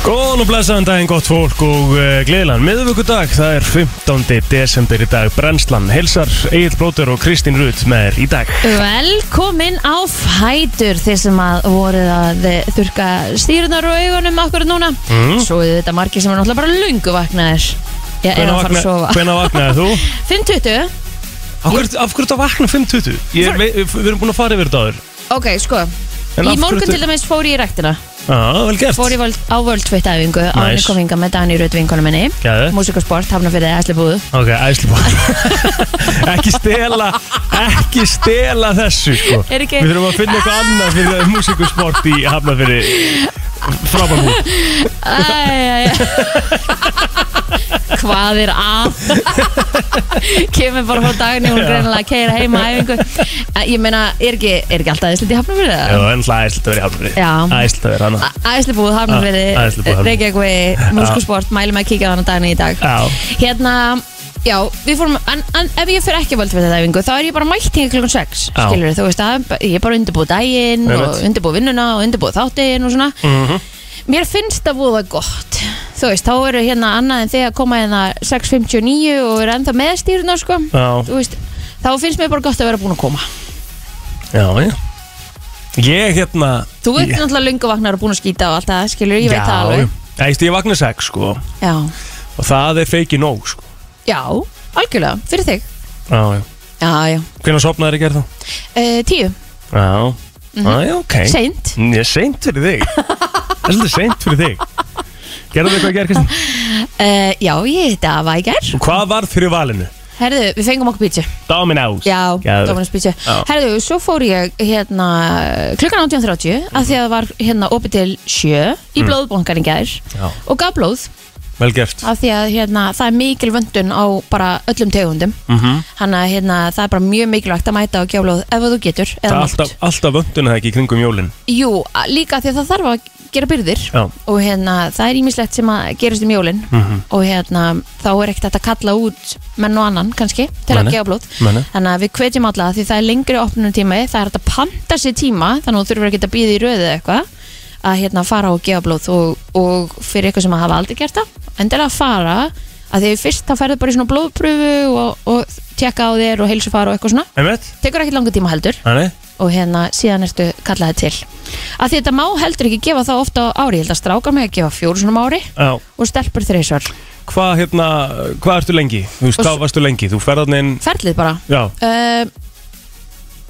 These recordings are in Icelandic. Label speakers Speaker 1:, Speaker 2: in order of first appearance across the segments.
Speaker 1: Góðan og blessaðan daginn, gott fólk og uh, gleðilan miðvöggudag, það er 15. desember í dag, brennslan, helsar, Egil Blóter og Kristín Rutt með þér í dag.
Speaker 2: Velkomin á Fætur þeir sem að voruð að þurka stýrunar og augunum akkur núna mm. Svo er þetta margir sem er náttúrulega bara lungu vaknaðir Já, er að fara að sofa
Speaker 1: Hvenna vaknaði þú?
Speaker 2: 5.20,
Speaker 1: Af hverju af hverju ertu að vakna 5.20? Ég,
Speaker 2: Fór-
Speaker 1: við, við erum búin að fara yfir þetta áður.
Speaker 2: ok sko
Speaker 1: En af
Speaker 2: Í
Speaker 1: hverju
Speaker 2: morgun
Speaker 1: ertu-
Speaker 2: til dæmis fór ég í ræktina
Speaker 1: Já, vel gert.
Speaker 2: Fór ég völd, á völdtvittafingu á
Speaker 1: Nice.
Speaker 2: henni kominga með Dani Rödd vinkonu minni
Speaker 1: Geðveikt.
Speaker 2: Músik og sport, hafna fyrir æslebúðu
Speaker 1: Ok, æsliból. ekki stela, ekki stela þessu, sko.
Speaker 2: Er ekki-
Speaker 1: Við þurfum að finna eitthvað annað fyrir músikusport í Hafnarfyrri. Frábær hún.
Speaker 2: Æ, æ, æ. Hvað er að? Kemur bara frá dagni hún greinilega að keira heima á æfingu. Æ, Ég meina, er ekki, er ekki alltaf æslit í hafnafriði
Speaker 1: Já,
Speaker 2: það?
Speaker 1: ennlega æslit að vera í Hafnarfyrri.
Speaker 2: Já.
Speaker 1: Æslit að vera annað.
Speaker 2: Æslibúð,
Speaker 1: Æ, Æslubúð,
Speaker 2: hafnafriði,
Speaker 1: Hafnarfirði.
Speaker 2: Reykjavík, Múskusport, mælum að kíkja á hana dagni í dag.
Speaker 1: Já.
Speaker 2: Hérna, já, við fórum, en, en ef ég fyrir ekki völd við þetta æfingu, þá er ég bara mætt hinga klukkan 6,
Speaker 1: Já.
Speaker 2: skilur þú veist að, ég er bara undirbúið daginn og
Speaker 1: Einmitt. Mhm.
Speaker 2: undirbúið vinnuna og undirbúið þáttinn og svona. Mér finnst það voða gott Þú veist, þá eru hérna annað en þið að koma hérna 6.59 og eru ennþá með stýruna sko.
Speaker 1: Já.
Speaker 2: Þú veist, þá finnst mér bara gott að vera búin að koma
Speaker 1: Já, já Ég hérna
Speaker 2: Þú ert
Speaker 1: ég,
Speaker 2: náttúrulega lungu vaknar og búin að skýta og allt það skilur, ég veit það
Speaker 1: Já,
Speaker 2: alveg
Speaker 1: já. Æst, ég vakna sex sko
Speaker 2: Já,
Speaker 1: Og það er feiki nóg sko
Speaker 2: já, algjörlega, fyrir þig
Speaker 1: Já, já
Speaker 2: Já, já,
Speaker 1: Hvenær sopnaður ég gerð þá?
Speaker 2: e, tíu,
Speaker 1: Já Já, já, ok
Speaker 2: Mhm. seint
Speaker 1: Ég er seint fyrir þig Það er svolítið seint fyrir þig Gerðu þau eitthvað að gera, Kristján?
Speaker 2: e, Já, ég hitti að var í gær
Speaker 1: Hvað varð fyrir valinu?
Speaker 2: Herðu, við fengum okkur pítsu
Speaker 1: Dominás
Speaker 2: Já, Dominus pítsu
Speaker 1: Já.
Speaker 2: Herðu, svo fór ég hérna klukkan 18.30 af því að það var hérna opið til sjö í
Speaker 1: Mm.
Speaker 2: blóðbankan í gær
Speaker 1: Já.
Speaker 2: og gaf blóð
Speaker 1: Vel gert
Speaker 2: af því að hérna, það er mikil vöndun á bara öllum tegundum
Speaker 1: Mhm.
Speaker 2: þannig að hérna, það er bara mjög mikilvægt að mæta og gef blóð ef þú getur
Speaker 1: Það
Speaker 2: eða
Speaker 1: er
Speaker 2: mátt.
Speaker 1: alltaf, alltaf vönduna ekki í kringum jólin
Speaker 2: Jú, a- líka af því að það þarf að gera byrðir
Speaker 1: Já. Mhm.
Speaker 2: og hérna, það er ímislegt sem að gerist um jólin -hmm. og hérna, þá er ekkert hægt að kalla út menn og annan kannski til
Speaker 1: Nei, nei.
Speaker 2: að gefa blóð
Speaker 1: Nei, nei.
Speaker 2: þannig að við hvetjum alla því það er lengri opnum tími það er hægt að panta sér tíma þannig að þú þurfur ekki að býða í röðu eða eitthvað að hérna, fara og gefa blóð og, og fyrir eitthvað sem að hafa aldrei gert það endilega að fara að því fyrst þá ferðu bara í svona blóðpröfu og, og tekka á þér og heilsufara og eitthvað svona
Speaker 1: Einmitt?
Speaker 2: tekur ekki langa tíma heldur
Speaker 1: Þannig?
Speaker 2: og hérna síðan ertu kallaði til að þetta má heldur ekki gefa það ofta á ári ég held að stráka mig að gefa fjóru svona á ári
Speaker 1: Já
Speaker 2: og stelpur þreysvar
Speaker 1: Hvað hérna, hvað ertu lengi? Þú veist,
Speaker 2: Og
Speaker 1: hvað
Speaker 2: s-
Speaker 1: varstu lengi? Þú ferðarn inn
Speaker 2: ferlið bara
Speaker 1: Já,
Speaker 2: uh,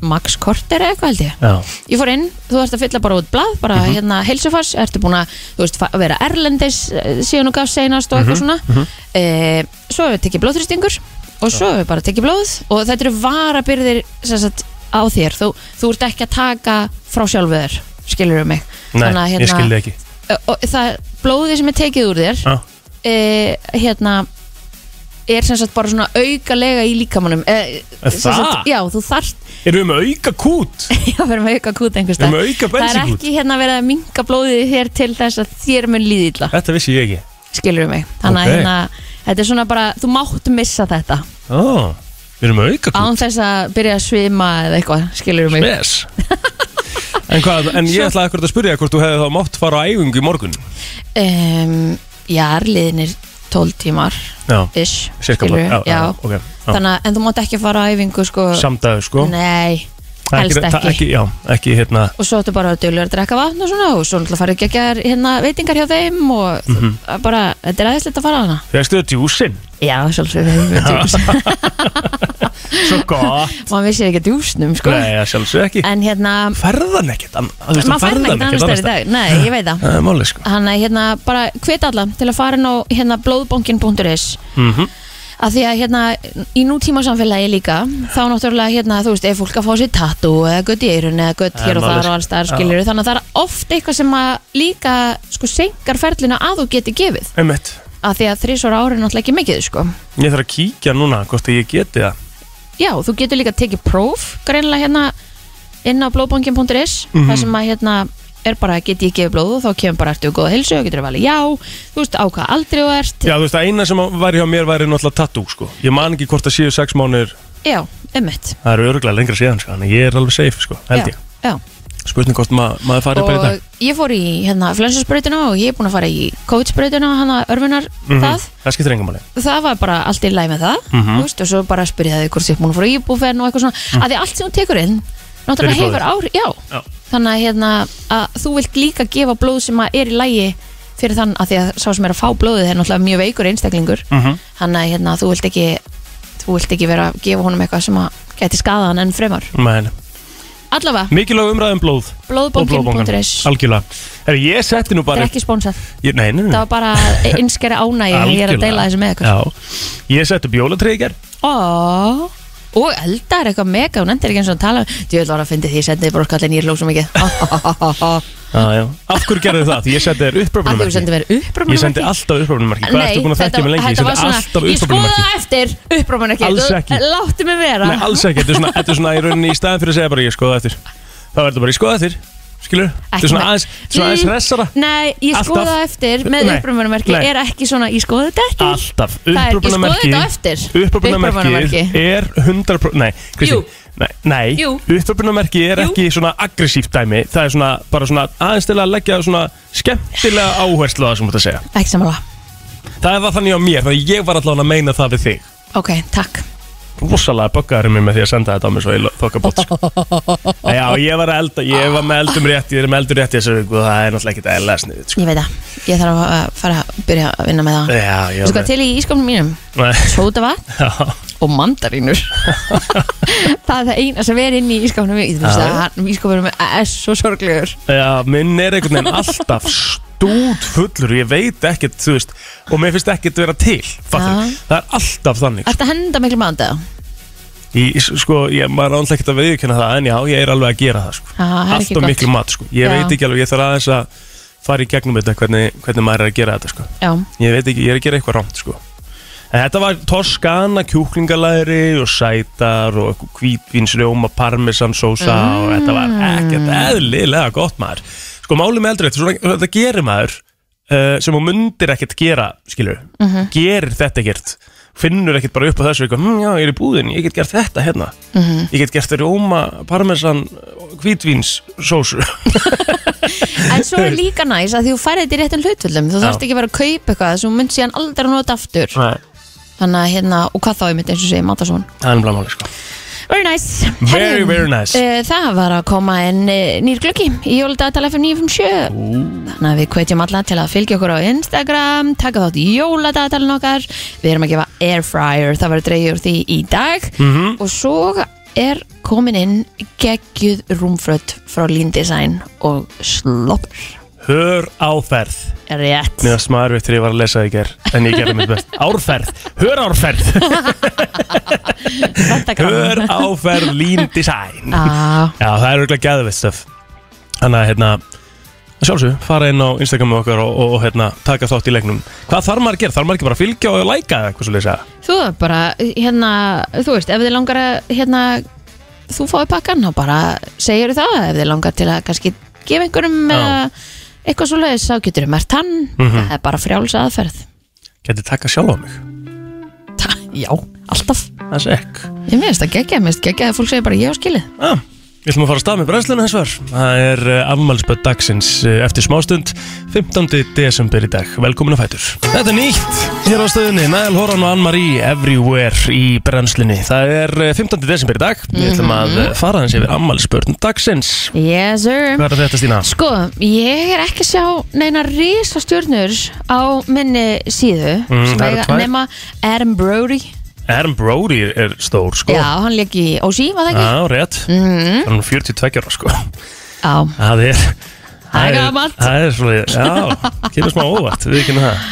Speaker 2: Max Korter eða eitthvað held ég
Speaker 1: já
Speaker 2: ég fór inn, þú ert að fylla bara út blað bara
Speaker 1: Mhm.
Speaker 2: hérna heilsufars, ertu búin að þú veist, fa- vera erlendis eh, síðan og gaf seinast og eitthvað
Speaker 1: Mhm,
Speaker 2: svona mm svo hefur við tekið blóðþristingur og svo hefur við bara tekið blóð og þetta eru varabyrðir sem sagt, á þér, þú, þú ert ekki að taka frá sjálfu þér, skilur við mig
Speaker 1: Nei,
Speaker 2: Þannig að, hérna-
Speaker 1: ég skildi ekki
Speaker 2: Eh, og það blóðið sem er tekið úr þér
Speaker 1: Já,
Speaker 2: e, hérna er sem sagt bara svona aukalega í líkamanum e,
Speaker 1: Er það?
Speaker 2: já, þú þarft
Speaker 1: Erum við með auka kút?
Speaker 2: já, verðum með auka kút einhvers
Speaker 1: Erum
Speaker 2: staðar.
Speaker 1: við með auka
Speaker 2: það er
Speaker 1: bensinkút?
Speaker 2: ekki hérna verið að minka blóðið í þér til þess að þér mun líði illa
Speaker 1: Þetta vissi ég ekki
Speaker 2: skilur við mig þannig að
Speaker 1: Ok.
Speaker 2: hérna, þetta er svona bara, þú mátt missa þetta
Speaker 1: Ó, við erum með auka kút
Speaker 2: án þess að byrja að svima eða eitthvað, skilur við mig
Speaker 1: Yes En hvað, en ég ætlaði ekkert að spyrja hvort þú hefði þá mátt fara á æfingu í morgun
Speaker 2: um, já, er liðinir 12 tímar
Speaker 1: Já,
Speaker 2: ish,
Speaker 1: sérka
Speaker 2: skilur við, já,
Speaker 1: ok já.
Speaker 2: þannig að, en þú mátt ekki fara á æfingu sko,
Speaker 1: Samdagur, sko
Speaker 2: nei,
Speaker 1: Það er
Speaker 2: helst
Speaker 1: það er
Speaker 2: ekki
Speaker 1: Já, ekki hérna
Speaker 2: og svo ertu bara að dölur að drekka vatn og svona og svo náttúrulega farið geggjar hérna veitingar hjá þeim og mm
Speaker 1: Mhm.
Speaker 2: bara, þetta er aðeinslegt að fara hana
Speaker 1: Fegstu þetta djúsin?
Speaker 2: já, sjálfsög
Speaker 1: Svo gott
Speaker 2: maður vissir ekki að djúsnum sko
Speaker 1: Nei, já, sjálfsög ekki
Speaker 2: en hérna,
Speaker 1: Ferðan ekkert annað þú veist, þú
Speaker 2: maður fær
Speaker 1: ferð
Speaker 2: ekki
Speaker 1: hann
Speaker 2: annars
Speaker 1: annars
Speaker 2: þar í
Speaker 1: staðar.
Speaker 2: dag nei, ég veit það
Speaker 1: Það er málið, sko
Speaker 2: hann er hérna bara hvet alla til að fara inn á hérna blóðbankin.is
Speaker 1: Mhm.
Speaker 2: að því að hérna í nútíma samfélagi líka þá náttúrulega hérna þú veist ef fólk að fá sér tattu eða gött í eirun eða gött
Speaker 1: Það er
Speaker 2: hér og
Speaker 1: málið,
Speaker 2: þar
Speaker 1: sko.
Speaker 2: og alls þar skilur þannig að það er oft eitthvað sem að líka sko senkar ferlina að þú geti gefið
Speaker 1: Einmitt
Speaker 2: að því að þrísvara ári er náttúrulega ekki mikið sko
Speaker 1: Ég þarf að kíkja núna hvort að ég geti það
Speaker 2: já þú getur líka tekið próf greinlega hérna inn á blóðbankin.is mm
Speaker 1: Mhm.
Speaker 2: það sem að hérna er bara get ég gefið blóð og þá kemur bara ertu góða hilsu og getur valið já þú veist á hvað aldrei þú ert
Speaker 1: Já, þú veist, að eina sem var hjá mér væri náttúrulega tattoo, sko. Ég man ekki hvort það séu sex mánir,
Speaker 2: Já, ummitt
Speaker 1: það eru örgulega lengra síðan, sko, en ég er alveg safe, sko, held
Speaker 2: já,
Speaker 1: ég.
Speaker 2: já.
Speaker 1: spurning hvort ma maður farið bara í
Speaker 2: og
Speaker 1: dag
Speaker 2: ég fór í hérna flensusbreytuna og ég er búin að fara í COVID-spreytuna hana örfunar
Speaker 1: Mhm.
Speaker 2: það
Speaker 1: það skiptir engum máli
Speaker 2: það var bara allt í læg með það
Speaker 1: Mhm.
Speaker 2: þú veist, og svo bara spyrja það hvort þið er búin að fara í íbúfen og eitthvað svona, af því allt sem hún tekur inn náttúrulega
Speaker 1: Fyrir
Speaker 2: hefur áhrif, já.
Speaker 1: Já.
Speaker 2: þannig að, hérna, að þú vilt líka gefa blóð sem að er í lægi fyrir þann að því að sá sem er að fá blóðið er náttúrulega mjög veikur einstaklingur
Speaker 1: Mhm.
Speaker 2: þannig að hérna, þú vilt ekki þú vilt ekki vera að gefa honum eitthvað sem að geti skadað hann enn fremar
Speaker 1: Men,
Speaker 2: allavega,
Speaker 1: mikilvæg umræðum blóð Mm. og blóðbankan
Speaker 2: blóðbankin.is
Speaker 1: algjörlega Herri, ég setti nú
Speaker 2: þetta
Speaker 1: bara
Speaker 2: er ekki spónsað
Speaker 1: ég, nei, nei, nei.
Speaker 2: það var bara einskjæri ánægi að ég er að
Speaker 1: Algjörlega.
Speaker 2: deila þessu með eitthvað
Speaker 1: Já, ég setti upp jólatrið í gerð
Speaker 2: Ó, og eldar eitthvað mega, hún endur ekki eins og að tala Þú vil var að fyndi því, ég sendið brorkallin, ég er lóð svo mikið Ó, ó, ó, ó, ó.
Speaker 1: Já, já. Af hverju gerði það? Því ég setti
Speaker 2: Ah, Af
Speaker 1: þér
Speaker 2: því þú
Speaker 1: uppröfnumarki
Speaker 2: sendið mér upprópunum
Speaker 1: Ég sendi alltaf uppröfnumarki Hvað ertu búin að þekka mig lengi? Ég
Speaker 2: var
Speaker 1: sendi alltaf
Speaker 2: svona, ég skoða
Speaker 1: uppröfnumarki
Speaker 2: það eftir upprópunum ekki
Speaker 1: Alls ekki.
Speaker 2: Láttu mig vera
Speaker 1: Nei, alls ekki Þetta er svona, þetta er svona í rauninni í staðin fyrir að segja bara ég skoða eftir Það verður bara ég skoða eftir Skilur? Þetta er svona
Speaker 2: með-
Speaker 1: aðeins, svona aðeins
Speaker 2: Mm.
Speaker 1: hressara
Speaker 2: Nei, ég
Speaker 1: Alltaf.
Speaker 2: skoða það eftir með
Speaker 1: Nei,
Speaker 2: upprópunumverki
Speaker 1: nei.
Speaker 2: er ekki svona, ég skoða þetta eftir
Speaker 1: Alltaf
Speaker 2: Það er, ég skoða
Speaker 1: Uppröfnumarki
Speaker 2: þetta á eftir
Speaker 1: Uppröfnumarki
Speaker 2: Uppröfunarmerki.
Speaker 1: er 100% Nei, Kristín
Speaker 2: Jú.
Speaker 1: Nei, nei.
Speaker 2: Jú.
Speaker 1: uppröfnumarki er
Speaker 2: Jú.
Speaker 1: ekki svona aggressíft dæmi Það er svona, bara svona aðeins til að leggja svona skemmtilega áherslu á það sem þú ert að segja
Speaker 2: Ekki samanlega,
Speaker 1: Það var þannig á mér, þannig að ég var allavega að meina það við þig
Speaker 2: ok, takk
Speaker 1: rosalega böggaður mér með því að senda þetta á mig svo í þokkabót sko. Nei, Já, ég var, að elda, ég var með eldum rétt ég er með eldur rétt í þessu viku og það er náttúrulega ekkert eðla sniðið sko.
Speaker 2: Ég veit það, ég þarf að uh, fara að byrja að vinna með það
Speaker 1: Já, já,
Speaker 2: Þú sko til í ískamnum mínum,
Speaker 1: já,
Speaker 2: sóta vatn og mandarínur það er það eina sem er inn í ískapnum ég finnst
Speaker 1: Já.
Speaker 2: að hann ískapnum er svo sorglegur
Speaker 1: já, minn er einhvern veginn alltaf stút fullur ég veit ekkert, þú veist og mér finnst ekkert vera til fattar
Speaker 2: Já.
Speaker 1: þú? það er alltaf þannig
Speaker 2: Ertu að henda miklu mandaða?
Speaker 1: ég, sko, ég, maður er náttúrulega ekkert að viðkynna það en já, ég er alveg að gera það sko.
Speaker 2: Já, það er ekki
Speaker 1: alltaf
Speaker 2: gott.
Speaker 1: miklu mat sko. ég
Speaker 2: Já.
Speaker 1: veit ekki alveg, ég þarf aðeins að fara í gegnum þetta hvernig, hvernig maður er að gera þetta sko.
Speaker 2: Já,
Speaker 1: Ég veit ekki, ég er að gera eitthvað rámt sko En þetta var toskana, kjúklingalæri og sætar og hvítvinsrjóma, parmesansósa og þetta var ekkert eðlilega gott maður Sko máli með eldrætt, svona, þetta gerir maður uh, sem hún mundir ekkert gera, skilur Gerir þetta ekkert, finnur ekkert bara upp á þessu eitthvað, hm, já, ég er í búðin, ég get gert þetta hérna Ég get gert rjóma, parmesan, eh, hvítvinssósu
Speaker 2: en svo er líka næs að því þú færið þetta í réttin hlutvöldum þú
Speaker 1: Já.
Speaker 2: þarfst ekki bara að kaupa eitthvað sem þú mynd síðan aldrei að nota aftur
Speaker 1: Það
Speaker 2: þannig að hérna, og hvað þá ég myndi eins og segja Matason
Speaker 1: er nefnilega máli sko
Speaker 2: Very nice
Speaker 1: Very, very nice
Speaker 2: Uh, það var að koma en uh, nýr glöggi í jóladagatala FM 957 Þannig að við kveitjum alla til að fylgja okkur á Instagram taka þátt í jóladagatalin okkar Við erum að gefa airfryer það var að dreigja úr því í dag
Speaker 1: Mhm.
Speaker 2: og svo er komin inn geggjuð rúmfrött frá Lean Design og sloppur
Speaker 1: Hör áferð
Speaker 2: Rétt
Speaker 1: Mér var smaður veitt þegar ég var að lesa það í ger En ég gerði mitt best Árferð, hör árferð
Speaker 2: Þetta Ah. grann.
Speaker 1: Hör áferð lean design
Speaker 2: Á,
Speaker 1: Já, það er auðvitað gæðveitt stöf Þannig að hérna Sjálfsög, fara inn á Instagram með okkar og, og, og hérna, taka þátt í leiknum Hvað þarf maður að gera? Þarf maður ekki bara að fylgja og læka eða eitthvað svo leysa?
Speaker 2: Þú er bara, hérna, þú veist, ef þið langar að, hérna, þú fáið pakkan, þá bara segir það, ef þið langar til að kannski gefa einhverjum
Speaker 1: Já.
Speaker 2: eða eitthvað svo leiðis, þá getur þið mert hann,
Speaker 1: Mhm.
Speaker 2: það er bara frjáls aðferð.
Speaker 1: Geti taka sjálf á mig
Speaker 2: Ta, já, alltaf.
Speaker 1: Það er sekk
Speaker 2: Ég meðist að gegja, meðist gegja að fólk segir bara ég á skilið.
Speaker 1: Já, við ætlum að fara að stað með brennsluna þess var Það er uh, afmælspöld dagsins uh, eftir smástund 15. desember í dag, velkomin að fætur Þetta er nýtt hér á stöðunni Næl Horan og Ann-Marie Everywhere í brennslunni Það er uh, 15. desember í dag Við ætlum að uh, fara þess yfir afmælspöld dagsins
Speaker 2: Yes, sir.
Speaker 1: Hvað er þetta Stína?
Speaker 2: Sko, ég er ekki að sjá neina risastjörnur á minni síðu
Speaker 1: Mm,
Speaker 2: sem
Speaker 1: það eru
Speaker 2: eiga-
Speaker 1: tvær.
Speaker 2: nema Adam Brody
Speaker 1: Adam Brody er stór sko
Speaker 2: Já, hann leik í OC, var það ekki?
Speaker 1: Já, rétt
Speaker 2: Mhm.
Speaker 1: Hann er 42 ára sko
Speaker 2: Já,
Speaker 1: Það er
Speaker 2: Það er gamalt.
Speaker 1: Það er svona, já, kemur smá óvart, við ekki það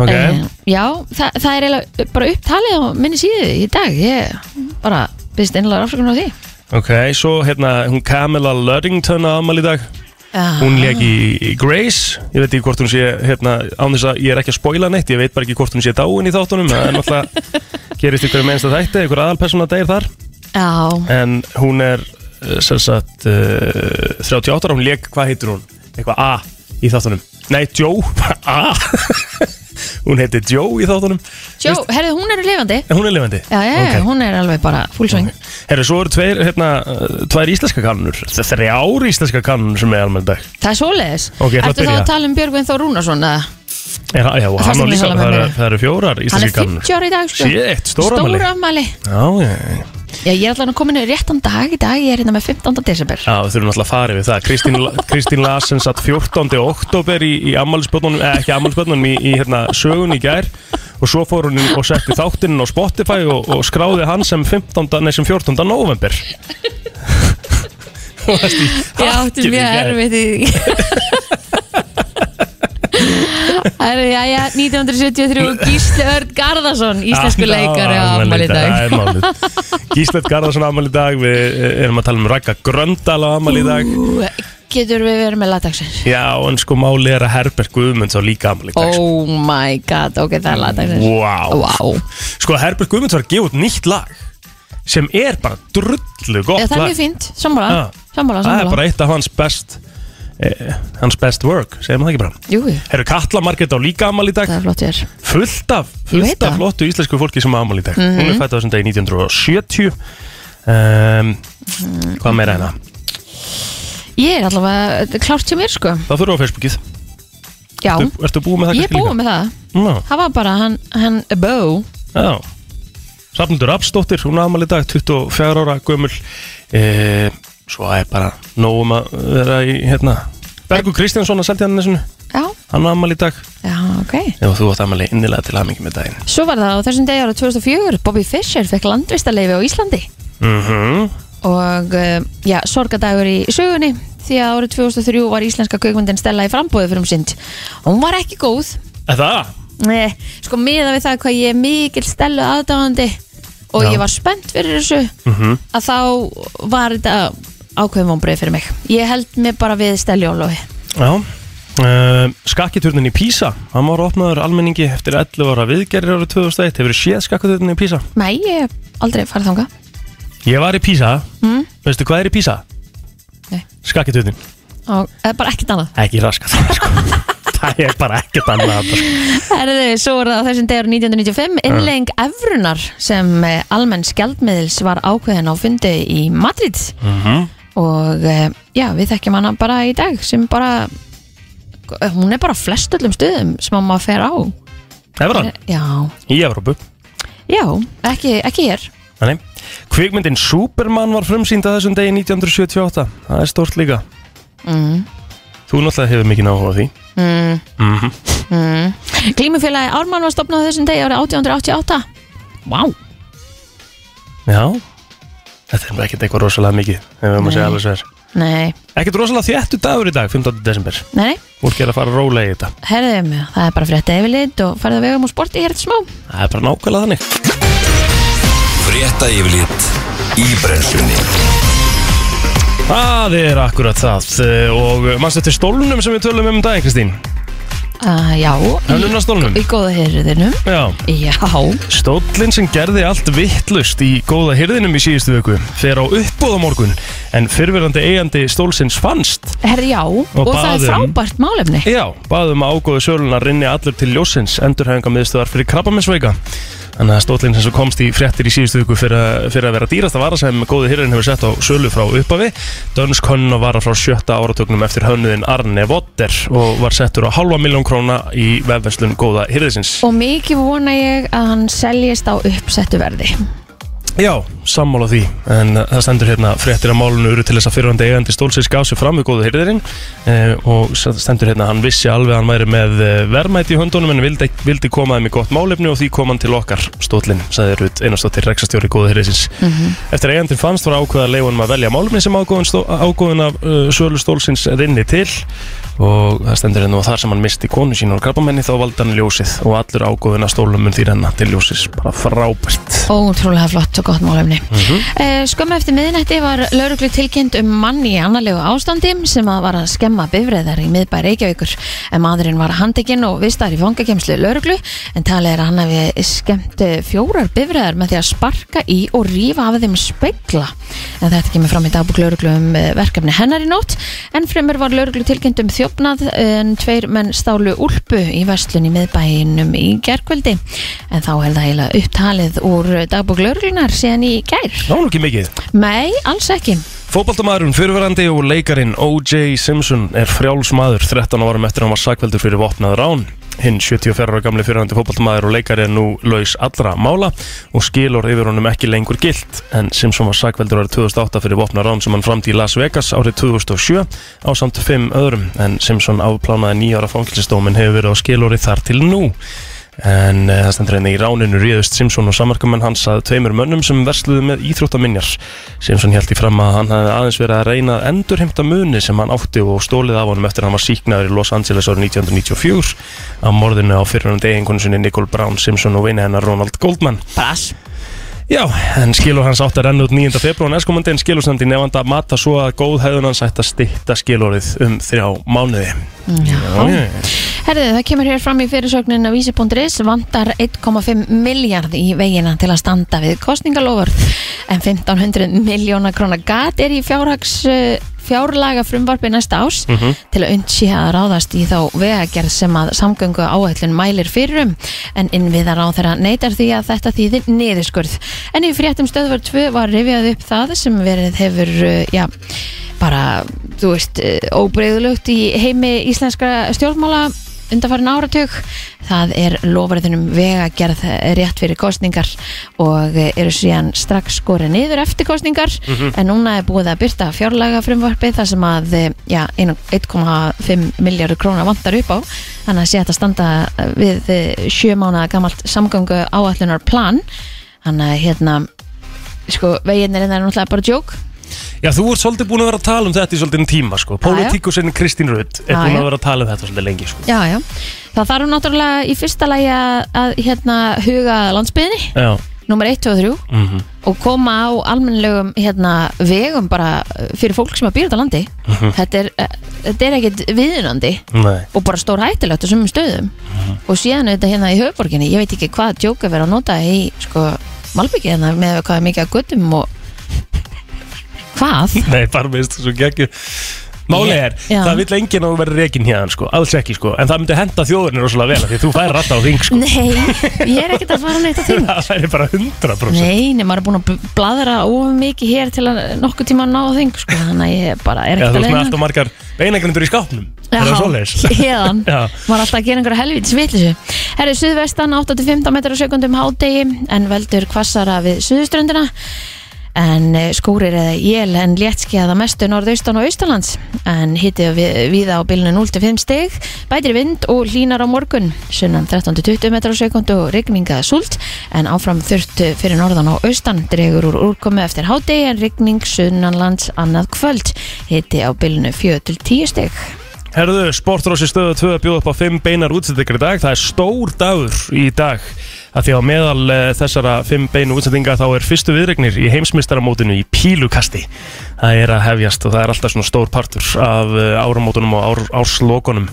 Speaker 1: Ok,
Speaker 2: Eh, Já, þa það er eiginlega bara upptalið á minni síðu í dag Ég bara byrst einlega afsökunar á því
Speaker 1: ok, svo hérna hún Camilla Luddington á afmæli í dag
Speaker 2: Ah.
Speaker 1: Hún leik í í Grace Ég veit ekki hvort hún sé hérna, án þess að ég er ekki að spoila neitt Ég veit bara ekki hvort hún sé dáin í þáttunum Það er náttúrulega gerist ykkur mennsta þætti Ykkur aðalpersona degir þar
Speaker 2: Já,
Speaker 1: En hún er eh, sem sagt uh, 38 ára Hún leik, hvað heitir hún? Eitthvað A í þáttunum Nei, Joe, A Hún heiti Joe í þáttunum
Speaker 2: Sjó, herðu, hún er lifandi
Speaker 1: En hún er lifandi
Speaker 2: Já, já, já,
Speaker 1: Ok.
Speaker 2: hún er alveg bara fullsvöng okay.
Speaker 1: Herru, svo eru tveir, hérna, uh, tvær íslenska kannur Þrjár íslenska kannur sem er almenn dag
Speaker 2: Það er svoleiðis
Speaker 1: Ok, ég ætla að
Speaker 2: Ertu þá
Speaker 1: byrja.
Speaker 2: að tala um Björgvin Þór Rúnarsson eða?
Speaker 1: er, Já, og
Speaker 2: Það
Speaker 1: hann á
Speaker 2: sem ég
Speaker 1: líka,
Speaker 2: tala með
Speaker 1: það eru-
Speaker 2: meira.
Speaker 1: það eru fjórar
Speaker 2: Hann er
Speaker 1: íslenska kannur
Speaker 2: 50 ára í dag sko.
Speaker 1: Shit, stórafmæli.
Speaker 2: Stóra afmæli
Speaker 1: Já, já, já
Speaker 2: Já, ég er allan að koma inn réttan dag í dag Ég er hérna með 15. desember
Speaker 1: Já, við þurfum alltaf að fara yfir það Kristín, Kristín Larsen satt 14. oktober í, í ammælisbötnunum, eh, ekki ammælisbötnunum í, í hérna, sögun í gær og svo fór hún og setti þáttinn á Spotify og, og skráði hann sem, 15, nei, sem 14. november Þú varst í
Speaker 2: Já, þetta er
Speaker 1: hakinu í
Speaker 2: mjög
Speaker 1: gær.
Speaker 2: erfitt í Herru, já, já, 1973 Gísli Örd Garðarsson Íslensku
Speaker 1: Ah,
Speaker 2: leikari á afmæli í dag
Speaker 1: Það er málið Gíslet Garðarsson afmæli í dag Við eh, erum að tala um Rækka Gröndal á afmæli í dag
Speaker 2: Ú, Getur við verið með lataksins?
Speaker 1: Já, en sko máli er að Herbert Guðmunds á líka afmæli í dag sko.
Speaker 2: Oh my god, ok, það er lataksins
Speaker 1: Vá
Speaker 2: Wow.
Speaker 1: Sko Herbert Guðmunds var að gefa út nýtt lag sem er bara drullu gott
Speaker 2: Já, það er
Speaker 1: lag
Speaker 2: mjög fínt, sammála,
Speaker 1: Ah.
Speaker 2: sammála,
Speaker 1: Það er
Speaker 2: sammála.
Speaker 1: bara eitt af hans best eh, hans best work, segjum það ekki bara
Speaker 2: Jú, jú,
Speaker 1: Herru Katla Margrét á líka amal í dag
Speaker 2: það er flott hér
Speaker 1: fullt af,
Speaker 2: Ég veit
Speaker 1: fullt af
Speaker 2: það. Mhm.
Speaker 1: flottu íslensku fólki sem á amal í dag hún er fætt á þessum dag í 1970 um,
Speaker 2: Mhm.
Speaker 1: hvað meira hérna
Speaker 2: Ég er allavega þetta er klárt hjá mér sko
Speaker 1: það fyrir á Facebookið,
Speaker 2: Já,
Speaker 1: ertu, ertu búið með það
Speaker 2: ég er búið með það
Speaker 1: Ná,
Speaker 2: Það var bara hann, hann Bo
Speaker 1: já Safnundur Rapsdóttir, hún á amal í dag 24 ára gömul eh, svo er bara nógum að vera í hérna Bergur Kristjánsson að seldi hann þessum
Speaker 2: Já,
Speaker 1: hann á amal í dag
Speaker 2: já, ok
Speaker 1: ef þú átt amal innilega til aðmengi með daginn
Speaker 2: Svo var það á þessum degi ára 2004 Bobby Fischer fekk landvistarleifi á Íslandi
Speaker 1: mhm
Speaker 2: og eh, já, sorgadagur í sögunni því að árið 2003 var íslenska kveikmyndin Stella í frambúði fyrir um sind og hún var ekki góð
Speaker 1: Það?
Speaker 2: Nei, sko miða við það hvað ég er mikil stelu aðdáðandi og
Speaker 1: Já.
Speaker 2: ég var spennt fyrir þessu
Speaker 1: Mhm.
Speaker 2: að þá var þetta ákveðum vonbreið fyrir mig ég held mig bara við stelu álofi
Speaker 1: Já Uh, skakkiturnin í Písa hann var opnaður almenningi eftir 11 ára viðgerðir árið 2001 hefur séð skakkiturnin í Písa
Speaker 2: Nei, ég hef aldrei farið þanga
Speaker 1: ég var í Písa,
Speaker 2: mm?
Speaker 1: veistu hvað er í Písa?
Speaker 2: Nei.
Speaker 1: skakkiturnin,
Speaker 2: og eða bara ekkert annað
Speaker 1: ekki raskat sko. það er bara ekkert annað þarna, sko.
Speaker 2: Herðu, svo var það á þessum degur 1995 innlegging efrunar sem eh, almenn skjaldmiðils var ákveðin á fundi í Madrid og eh, já, við þekkjum hana bara í dag sem bara hún er bara á flestöllum stöðum sem að maður fer á
Speaker 1: Evran,
Speaker 2: Já,
Speaker 1: í Evrópu
Speaker 2: já, ekki, ekki hér
Speaker 1: Þannig. kvikmyndin Superman var frumsýnd að þessum degi 1978 það er stórt líka
Speaker 2: mm.
Speaker 1: þú náttúrulega hefur mikið náhuga því
Speaker 2: Mm.
Speaker 1: mm
Speaker 2: Mm. Klímufélagi Ármann var stopnað á þessum degi árið 1888 Vá, wow.
Speaker 1: já, þetta er nú ekkert eitthvað rosalega mikið ef við maður segja
Speaker 2: Nei.
Speaker 1: alveg sér
Speaker 2: nei,
Speaker 1: ekkert rosalega þéttu dagur í dag, 15. desember
Speaker 2: nei, nei
Speaker 1: fólk er að fara rólega í þetta
Speaker 2: Herðu mig, það er bara fyrir þetta yfirlit og farið að vegum og sporti hér til smá
Speaker 1: það er bara nákvæmlega þannig
Speaker 3: Frétta yfirlit í brennslunni
Speaker 1: það er akkurat það eh, og mannstu eftir stólnum sem við tölum um um daginn Kristín
Speaker 2: uh, Já, í,
Speaker 1: hönnunarstólnum
Speaker 2: í góða heyrðinum
Speaker 1: já
Speaker 2: Já,
Speaker 1: Stóllinn sem gerði allt vittlust í góða hirðinum í síðustu vöku fer á uppbóð á morgun en fyrfirandi eigandi stólsins fannst
Speaker 2: herðu já Og, það er
Speaker 1: baðum.
Speaker 2: frábært málefni
Speaker 1: Já, baðum að ágóðu söluna rinni allur til ljósins endurhæfinga miðstöðar fyrir krabbamennsveika Þannig að stóllinn sem svo komst í fréttir í síðustu viku fyrir, að- fyrir að vera dýrasta vara sem góði hýrinn hefur sett á sölu frá uppafi Dönsk hönnun og vara frá sjötta áratögnum eftir hönnuðin Arne Votter og var settur á halva miljón króna í vefverslun góða hýrðisins
Speaker 2: Og mikið vona ég að hann seljist á uppsettu verði
Speaker 1: Já, sammála því en uh, það stendur hérna fréttir að málunum eru til þess að fyrirhandi eigandi stólsins gaf sér fram við góðu hyrðirinn uh, og s- stendur hérna að hann vissi alveg að hann væri með uh, verðmæti í höndunum en vildi, vildi koma þeim í gott málefni og því kom hann til okkar stólinn, sagði Rut einastóttir reksastjóri góðu hyrðisins Eftir að eigandin fannst var ákveða leifunum að velja málumni sem ágóðun, stó, ágóðun af uh, sölu stólsins rinni til og það stendur hérna og þar sem hann misti konu sín og krabbamenni þá valdi hann ljósið og allur ágóðun af stólum mun því renna til ljósis bara frábært
Speaker 2: Ótrúlega flott og gott málefni brennslunni. Mm skömmu eftir miðnætti var lauruglu tilkynnt um mann í annarlegu ástandi sem að var að skemma bifræðar í miðbæ Reykjavíkur. En maðurinn var handekinn og vistar í fangakemslu lauruglu en talið er að hann hafi skemmt eh, fjórar bifræðar með því að sparka í og rífa af þeim spegla. En þetta kemur fram í dagbúk lauruglu um eh, verkefni hennar í nótt. En fremur var lauruglu tilkynnt um þjófnað en tveir menn stálu úlpu í verslun í miðbæinum í gerkvöldi. En þá er það eiginlega upptalið úr dagbúk lauruglunar síðan í gær.
Speaker 1: Það var nú ekki mikið.
Speaker 2: Nei, alls ekki.
Speaker 1: Fóbaltamaðurinn fyrirverandi og leikarin O.J. Simpson er frjálsmaður 13 árum eftir að hann var sakveldur fyrir vopnað rán. Hinn 74 ára gamli fyrirverandi fóbaltamaður og leikari er nú laus allra mála og skilur yfir honum ekki lengur gilt. En Simpson var sakveldur árið 2008 fyrir vopnað rán sem hann framdi í Las Vegas árið 2007 á samt 5 öðrum. En Simpson afplánaði 9 ára fangilsistómin hefur verið á skilur þar til nú. En uh, það stendur einnig í ráninu Ríðust Simpson og samarkamenn hans að tveimur mönnum sem versluðu með íþróttaminjar. Simpson held í fram að hann hafði aðeins verið að reyna að endurheimta muni sem hann átti og stólið af honum eftir að hann var síknaður í Los Angeles árið 1994 á morðinu á fyrirhund eiginkonu sinni Nicole Brown Simpson og vini hennar Ronald Goldman.
Speaker 2: Brass.
Speaker 1: Já, en skilur hans átti að renna út 9. februar næstkomandi en skilur samt í nefnda mata svo að góð hefðun hans ætti að stýtta skilorið um þrjá mánuði. Já,
Speaker 2: Herðið, það kemur hér fram í fyrirsögnin á vísi.is vantar 1,5 miljard í veginna til að standa við kostningalofur en 1500 miljóna krónar gat er í fjárhags eh, fjárlaga frumvarpi næsta ás
Speaker 1: Mhm.
Speaker 2: til að undsi að ráðast í þá vegagerð sem að samgöngu áætlun mælir fyrir um en innviðar á þeirra neytar því að þetta þýðir niðurskurð en í fréttum stöðvar 2 var rifjað upp það sem verið hefur eh, já, bara, þú veist, óbreyðulugt í heimi íslenskra stjórnmála undarfarin áratug það er lofariðunum vegagerð eh, rétt fyrir kostningar og eh, eru síðan strax skorið niður eftir kostningar en núna er búið að byrta fjárlaga frumvarpi þar sem að eh, ja, 1,5 miljardur króna vantar upp á þannig að sé hægt að standa við eh, sjö mánaða gamalt samgöngu áallunar plan þannig að hérna sko veginir er náttúrulega bara joke
Speaker 1: Já, þú ert svolítið búin að vera að tala um þetta í svolítið tíma, sko. Pólitíkusinn Kristín Rutt er
Speaker 2: Já,
Speaker 1: búin
Speaker 2: já.
Speaker 1: að vera að tala um þetta svolítið lengi, sko.
Speaker 2: já já það þarf náttúrulega í fyrsta lagi að, að hérna huga landsbyðinni
Speaker 1: Já,
Speaker 2: nummer 1, 2 og 3
Speaker 1: mhm,
Speaker 2: og koma á almennlegum hérna, vegum bara uh, fyrir fólk sem að býra þetta landi
Speaker 1: Mhm.
Speaker 2: þetta, er, uh, þetta er ekkit viðunandi
Speaker 1: nei.
Speaker 2: og bara stór hættilegt á sumum stöðum
Speaker 1: Mhm.
Speaker 2: og síðan auðvitað hérna í höfuborginni ég veit ekki hvað djóka verið að nota í sko, Malbyggi hérna með hvað er mikið að guttum og hvað?
Speaker 1: Nei, bara veist þú svo geggjur Máli er,
Speaker 2: Já.
Speaker 1: það vill enginn að þú verður rekin hérna sko, alls ekki sko, en það myndi henda þjóðurinn rosalega vel, af því þú færi alltaf á þing sko
Speaker 2: Nei, ég er ekkit að fara neitt að þing
Speaker 1: Það færi bara 100%
Speaker 2: Nei, nema maður er búin að bl- bladra of mikið hér til að nokkuð tíma að ná þing sko, þannig að ég bara er
Speaker 1: Já,
Speaker 2: ekkit að
Speaker 1: þú veist með
Speaker 2: leiðina.
Speaker 1: alltaf margar beinagrindur í skápnum Er það svoleiðis?
Speaker 2: Hérðan,
Speaker 1: Já.
Speaker 2: var alltaf að gera einhverja helvítis vitlisu Herðu, suðvestan 8-15 metrar á sekundum hádegi en veldur hvassara við suðuströndina en eh, skúrir eða jél en léttskjaða mestu norðaustan og austalands en hitið við, viða á bylnu 0-5 stig bætir í vind og hlínar á morgun sunnan 13-20 metrar á sekundu og rigningaða súlt en áfram þurft fyrir norðan og austan dregur úr úrkomi eftir hádegi en rigning sunnanlands annað kvöld hitið á bylnu 4-10 stig
Speaker 1: Herðu, Sportrósi stöðu 2 bjóð upp á 5 beinar útsendingar í dag Það er stór dagur í dag að Því á meðal eh, þessara 5 beinu útsendinga þá er fyrstu viðregnir í heimsmystaramótinu í pílukasti Það er að hefjast og það er alltaf svona stór partur af eh, áramótunum og ár, árslokunum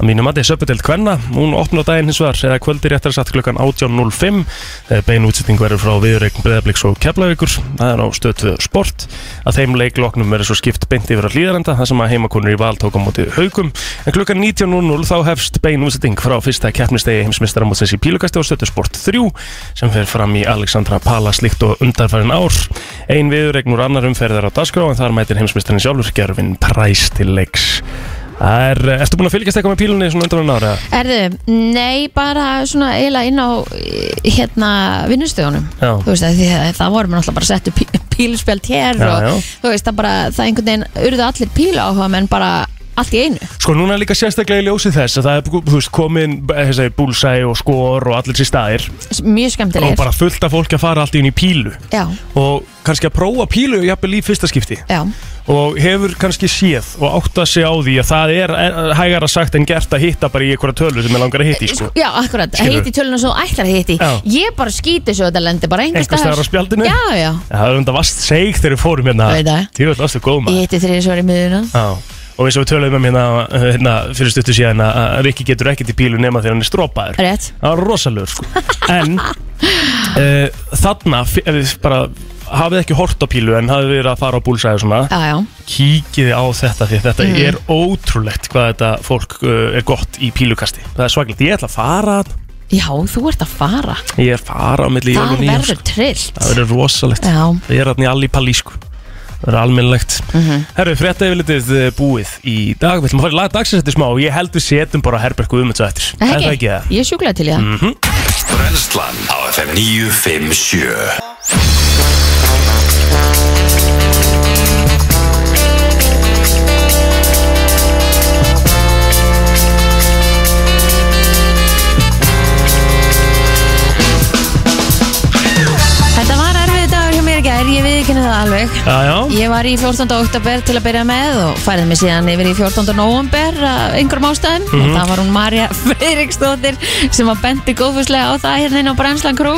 Speaker 1: Að mínu mati, Söpudeld Kvenna, hún opnar daginn hins vegar eða kvöldi réttar satt klukkan 18.05 þegar bein útsetting verður frá viðreikn Breðabliks og Keflavíkur, það er á stöðtöðu sport að þeim leikloknum verður svo skipt beint yfir að hlýðarenda, það sem að heimakonur í val tók á móti haugum, en klukkan 19.00 þá hefst bein útsetting frá fyrsta keppnistegi heimsmyndstaramótsins í Pílukasti og stöðtöðu sport 3 sem fer fram í Alexandra Pala slíkt og undarfærin ár ein viðreikn úr annar umferðar á dagskrá en þar mætir heimsmyndstarin sjálfur Gervin Præs til leiks Það er, eh, ertu búin að fylgjast eitthvað með pílunni svona undan en ára?
Speaker 2: Erðu, nei, bara svona eiginlega inn á eh, hérna vinnustöðunum
Speaker 1: Já.
Speaker 2: þú veist að því að það vorum náttúrulega bara settu pí, pílspjöld hér
Speaker 1: Já,
Speaker 2: og
Speaker 1: já.
Speaker 2: þú veist að bara það einhvern veginn urðu allir píla áhuga menn bara allt í einu
Speaker 1: Sko núna er líka sérstaklega í ljósi þess að það er þú veist, komin þessi, búlsæ og skor og allir sér staðir
Speaker 2: S- mjög
Speaker 1: og
Speaker 2: skemmtilegir
Speaker 1: bara fullt af fólki að fara allt í hún í pílu
Speaker 2: Já,
Speaker 1: og kannski að prófa pílu jafnvel í fyrsta skipti
Speaker 2: já,
Speaker 1: og og hefur kannski séð og átt að sé á því að það er er- hægara sagt en gert að hitta bara í einhverja tölu sem er langar að hitta í sko
Speaker 2: Já, akkurat, að
Speaker 1: Skilurðu?
Speaker 2: hitti töluna svo ætlar að hitti
Speaker 1: Já.
Speaker 2: Ég bara skýti svo að þetta lendi bara einhver
Speaker 1: Einhvers staðar á spjaldinu?
Speaker 2: Já, já,
Speaker 1: En Það er undar vast seig þegar við fórum hérna
Speaker 2: Veit það.
Speaker 1: Því við alltaf góð
Speaker 2: ég
Speaker 1: maður
Speaker 2: hitti þriði svar í miðuna
Speaker 1: Já Og eins og við töluðum um hérna, uh, hérna fyrir stuttu síðan að að Rikki getur ekkert í bílu nema þegar hann er strópaður
Speaker 2: Rétt,
Speaker 1: Það var rosalegur sko En uh, þarna f- ef þið bara hafið ekki hort á pílu en hafið verið að fara á búlsæðu svona
Speaker 2: já, já
Speaker 1: kíkið á þetta því að þetta
Speaker 2: Mhm.
Speaker 1: er ótrúlegt hvað þetta fólk uh, er gott í pílukasti það er svaglegt, ég ætla að fara
Speaker 2: Já, þú ert að fara
Speaker 1: ég er að fara á milli jól
Speaker 2: Það
Speaker 1: og nýjum
Speaker 2: verður trillt
Speaker 1: það verður rosalegt
Speaker 2: Já,
Speaker 1: það er hann í allipalli sko það verður almennlegt
Speaker 2: Mhm.
Speaker 1: herru, frétta yfirlitið eh, búið í dag við ætlum að fara í lag dagsins eftir smá og ég held við setjum bara Herbert Guðmunds á eftir
Speaker 2: það
Speaker 1: Er það
Speaker 2: ekki,
Speaker 1: ekki það
Speaker 2: ég er sjúklega til í það
Speaker 3: Brennslan á FM 957
Speaker 2: Þetta var erfið dagur hjá mér í gær, ég viðkynna það alveg
Speaker 1: já, já,
Speaker 2: Ég var í 14. oktober til að byrja með og færði mig síðan yfir í 14. november af einhverjum ástæðum
Speaker 1: Mhm.
Speaker 2: og það var hún Marja Fredriksdóttir sem að bendi góðfuslega á það hérna inn á Brænslan Krú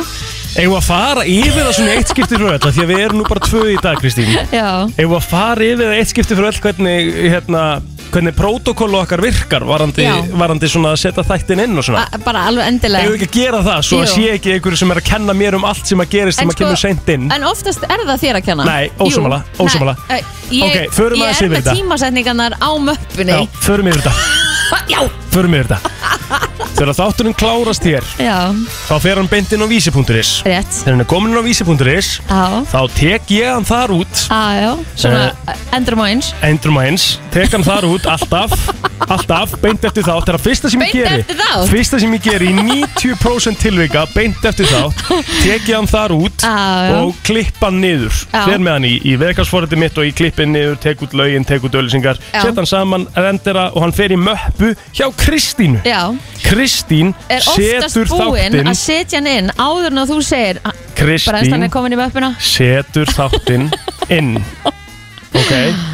Speaker 1: eigum við að fara yfir það svona eitt skipti frá öll af því að við erum nú bara tvö í dag Kristín
Speaker 2: Já,
Speaker 1: eigum við að fara yfir það eitt skipti fyrir öll hvernig, hérna, hvernig prótokollu okkar virkar varandi,
Speaker 2: Já.
Speaker 1: varandi svona að setja þættin inn og svona.
Speaker 2: A- bara alveg endilega
Speaker 1: Eigum við ekki að gera það svo að
Speaker 2: Jú.
Speaker 1: sé ekki einhverju sem er að kenna mér um allt sem að gerist
Speaker 2: En
Speaker 1: sem að
Speaker 2: sko-
Speaker 1: kemur seint inn.
Speaker 2: En oftast er það þér að kenna
Speaker 1: Nei, ósammála,
Speaker 2: Jú.
Speaker 1: ósammála.
Speaker 2: Nei, eh, ég,
Speaker 1: Ok, förum aðeins
Speaker 2: Ég er
Speaker 1: yfir
Speaker 2: með
Speaker 1: þetta.
Speaker 2: tímasetningarnar á möppunni
Speaker 1: Já, förum yfir þetta.
Speaker 2: Já,
Speaker 1: Förum yfir þetta. Þegar þátturinn klárast hér,
Speaker 2: já,
Speaker 1: þá fer hann beint inn á vísi.is.
Speaker 2: rétt
Speaker 1: Þegar hann er komin inn á vísi.is,
Speaker 2: Já,
Speaker 1: þá tek ég hann þar út,
Speaker 2: já, já, svona
Speaker 1: Eh.
Speaker 2: eh, endurum á eins
Speaker 1: endur maður eins, tek hann þar út alltaf, alltaf, beint eftir þátt. Það er að fyrsta sem ég
Speaker 2: Beint
Speaker 1: geri.
Speaker 2: eftir þátt?
Speaker 1: Fyrsta sem ég geri í 90% tilvika, beint eftir þátt, tek ég hann þar út
Speaker 2: Já, já.
Speaker 1: og klippa hann niður.
Speaker 2: Já.
Speaker 1: Fer með hann í, í veðkarsforðið mitt og ég klippi hann niður, tek út lögin, tek út öllisingar,
Speaker 2: Já.
Speaker 1: set hann saman, rendera og hann fer í möppu hjá Kristínu.
Speaker 2: Já,
Speaker 1: Kristín
Speaker 2: er oftast
Speaker 1: setur
Speaker 2: búinn
Speaker 1: þáttinn,
Speaker 2: að setja hann inn áður en að þú segir Bræðslan
Speaker 1: Kristín
Speaker 2: er komin í möppuna
Speaker 1: setur þáttinn inn. Ok,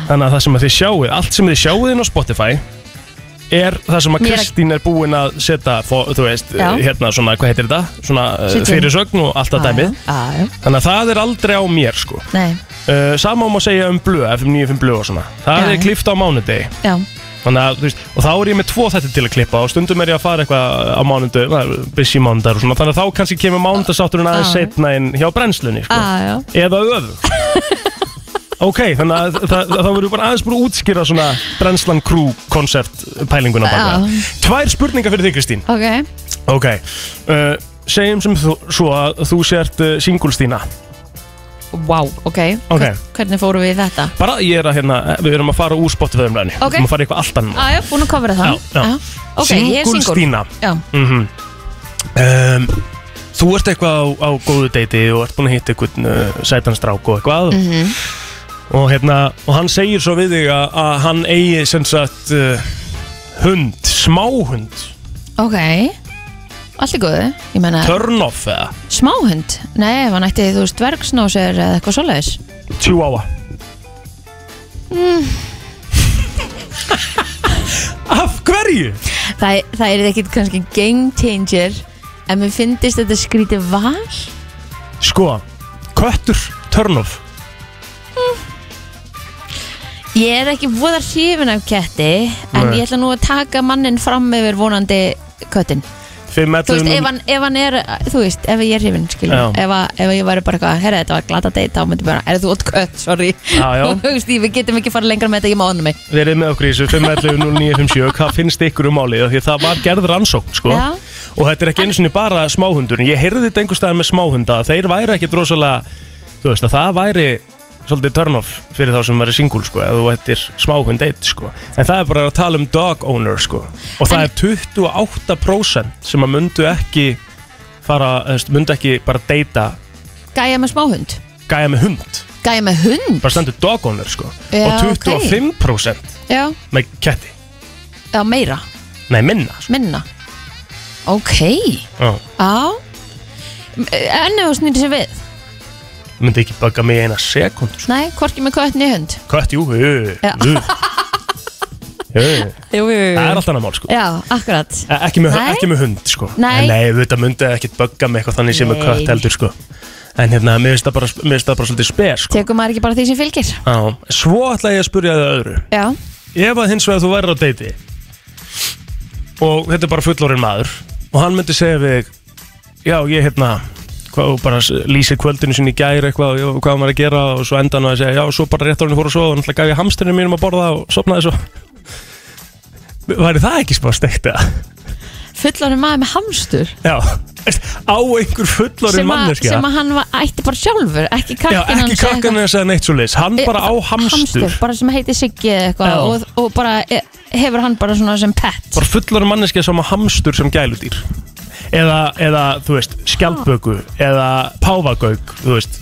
Speaker 1: þannig að það sem að þið sjáuð, allt sem þið sjáuð inn á Spotify er það sem að
Speaker 2: Mér að-
Speaker 1: Kristín er búin að setja, fó- þú veist,
Speaker 2: Já.
Speaker 1: hérna svona, hvað heitir þetta? Svona uh,
Speaker 2: Setja inn.
Speaker 1: fyrirsögn og allt að dæmið.
Speaker 2: Ah, Já, já,
Speaker 1: Þannig að það er aldrei á mér, sko.
Speaker 2: nei,
Speaker 1: Uh, sama má segja um blöð, FM 95 blöð og svona Það
Speaker 2: Já,
Speaker 1: er
Speaker 2: já.
Speaker 1: klift á mánudegi
Speaker 2: já,
Speaker 1: Þannig að, þú veist, og þá er ég með tvo þetta til að klippa og stundum er ég að fara eitthvað eh, á mánudegi það er busy mánudar og svona þannig að þá kannski kemur mánudagsátturinn aðeins
Speaker 2: Já.
Speaker 1: setna inn hjá brennslunni sko.
Speaker 2: já, Ah, já
Speaker 1: eða öðug Ok, þannig að það, það verður bara aðeins búin að útskýra svona brennslan crew koncept pælinguna baka
Speaker 2: Já.
Speaker 1: Tvær spurningar fyrir þig Kristín
Speaker 2: Ok,
Speaker 1: Ok, uh, segjum sem þú, svo að þú sért uh, singulstína
Speaker 2: wow, ok,
Speaker 1: Ok.
Speaker 2: Hvern- Hvernig fórum við í þetta?
Speaker 1: Bara ég er að hérna, við erum að fara úr Spotify umræðinni
Speaker 2: Ok.
Speaker 1: Við erum að fara í eitthvað allt annað
Speaker 2: Ah, Já, já, búin að kofra það
Speaker 1: Já, já.
Speaker 2: Ok, ég er
Speaker 1: Single
Speaker 2: single
Speaker 1: Stína Mm.
Speaker 2: Já,
Speaker 1: um, Þú ert eitthvað á, á góðu deiti og ert búin að hitta einhvern uh, sætanstrák og eitthvað
Speaker 2: Mhm.
Speaker 1: og, hérna, og hann segir svo við þig að, að hann eigi sem sagt uh, hund, smáhund
Speaker 2: ok Allt í góðu, ég meina
Speaker 1: turn off eða
Speaker 2: smáhund Nei, ef hann ætti þú veist dvergsnósir eða eitthvað svoleiðis
Speaker 1: chihuahua Af hverju?
Speaker 2: Það, það er ekkit kannski game changer En mér finnist þetta skrítið val
Speaker 1: Sko, köttur turn off
Speaker 2: Ég er ekki voða hrifin af ketti En
Speaker 1: Nei.
Speaker 2: ég ætla nú að taka mannin fram yfir vonandi köttin
Speaker 1: Fimm
Speaker 2: Þú veist,
Speaker 1: ellefu
Speaker 2: ef
Speaker 1: núll-
Speaker 2: hann, ef hann er, þú veist, ef ég er hrifin,
Speaker 1: Já.
Speaker 2: skiljum ef, að- ef ég væri bara eitthvað, herra, þetta var glata date þá myndi bara, er þú ótt kött, sorry
Speaker 1: Já, já.
Speaker 2: Þú veist, ég- við getum ekki fara lengra með þetta, ég má honum mig
Speaker 1: verið með okkur í þessu 511-0957 hvað finnst ykkur um málið Af því að það var gerð rannsókn sko.
Speaker 2: Já.
Speaker 1: og þetta er ekki eins og bara smáhundur ég heyrði þetta einhver staðar með smáhunda að þeir væri ekki drosalega þú veist að það væri svolítið turn off fyrir þá sem verið singul sko, eða þú ættir smáhund eitt sko. en það er bara að tala um dog owner sko. og það
Speaker 2: En-
Speaker 1: er 28% sem að mundu ekki fara, þú veist, mundu ekki bara deyta
Speaker 2: Gæja með smáhund,
Speaker 1: gæja með hund,
Speaker 2: gæja með hund
Speaker 1: bara stendur dog owner sko.
Speaker 2: Já,
Speaker 1: og
Speaker 2: ok.
Speaker 1: 25%
Speaker 2: Já,
Speaker 1: með ketti,
Speaker 2: já, meira,
Speaker 1: nei minna sko.
Speaker 2: minna Ok,
Speaker 1: Já.
Speaker 2: já Enn ef þú snýr sér við
Speaker 1: myndi ekki baka mig í eina sekund sko.
Speaker 2: Nei, hvorki með kött niður hund
Speaker 1: Kött, jú, jú, jú,
Speaker 2: Já.
Speaker 1: jú. jú, jú.
Speaker 2: Jú, jú, jú
Speaker 1: Það er allt annað mál sko
Speaker 2: Já, akkurat
Speaker 1: E- ekki með,
Speaker 2: Nei.
Speaker 1: ekki með hund sko
Speaker 2: Nei.
Speaker 1: Nei, auðvitað myndi það ekkert bögga með eitthvað þannig sem er
Speaker 2: Nei.
Speaker 1: kött heldur sko En hérna, mér finnst það bara, mér finnst það bara svolítið spes sko
Speaker 2: Tekur maður ekki bara því sem fylgir
Speaker 1: Á, Svo ætla ég að spurja þið öðru
Speaker 2: Já,
Speaker 1: Ef að hins vegar þú værir á deiti Og þetta er bara fullorinn maður Og hann myndi segja við þig, Já, ég hérna hvað, og bara s- lýsir kvöldinu sinni í gæri eitthvað og já, hvað var maður að gera og svo endan og að segja já, svo bara rétt árinni fór að sofa og náttúrulega gaf ég hamstinu mínum að borða og sopnaði svo Væri það ekki spá steikt eða?
Speaker 2: fullanum maður með hamstur
Speaker 1: Já, veist, á einhver fullorinn
Speaker 2: sem, að-
Speaker 1: manneskja
Speaker 2: sem að hann var, ætti bara sjálfur Ekki
Speaker 1: Já,
Speaker 2: krakkin
Speaker 1: ekki krakkan eða segja neitt svo leiðis Hann
Speaker 2: Eh,
Speaker 1: bara á hamstur,
Speaker 2: Bara sem heiti Siggi eða
Speaker 1: Já.
Speaker 2: eitthvað og, og bara eh, hefur hann bara svona sem pet
Speaker 1: Bara fullorinn manneskja sem á hamstur sem gæludýr Eða, eða þú veist, skjaldböku Eða páfagauk, þú veist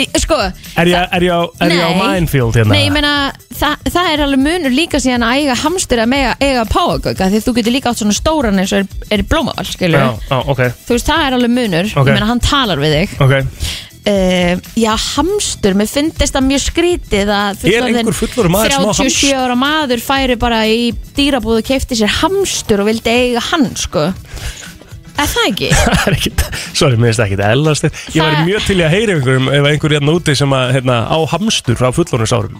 Speaker 2: Í- Sko,
Speaker 1: Er ég, er ég, á, er ég á
Speaker 2: Nei.
Speaker 1: minefield hérna?
Speaker 2: Nei, ég meina, þa það er alveg munur líka síðan að eiga hamstur að mega eiga páagauka því þú getur líka átt svona stóran eins og er, er í blómavall, skilur
Speaker 1: Já, já, ok,
Speaker 2: Þú veist, það er alveg munur,
Speaker 1: Ok.
Speaker 2: ég meina, hann talar við þig
Speaker 1: ok
Speaker 2: uh, Já, hamstur, mér finnst það mjög skrítið að
Speaker 1: Er
Speaker 2: fullorðinn
Speaker 1: einhver fullorðinn maður sem á
Speaker 2: 37
Speaker 1: hamstur?
Speaker 2: ára maður færi bara í dýrabúð og kefti sér hamstur og vildi eiga hann, sko Er það ekki?
Speaker 1: Það er ekkit, sorry, mér finnst það ekkit ellast Ég
Speaker 2: Það-
Speaker 1: væri mjög til í að heyra einhverjum ef einhverjum hérna úti sem að, hérna, á hamstur á fullorðinsárum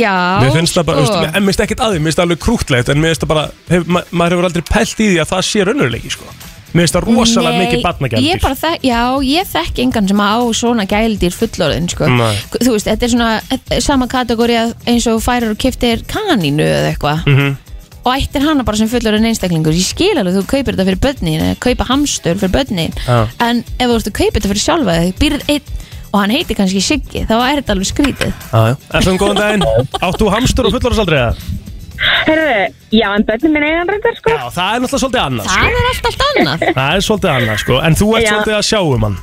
Speaker 2: Já,
Speaker 1: Mér finnst það bara,
Speaker 2: sko.
Speaker 1: sko. veist, en mér finnst ekkert að því, mér finnst það alveg krútlegt en mér finnst það bara, hef, ma maður hefur aldrei pælt í því að það sé raunveruleiki sko. Mér finnst það rosalega
Speaker 2: Nei,
Speaker 1: mikið
Speaker 2: ég
Speaker 1: barnagjaldir
Speaker 2: bara þek, Já, ég þekk engan sem á svona gældir fullorðin sko.
Speaker 1: Nei.
Speaker 2: Þú veist, þetta er svona þetta er sama kategóri að eins og þú færir og kiptir kanínu eða eitthvað
Speaker 1: Mhm.
Speaker 2: og ættir hana bara sem fullorðin einstaklingur Ég skil alveg, þú kaupir þetta fyrir börnin eða kaupa hamstur fyrir börnin
Speaker 1: Já.
Speaker 2: en ef þú ert að kaupa þetta fyrir sjálfa þig býrð einn og hann heitir kannski Siggi þá er þetta alveg skrítið
Speaker 1: FM, um góðan daginn, áttu hamstur og fullorðsaldri eða?
Speaker 4: Herðu, já, en börnum minn eigan reyndar, sko.
Speaker 1: Já, það er náttúrulega svolítið annað
Speaker 2: Það
Speaker 1: sko.
Speaker 2: er allt allt annað
Speaker 1: Það er svolítið annað, sko, en þú ert
Speaker 4: Já.
Speaker 1: svolítið að sjá um hann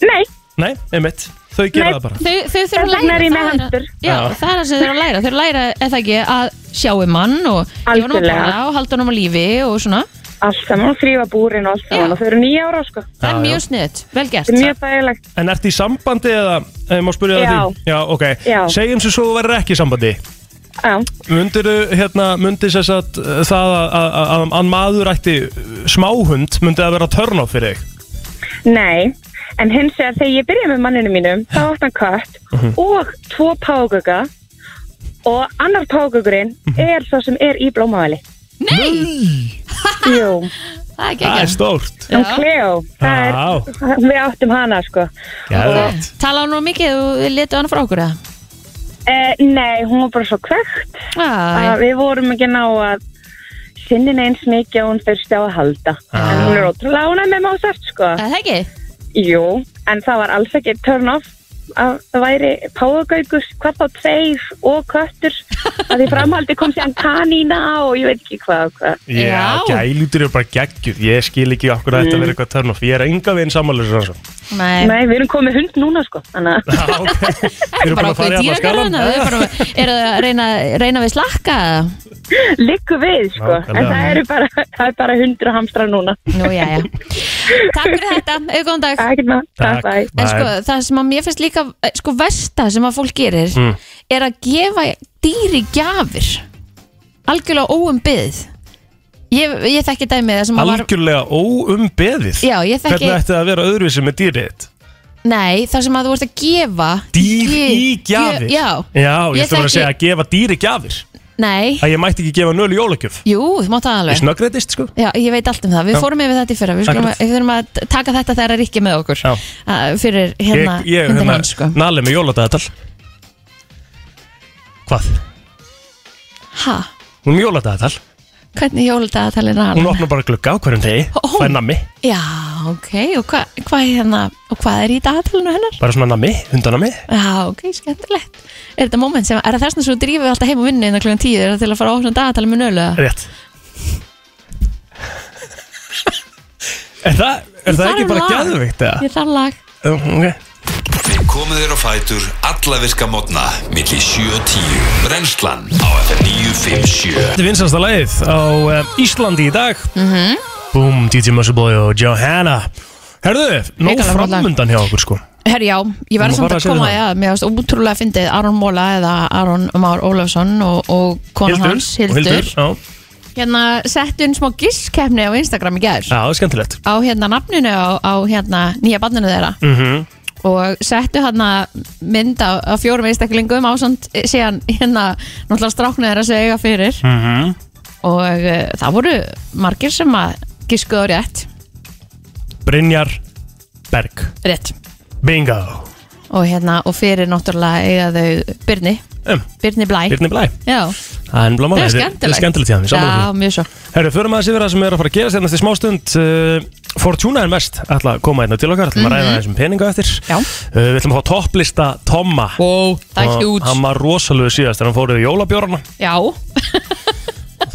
Speaker 4: Nei,
Speaker 1: Nei, einmitt, þau gera
Speaker 4: Nei.
Speaker 1: það bara
Speaker 2: Þau, þau þurfa að
Speaker 4: Þess vegna
Speaker 2: læra
Speaker 4: er ég með
Speaker 2: það er að-
Speaker 4: hendur.
Speaker 2: Já,
Speaker 1: Já.
Speaker 2: það er það sem þau þurfa að læra Þau þurfa að læra, eða ekki, að sjá um mann og gefa honum að
Speaker 4: Algjörlega.
Speaker 2: borða og halda honum á lífi og svona
Speaker 4: allt saman og þrýfa búrin og allt
Speaker 2: Já.
Speaker 4: saman og þau eru nýja ára, sko.
Speaker 2: Það
Speaker 1: Já,
Speaker 2: er
Speaker 1: já.
Speaker 2: mjög sniðut, vel gert
Speaker 4: Þetta er mjög dægilegt.
Speaker 1: En ertu í sambandi eða, ef ég má spyrja það
Speaker 4: Já.
Speaker 1: því? Já, ok,
Speaker 4: Já.
Speaker 1: segjum sem svo þú verður ekki í sambandi
Speaker 4: Já,
Speaker 1: Mundir, hérna, mundir sess að uh, það að- að að- að maður ætti uh, smáhund, myndi það vera törn á fyrir þig?
Speaker 4: nei. En hins vegar þegar ég byrjaði með manninu mínum, þá átt hann kött
Speaker 1: Mhm.
Speaker 4: og tvo págöka og annar págökurinn
Speaker 1: Mhm.
Speaker 4: er svo sem er í blómavali. Nei! Jú,
Speaker 2: Það er
Speaker 1: Það er
Speaker 2: ekki
Speaker 1: stórt
Speaker 4: hann Cleo, það er,
Speaker 1: Já.
Speaker 4: við áttum hana, sko.
Speaker 1: Geðveikt.
Speaker 2: Tala hann nú mikið og letu hann frá okkur eða?
Speaker 4: Eh, nei, hún var bara svo kvekt
Speaker 2: Æ,
Speaker 4: að við vorum ekki ná að sinnin eins mikið og hún þurfti á að halda en hún er ótrúlega ánæg með Mozart sko.
Speaker 2: Það er ekki
Speaker 4: Jú, en það var alls ekki turn off að það væri páðagaukus, hvað þá tveir og köttur að í framhaldi kom síðan kanína og ég veit ekki hvað og hvað
Speaker 1: Já,
Speaker 2: Já.
Speaker 1: gælútur eru bara geggjur Ég skil ekki okkur
Speaker 4: Mm.
Speaker 1: að þetta verið eitthvað törn Ég er enga veginn sammális
Speaker 2: Nei,
Speaker 4: Nei, við erum komið hund núna sko þannig að
Speaker 1: Við erum bara
Speaker 2: bara
Speaker 1: að fara
Speaker 2: okkur
Speaker 1: hérna í alla skalan
Speaker 2: dýragarðana Þau eru bara- eru það að reyna, reyna við slakka eða?
Speaker 4: liggu við sko en
Speaker 1: Nákvæmlega.
Speaker 4: það eru bara, það er bara hundur og hamstra núna
Speaker 2: Nú, já, já Takk fyrir þetta, auðvitað dag
Speaker 4: Ekkert maður, takk, bæ
Speaker 2: En sko, það sem að mér finnst líka eh, sko, versta sem að fólk gerir
Speaker 1: Mm.
Speaker 2: er að gefa dýri gjafir algjörlega óumbyðið ég, ég þekki dæmið það sem að var
Speaker 1: Algjörlega óumbeðið
Speaker 2: Já, ég þekki-
Speaker 1: Hvernig ætti það að vera öðruvísi með dýrið þitt?
Speaker 2: Nei, það sem að þú vorst að gefa
Speaker 1: Dýr
Speaker 2: gjöf-
Speaker 1: í gjafir
Speaker 2: Já,
Speaker 1: Já, ég, ég
Speaker 2: Ég
Speaker 1: þurfa að
Speaker 2: þekki-
Speaker 1: segja að gefa dýri gjafir
Speaker 2: nei
Speaker 1: Að ég mætti ekki gefa nölu jólagjöf
Speaker 2: Jú, þú mátt það
Speaker 1: Ég
Speaker 2: alveg
Speaker 1: snöggreitist sko
Speaker 2: Já, ég veit allt um það, við
Speaker 1: Já.
Speaker 2: fórum yfir þetta í fyrra Við, skulum,
Speaker 1: Akkurat.
Speaker 2: við þurfum að taka þetta þegar er ekki með okkur
Speaker 1: Já.
Speaker 2: Að- Fyrir
Speaker 1: Ég,
Speaker 2: hérna,
Speaker 1: ég
Speaker 2: hundin
Speaker 1: hérna,
Speaker 2: hans sko
Speaker 1: nali með jóladagatal Hvað?
Speaker 2: Ha,
Speaker 1: Hún er með jóladagatal
Speaker 2: hvernig jóladagatalinn er hann?
Speaker 1: Hún opnar bara glugga á hverjum degi
Speaker 2: Ó.
Speaker 1: Fær nammi
Speaker 2: Já, ok, og hva, hvað er hérna og hvað er í dagatalinu hennar?
Speaker 1: Bara svona nammi, hundanammi
Speaker 2: Já, ok, skemmtilegt Er þetta moment sem, er það þess að svo drífið alltaf heim á vinnu innan klukkan tíu, er það til að fara á svona dagatalinu með nölu? eða?
Speaker 1: Rétt Er það, er það
Speaker 2: þarf
Speaker 1: ekki bara
Speaker 2: lag.
Speaker 1: gæðvikt eða?
Speaker 2: Ég þarf lag
Speaker 1: Um, ok.
Speaker 3: Við komum þér á fætur alla virka mótna milli 7 og 10 Brennslan á FM 957
Speaker 1: Þetta er vinsasta lagið á um, Íslandi í dag mm -hmm. Boom, DJ Musselboy og Johanna Herðu, nóg
Speaker 2: Hrikalega flott lag.
Speaker 1: framundan hjá okkur sko
Speaker 2: Herri, já, ég
Speaker 1: Þú
Speaker 2: verði samt
Speaker 1: bara
Speaker 2: að
Speaker 1: segir
Speaker 2: koma
Speaker 1: það.
Speaker 2: í að mér varst ótrúlega fyndið Aron Móla eða Aron Már Ólafsson og, og konan hans, Hildur,
Speaker 1: já,
Speaker 2: hérna settu inn smá gískefni á Instagram í gæður
Speaker 1: já, það er skemmtilegt
Speaker 2: á hérna nafninu á, á hérna nýja banninu þeirra
Speaker 1: mm
Speaker 2: og settu hérna mynd á, á fjórum einstaklingum ásand síðan hérna náttúrulega stráknu þeirra sem eiga fyrir
Speaker 1: Hmm. mhm.
Speaker 2: og uh, það voru margir sem að gískuðu á rétt,
Speaker 1: Brynjar Berg
Speaker 2: rétt
Speaker 1: Bingo
Speaker 2: og hérna og fyrir náttúrulega eiga þau Byrni,
Speaker 1: um,
Speaker 2: Byrni Blæ
Speaker 1: Byrni Blæ
Speaker 2: Já,
Speaker 1: Það er
Speaker 2: það
Speaker 1: nefnilega máli
Speaker 2: er
Speaker 1: Það er
Speaker 2: skemmtilegt
Speaker 1: skemmtilegt hjá
Speaker 2: Já,
Speaker 1: þeim
Speaker 2: mjög svo
Speaker 1: Herru, förum að þessi vera sem er að fara að gerast hérna eftir smástund uh, Fortuna er mest ætla að koma hérna til okkar ætlum að ræða þessum peninga eftir
Speaker 2: Mhm. Já.
Speaker 1: uh, Við ætlum að fá topplista Tomma
Speaker 2: Wow, það er
Speaker 1: Og
Speaker 2: hjút
Speaker 1: Hann var rosalegu síðast en hann fór yfir jólabjórna
Speaker 2: Já,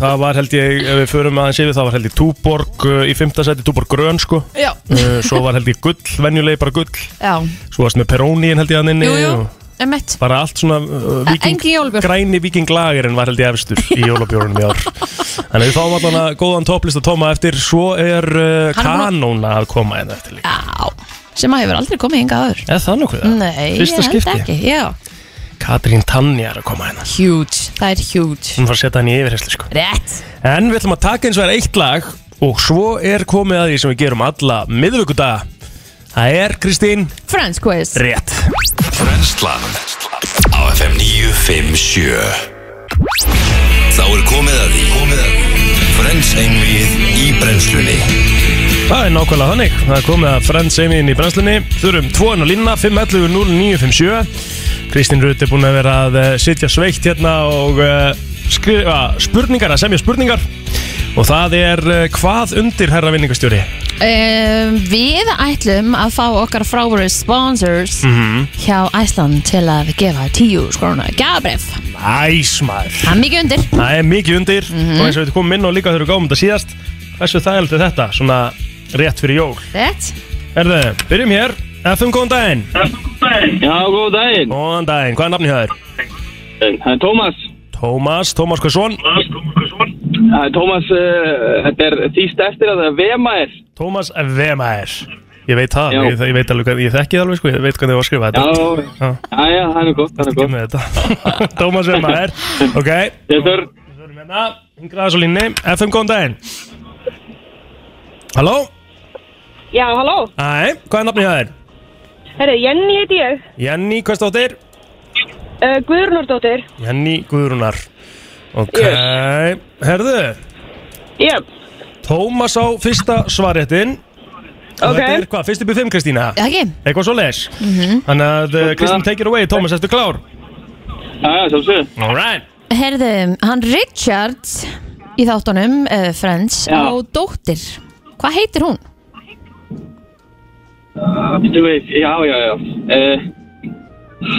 Speaker 1: Það var held ég, ef við förum aðeins yfir, það var held ég Túborg uh, í fymtasæti, Túborg Grön sko
Speaker 2: já,
Speaker 1: uh, Svo var held ég gull, venjulegi bara gull
Speaker 2: já
Speaker 1: Svo varst með Peróníin held ég að inni
Speaker 2: Jú, jú,
Speaker 1: og
Speaker 2: emmett
Speaker 1: Bara allt svona uh, viking,
Speaker 2: Engin jólabjór.
Speaker 1: græni vikinglagerinn var held ég efstur í jólabjórunum í ár Þannig að við fáum allan að góðan topplista Tóma eftir Svo er uh,
Speaker 2: Hann er búinn
Speaker 1: kanóna að koma hérna eftir líka
Speaker 2: Já, sem að hefur aldrei komið hingað aður
Speaker 1: Eða það nokkuð það?
Speaker 2: Nei, ég
Speaker 1: Fyrsta
Speaker 2: held
Speaker 1: skipti
Speaker 2: ekki Já,
Speaker 1: Katrín Tannja er að koma hérna
Speaker 2: hjút, það er hjút
Speaker 1: Hún var að setja hann í yfirherslu sko
Speaker 2: Rétt
Speaker 1: En við ætlum að taka eins og er eitt lag og svo er komið að því sem við gerum alla miðvikudaga. Það er Kristín
Speaker 2: Friends quiz
Speaker 1: rétt.
Speaker 3: Brennslan á FM 957 Þá er komið að því komið að Brennsenglið í brennslunni
Speaker 1: Það er nákvæmlega þannig. Það er komið að Friends einin í brennslunni. Þurfum 2 og línna 511 0957. Kristín Rutt er búin að vera að eh, sitja sveitt hérna og eh, skrifa spurningar, að semja spurningar. Og það er eh, hvað undir herra vinningastjóri?
Speaker 2: um, Við ætlum að fá okkar frábæru sponsors hjá Æsland til að gefa tíu skrona gjafabref
Speaker 1: Næs maður.
Speaker 2: Það er mikið undir
Speaker 1: Það er mikið undir
Speaker 5: Mhm.
Speaker 1: og eins og við komum inn og líka þegar við gáum þetta síðast. Hversu þægilegt er þetta svona rétt fyrir jól?
Speaker 2: Rétt
Speaker 1: Herðu, byrjum hér FM, góðan daginn
Speaker 5: Já, góð daginn.
Speaker 1: Góðan daginn, hvað er nafnið hjá þér?
Speaker 5: Það er Tómas.
Speaker 1: Tómas, Tómas Hversson
Speaker 5: Það er Tómas, uh, þetta er þýst eftir að það er vemaðir.
Speaker 1: Tómas Vemaer Ég veit það,
Speaker 5: Já.
Speaker 1: ég, ég veit alveg, hvað- ég þekki það alveg sko Ég veit hvernig það var að skrifa
Speaker 5: Já,
Speaker 1: þetta Já.
Speaker 5: já, já, það er gott, það er
Speaker 1: Ég
Speaker 5: gott.
Speaker 1: með þetta Tómas Vemaer Ok,
Speaker 5: Yes, sir.
Speaker 1: við erum hérna Hingraða svo línni, FM, góðan daginn Halló,
Speaker 4: Já, halló.
Speaker 1: æ, hvað er nafnið hjá þér?
Speaker 4: Herri, Jenny heiti ég.
Speaker 1: Jenny, hvað stóttir?
Speaker 4: Uh, Guðrunardóttir.
Speaker 1: Jenny Guðrunar Ok, herðu
Speaker 4: Jep.
Speaker 1: Tómas á fyrsta svaréttin
Speaker 4: Ok.
Speaker 1: Þetta er hvað, fyrst upp í fimm Kristína?
Speaker 2: Það ekki?
Speaker 1: Eitthvað svo les Þannig að uh, Kristinn take it away, Thomas, ertu klár?
Speaker 5: Já, já, sjálfsög.
Speaker 1: Alright
Speaker 2: Herðu, hann Richard í þáttunum uh, Friends
Speaker 5: Já.
Speaker 2: á dóttir Hvað heitir hún?
Speaker 5: Þú veist, já, já, já. Uh,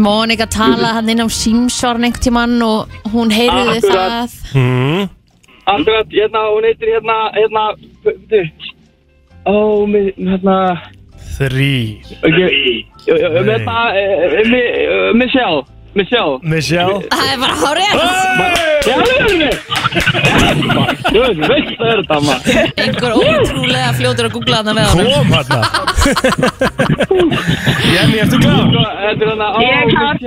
Speaker 2: Mónika talaði hann inn á símsvarn einhvern tímann og hún heyrði
Speaker 5: Akkurat.
Speaker 2: það
Speaker 1: mm.
Speaker 5: Akkurat, hérna, hún heitir hérna, hérna, þú Ó, mér, hérna,
Speaker 1: Þrý
Speaker 5: ok, Ö, ö, um hérna, eh, Michelle, Michelle.
Speaker 1: Michelle
Speaker 2: Það er bara hárið
Speaker 1: Hey!
Speaker 5: Já, já, já, já. Þú veist, veist það er þetta, maður.
Speaker 2: Einhver ótrúlega fljótur að googla hann með hann
Speaker 1: Kom hérna Jenny, ertu klár?
Speaker 5: Sko, Þetta er hérna, ó,
Speaker 4: Ég er klár.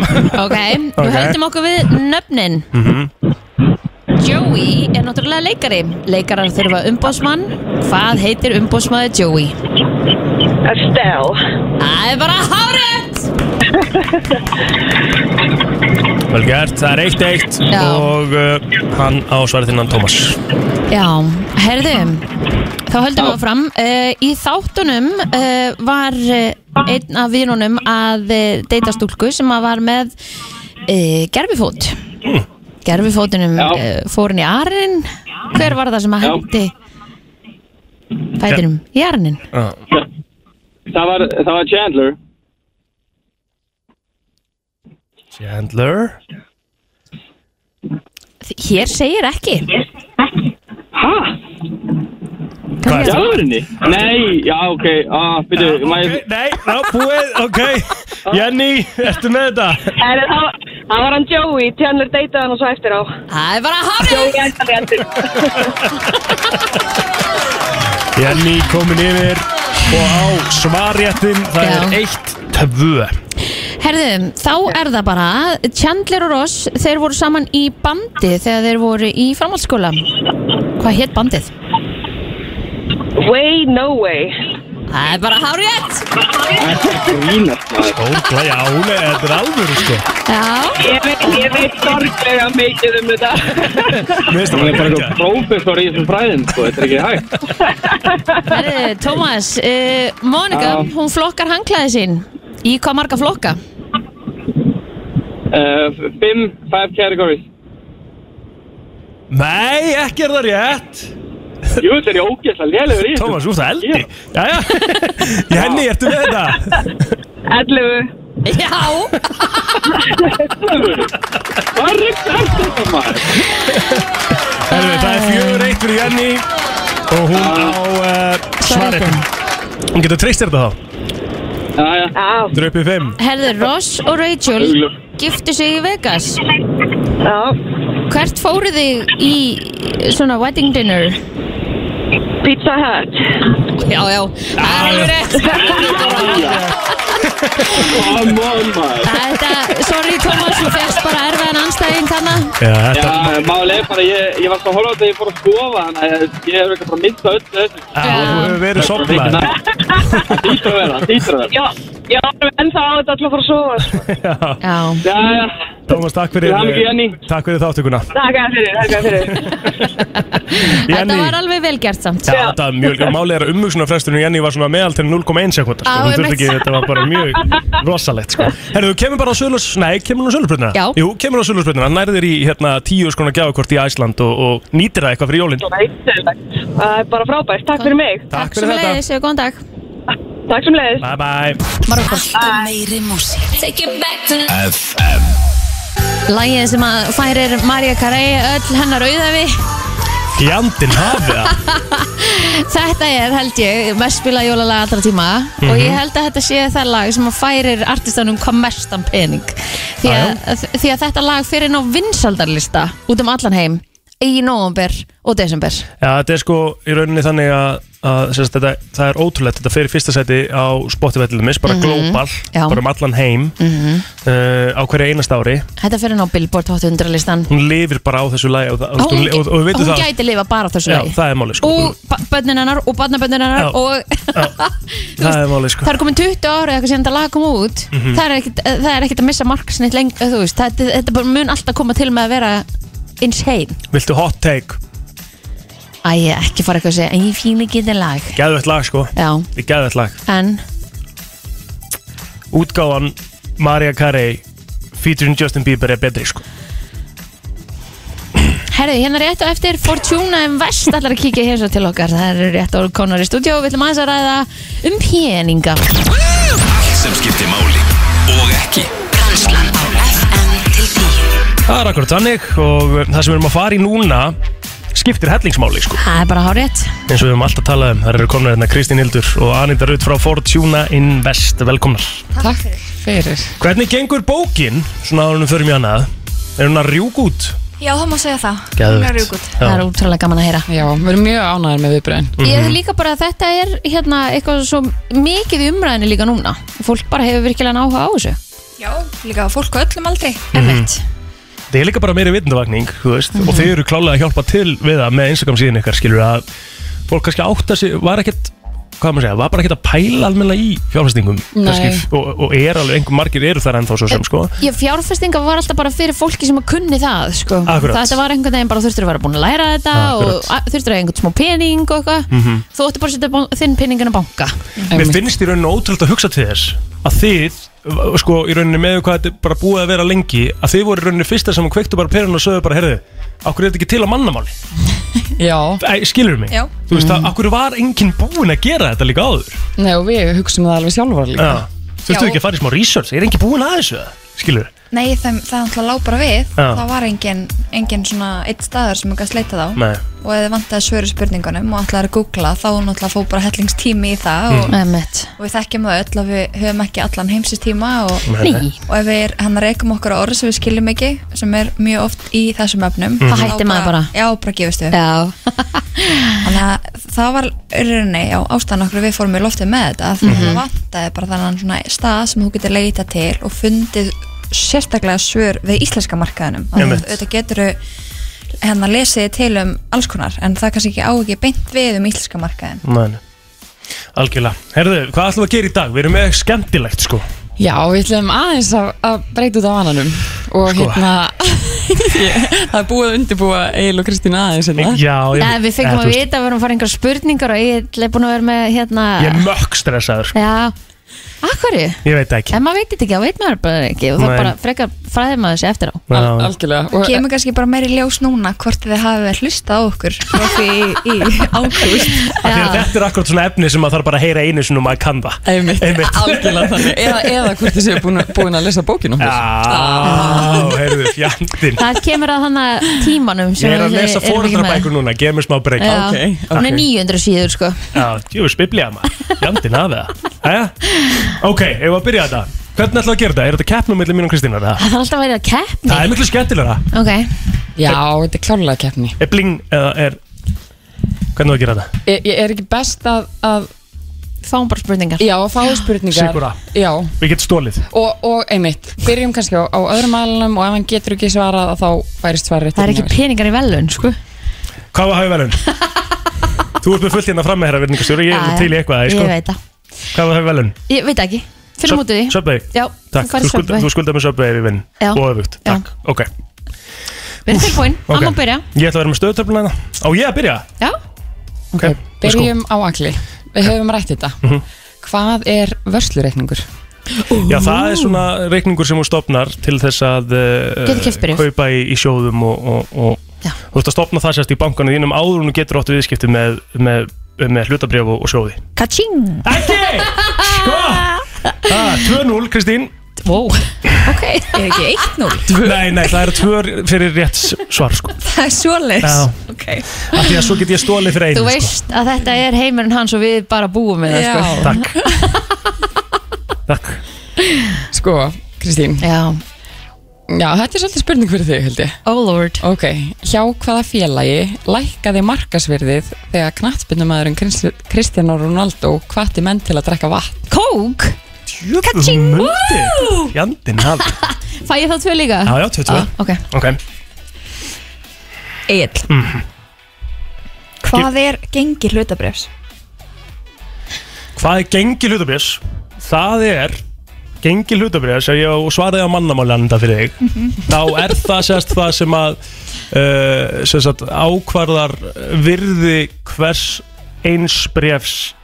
Speaker 5: Michelle.
Speaker 2: Ok, við höldum okkur við nöfnin Joey er náttúrulega leikari Leikarar þurfa umbósmann Hvað heitir umbósmaður Joey?
Speaker 4: Estelle.
Speaker 2: Það er bara hárið
Speaker 1: Vel gert, það er eitt eitt
Speaker 2: Já.
Speaker 1: Og uh, hann á svaréttinnan Thomas
Speaker 2: Já, herðu, þá höldum við áfram. Uh, í þáttunum uh, var eh, einn af vínunum að uh, deyta stúlku sem að var með uh, gerfifót. Gerfifótunum
Speaker 5: Já.
Speaker 2: uh, fór hann í arinn. Hver var það sem
Speaker 5: Já.
Speaker 2: að hendi fætinum í arinn?
Speaker 1: uh,
Speaker 5: Það var, það var Chandler.
Speaker 1: Chandler
Speaker 2: Hér segir ekki.
Speaker 5: Hæ?
Speaker 1: Hvað er
Speaker 5: Í alvörunni? Nei, já, ok, ah, byrju,
Speaker 1: Okay,
Speaker 5: maður,
Speaker 1: nei, ná, búið, ok Jenny, ertu með þetta?
Speaker 4: Herri, það, það var hann Joey. Tjannur deytaði hann og svo eftir á.
Speaker 2: Það er bara hárið.
Speaker 4: ætlaði eftir.
Speaker 1: Jenny komin yfir Og á svarjættin það
Speaker 2: Já.
Speaker 1: er eitt tvö
Speaker 2: Herðu, þá er það bara Chandler og Ross, þeir voru saman í bandi þegar þeir voru í framhaldsskóla Hvað hétt bandið?
Speaker 4: Way no way
Speaker 2: Það er bara hár rétt
Speaker 5: Grínast maður
Speaker 1: Ógla, já, hún er, þetta er alvöru sko
Speaker 2: Já,
Speaker 4: Ég veit, ég veit sorglega mikið um þetta
Speaker 1: Mér finnst það
Speaker 5: Hún er bara
Speaker 1: bara
Speaker 5: eitthvað
Speaker 1: ekki
Speaker 5: prófessor í þessum fræðin sko, þetta er ekki hægt
Speaker 2: herðu, Tómas uh, Monika,
Speaker 5: Já.
Speaker 2: hún flokkar hangklæði sín Í hvað marga flokka?
Speaker 5: uh, Fimm, five categories
Speaker 1: Nei, ekki er það rétt
Speaker 5: Jú, þetta er ég ógeðslega lélegur í þessu.
Speaker 1: Tómas, þú ert það eldi Jæja, í henni ertu með þetta
Speaker 4: 11
Speaker 2: Já,
Speaker 5: Hvað er þetta þetta maður?
Speaker 1: Herru, Það er fjögur eitt fyrir Jenny Og hún á uh, svarjættin Hún getur treyst þér þetta þá
Speaker 5: Jæja,
Speaker 4: Já,
Speaker 1: Þetta er upp í fimm
Speaker 2: herðu, Ross og Rachel
Speaker 5: augljóf
Speaker 2: giftu sig í Vegas
Speaker 4: já
Speaker 2: Hvert fóruð þið í svona wedding dinner?
Speaker 4: Pizza Hut
Speaker 2: Já, já, það er alveg rétt
Speaker 5: Come on maður
Speaker 2: Þetta, sorry Tómas, þú fegst bara erfiðan anstæðing þannig
Speaker 1: Já, þetta
Speaker 5: Já, máli er bara, ég, ég var svo horfður þegar ég fór að skofa þannig að ég hefur eitthvað bara mynda öllu þessu
Speaker 1: Já, þú hefur verið sopnað
Speaker 5: Það dýtur að vera, það dýtur að vera
Speaker 4: Já, já, en það á þetta alltaf að fara að sofa sko.
Speaker 2: Já,
Speaker 5: Jæja,
Speaker 1: Tómas, takk fyrir
Speaker 5: Til hamingju, Jenny.
Speaker 1: Takk fyrir þáttökuna
Speaker 4: Takk að fyrir, takk að fyrir
Speaker 2: þetta
Speaker 1: Jenny.
Speaker 2: var alveg vel gert samt
Speaker 1: Já, þetta var mjög, málið er að umhugsunarfresturinn Jenny var svona meðal til 0,1
Speaker 2: Á,
Speaker 1: sekundar sko. Hún þurfti
Speaker 2: einmitt.
Speaker 1: ekki, þetta var bara mjög rosalegt sko. Herðu, þú kemur bara á sölus, nei, kemur hún á sölusbröðnina?
Speaker 2: Já.
Speaker 1: Jú, kemur hún á sölusbröðnina, nærið þér í hérna, tíu skona gjafakort í Æsland og, og nýtir það eitthvað fyrir jólinn
Speaker 4: Það er bara frábært, takk fyrir mig
Speaker 1: Takk
Speaker 2: sem
Speaker 1: fyrir þetta,
Speaker 2: leiðis, góðan dag
Speaker 4: Takk sem leiðis
Speaker 1: bye bye
Speaker 6: Alltaf meiri músík Take it back to
Speaker 3: FM
Speaker 2: Lægið sem að færir Marja Carey öll hennar auðafi
Speaker 1: Jandinn hafið það
Speaker 2: Þetta er held ég mest spila jólalag allra tíma og
Speaker 1: Mhm.
Speaker 2: ég held að þetta sé það lag sem að færir artistanum hvað mestan pening því að, því að þetta lag fyrir ná vinsaldarlista út um allan heim í nóvember og desember
Speaker 1: Já, þetta er sko í rauninni þannig að, að sérst, þetta, það er ótrúlegt, þetta fer í fyrsta seti á spottivellumis, bara global
Speaker 2: Mhm. Já. Mhm.
Speaker 1: bara um allan heim uh, á hverju einast ári,
Speaker 2: Þetta fyrir ná Billboard 800 listan
Speaker 1: hún lifir bara á þessu lagi og, það- og, og, og, og við veitum
Speaker 2: hún
Speaker 1: það
Speaker 2: gæti lifa bara á þessu
Speaker 1: Já,
Speaker 2: lagi
Speaker 1: það er málið sko
Speaker 2: og bönnin hennar og barnabönnin
Speaker 1: Já.
Speaker 2: hennar og
Speaker 1: Það er málið sko Mhm.
Speaker 2: það er komin 20 ára eða eitthvað síðan þetta lag kom út það, er ekkit, það er ekkit að missa marksnitt leng, eh, þú veist, það, þetta bara mun alltaf koma til með að vera insane
Speaker 1: Viltu hot take?
Speaker 2: Æ, ekki fara eitthvað að segja, en ég fín ekki þetta lag
Speaker 1: Gæðvett lag sko
Speaker 2: Já,
Speaker 1: Þetta er gæðvett lag
Speaker 2: en
Speaker 1: Útgáfan Maria Carey featuring Justin Bieber er betri sko
Speaker 2: herðu, hérna rétt og eftir Fortuna en Vest allar að kíkja hér svo til okkar það eru rétt og konar í stúdíó og við ætlum aðeins að ræða um peninga
Speaker 3: Allt sem skiptir máli og ekki
Speaker 6: Brennslan á FM til 10
Speaker 1: Það er akkurat þannig og uh, það sem við erum að fara í núna skiptir hellingsmáli sko
Speaker 2: Það er bara hár rétt
Speaker 1: eins og við höfum alltaf talað um þar eru komin hérna Kristín Hildur og Anita Rutt frá Fortuna Invest velkomnar
Speaker 2: Takk fyrir
Speaker 1: Hvernig gengur bókin svona árunum fyrir mjög annað er hún að rjúk út?
Speaker 7: Já, það má segja það. Hún er
Speaker 1: Gæðvett
Speaker 7: rjúkut.
Speaker 2: Það er útrúlega gaman að heyra
Speaker 8: Já, við erum mjög ánægðar með viðbröðin
Speaker 1: Mhm.
Speaker 2: Ég er líka bara að þetta er hérna eitthvað svo mikið í umræðinu líka núna fólk bara hefur virkilega áhuga á þessu
Speaker 7: Já, líka fólk á öllum aldrei. Emmett.
Speaker 1: Það er líka bara meiri vitundavakning, þú veist, og
Speaker 2: Mhm.
Speaker 1: þið eru klálega að hjálpa til við það með Instagram síðan ykkar, skilur að fólk kannski átt að sig, var ekkert, hvað á maður að segja, var bara ekkert að pæla almennilega í fjárfæstingum,
Speaker 8: Nei.
Speaker 1: og, og er alveg, einhver margir eru þar ennþá svo sem, sko.
Speaker 2: Ég fjárfestinga var alltaf bara fyrir fólki sem að kunni það sko.
Speaker 1: Akkurat.
Speaker 2: Þetta var einhvern veginn bara þurftur að vera búin að læra þetta
Speaker 1: Akkurat. Mhm.
Speaker 2: og að- þurftur að eiga einhvern smá pening og eitthvað Þú ætti bara að setja bán- þinn peningin að banka
Speaker 1: Mér finnst í rauninni ótrúlega að hugsa til þess að þið, v- sko, í rauninni með hvað þetta er bara búið að vera lengi, að þið voru í rauninni fyrsta sem kveiktu bara perun og sögðu bara, herðu, okkur er þetta ekki til á mannamáli?
Speaker 8: Já,
Speaker 1: Æ, skilur mig?
Speaker 7: Já.
Speaker 1: Þú veist, mm. okkur var enginn búinn að gera þetta líka áður?
Speaker 8: nei, og við hugsum það alveg sjálfur líka
Speaker 1: Já. Þurftu
Speaker 7: Já.
Speaker 1: ekki að fara í smá research? Er enginn búinn að þessu? Skilur?
Speaker 7: Nei, það, það náttúrulega lág bara við.
Speaker 1: Já.
Speaker 7: Það var engin, engin svona eitt staðar sem ég gæti sleitað á.
Speaker 1: Nei.
Speaker 7: Og ef þið vantaði svöru spurningunum og ætlaði að googla þá náttúrulega fóð bara hellingstími í það og,
Speaker 2: Emmett
Speaker 7: og við þekkjum það öll að við höfum ekki allan heimsistíma og,
Speaker 2: Ný,
Speaker 7: og ef við er, hann reykum okkur á orð sem við skiljum ekki sem er mjög oft í þessum öfnum
Speaker 2: Það hættir maður bara.
Speaker 7: Já, bara gefist við
Speaker 2: já
Speaker 7: Þannig að það var í rauninni á ástæðan okkur við fórum í loftið með þetta því að
Speaker 1: Mhm.
Speaker 7: það vantaði bara þannig svona stað sem þú getur leita til og fundið sérstaklega svör við íslenska markaðinum Þannig að
Speaker 1: Einmitt.
Speaker 7: auðvitað getur hérna lesið til um alls konar en það kannski ekki á ekki beint við um íslenska markaðin
Speaker 1: Nei, nei. Algjörlega. Herðu, hvað ætlum við að gera í dag? Við erum með skemmtilegt, sko.
Speaker 8: Já, við ætlum aðeins að, að breyta út af vananum og
Speaker 1: Sko.
Speaker 8: hérna ég- það er búið að undirbúa Egil og Kristín aðeins hérna.
Speaker 1: Já, ég...
Speaker 2: Nei, við fengum
Speaker 1: Eh,
Speaker 2: að
Speaker 1: þú veist,
Speaker 2: vita að við erum að fara einhver spurningar og ég er búin að vera með hérna
Speaker 1: Ég er mökk stressaður, sko.
Speaker 2: Já, akkurju
Speaker 1: Ég veit það ekki.
Speaker 2: En maður veit þetta ekki, þá veit maður bara ekki og
Speaker 1: Nei.
Speaker 2: það bara frekar fræðir maður sér eftir á
Speaker 1: Já,
Speaker 8: Al, algjörlega og,
Speaker 7: kemur kannski bara meiri ljós núna hvort þið hafið hlustað á okkur frá því í, í ágúst
Speaker 1: af því að Þetta er akkurat svona efni sem maður þarf bara að heyra einu sinum að kann það.
Speaker 8: Einmitt,
Speaker 1: Einmitt.
Speaker 8: algjörlega þannig eða, eða hvort þið séu búin, að- búin að lesa bókinu
Speaker 1: Já, heyrðu, fjandinn.
Speaker 2: Það kemur að þannig tímanum sem
Speaker 1: Ég er að
Speaker 2: við
Speaker 1: lesa
Speaker 2: erum ekki með.
Speaker 1: fóreldrabækur núna, gef mér smá breyk.
Speaker 2: Já, Hún
Speaker 8: Ok,
Speaker 2: er
Speaker 1: ok.
Speaker 2: 900 síður sko
Speaker 1: Já, djúvis biblíða maður, fjandinn af það. Jæja, ok, ef að byrja þetta. Hvernig ætlum við að gera þetta? Er þetta keppnum millir mín og Kristínar? eða?
Speaker 2: Það þarf alltaf að vera að keppni
Speaker 1: Það er miklu skemmtilegra.
Speaker 2: Ok,
Speaker 8: Já, þetta er klárlega keppni
Speaker 1: Er bling eða er... Hvernig á að gera þetta?
Speaker 8: Ég, ég E, er ekki best að, að
Speaker 2: fáum bara spurningar
Speaker 8: já, að fá spurningar
Speaker 1: Sigura.
Speaker 8: Já,
Speaker 1: Við getum stólið.
Speaker 8: og, og einmitt, byrjum kannski á, á öðrum aðlunum og ef hann getur ekki svarað að þá færist svarið
Speaker 2: Það er ekki peningar í velun sko
Speaker 1: Hvað var hægvelun? Þú ert með fullt hérna fram með herra virðingastjóri, ég er til í eitthvað,
Speaker 2: Ég
Speaker 1: sko.
Speaker 2: veit það,
Speaker 1: Hvað var hægvelun?
Speaker 2: ég veit það ekki Fyrir mútið því
Speaker 1: Subway.
Speaker 2: Já,
Speaker 1: Takk,
Speaker 2: hvað
Speaker 1: þú
Speaker 2: er
Speaker 1: skuldar, þú
Speaker 2: skapvæg?
Speaker 1: skuldar með Subway við vinn
Speaker 2: Já.
Speaker 1: og öfugt.
Speaker 2: Já.
Speaker 1: Takk, ok.
Speaker 2: Við erum tilbúin,
Speaker 1: ok.
Speaker 2: amma byrja
Speaker 1: Ég ætla að vera með stöðutöfluna hérna. Á ég að byrja?
Speaker 2: Já,
Speaker 1: Ok, let's go.
Speaker 8: Byrjum á Agli, við höfum rætt þetta Hvað er vörslureikningur?
Speaker 1: Já, það er svona reikningur sem þú stopnar til þess að
Speaker 2: Getur
Speaker 1: uh,
Speaker 2: keypt bréf.
Speaker 1: kaupa í, í sjóðum og, og, og
Speaker 2: Já.
Speaker 1: þú ert að stopna það sérst í bankanum þínum áður en þú getur áttu viðskipti með, með, með hlutabrjöf og, og sjóði.
Speaker 2: kaching
Speaker 1: Ekki! Sko! Ah, 2-0, Kristín.
Speaker 2: Wow, ok Er ekki 1-0?
Speaker 1: Nei, nei, það eru tvör fyrir rétt s- svar, sko.
Speaker 7: það er svoleiðs
Speaker 1: Já.
Speaker 7: okay.
Speaker 1: Af því að svo get ég stólið fyrir einu,
Speaker 2: Þú
Speaker 1: sko.
Speaker 2: veist að þetta er heimurinn hans og við bara búum með það sko
Speaker 1: Takk. Takk.
Speaker 8: Sko, Kristín
Speaker 2: Já,
Speaker 8: Já, þetta er svolítið spurning fyrir þig, held ég
Speaker 2: oh lord
Speaker 8: Ok, hjá hvaða félagi lækkaði markasverðið þegar knattbyndumæðurinn Kristján Ronaldo hvati menn til að drekka vatn?
Speaker 2: Kók,
Speaker 1: Kaching! Jandinn hafði.
Speaker 2: fæ ég þá tvö líka?
Speaker 1: Já, já, 22.
Speaker 2: Ah, ok,
Speaker 1: Ok.
Speaker 7: Egil Hvað er gengi hlutabrefs?
Speaker 1: Hvað er gengi hlutabrjöfs? Það er gengi hlutabrjöfs ef ég svaraði á mannamáli annað fyrir þig
Speaker 2: Mhm.
Speaker 1: þá er það sérst það sem að uh, sem sagt, ákvarðar virði hvers eins brefs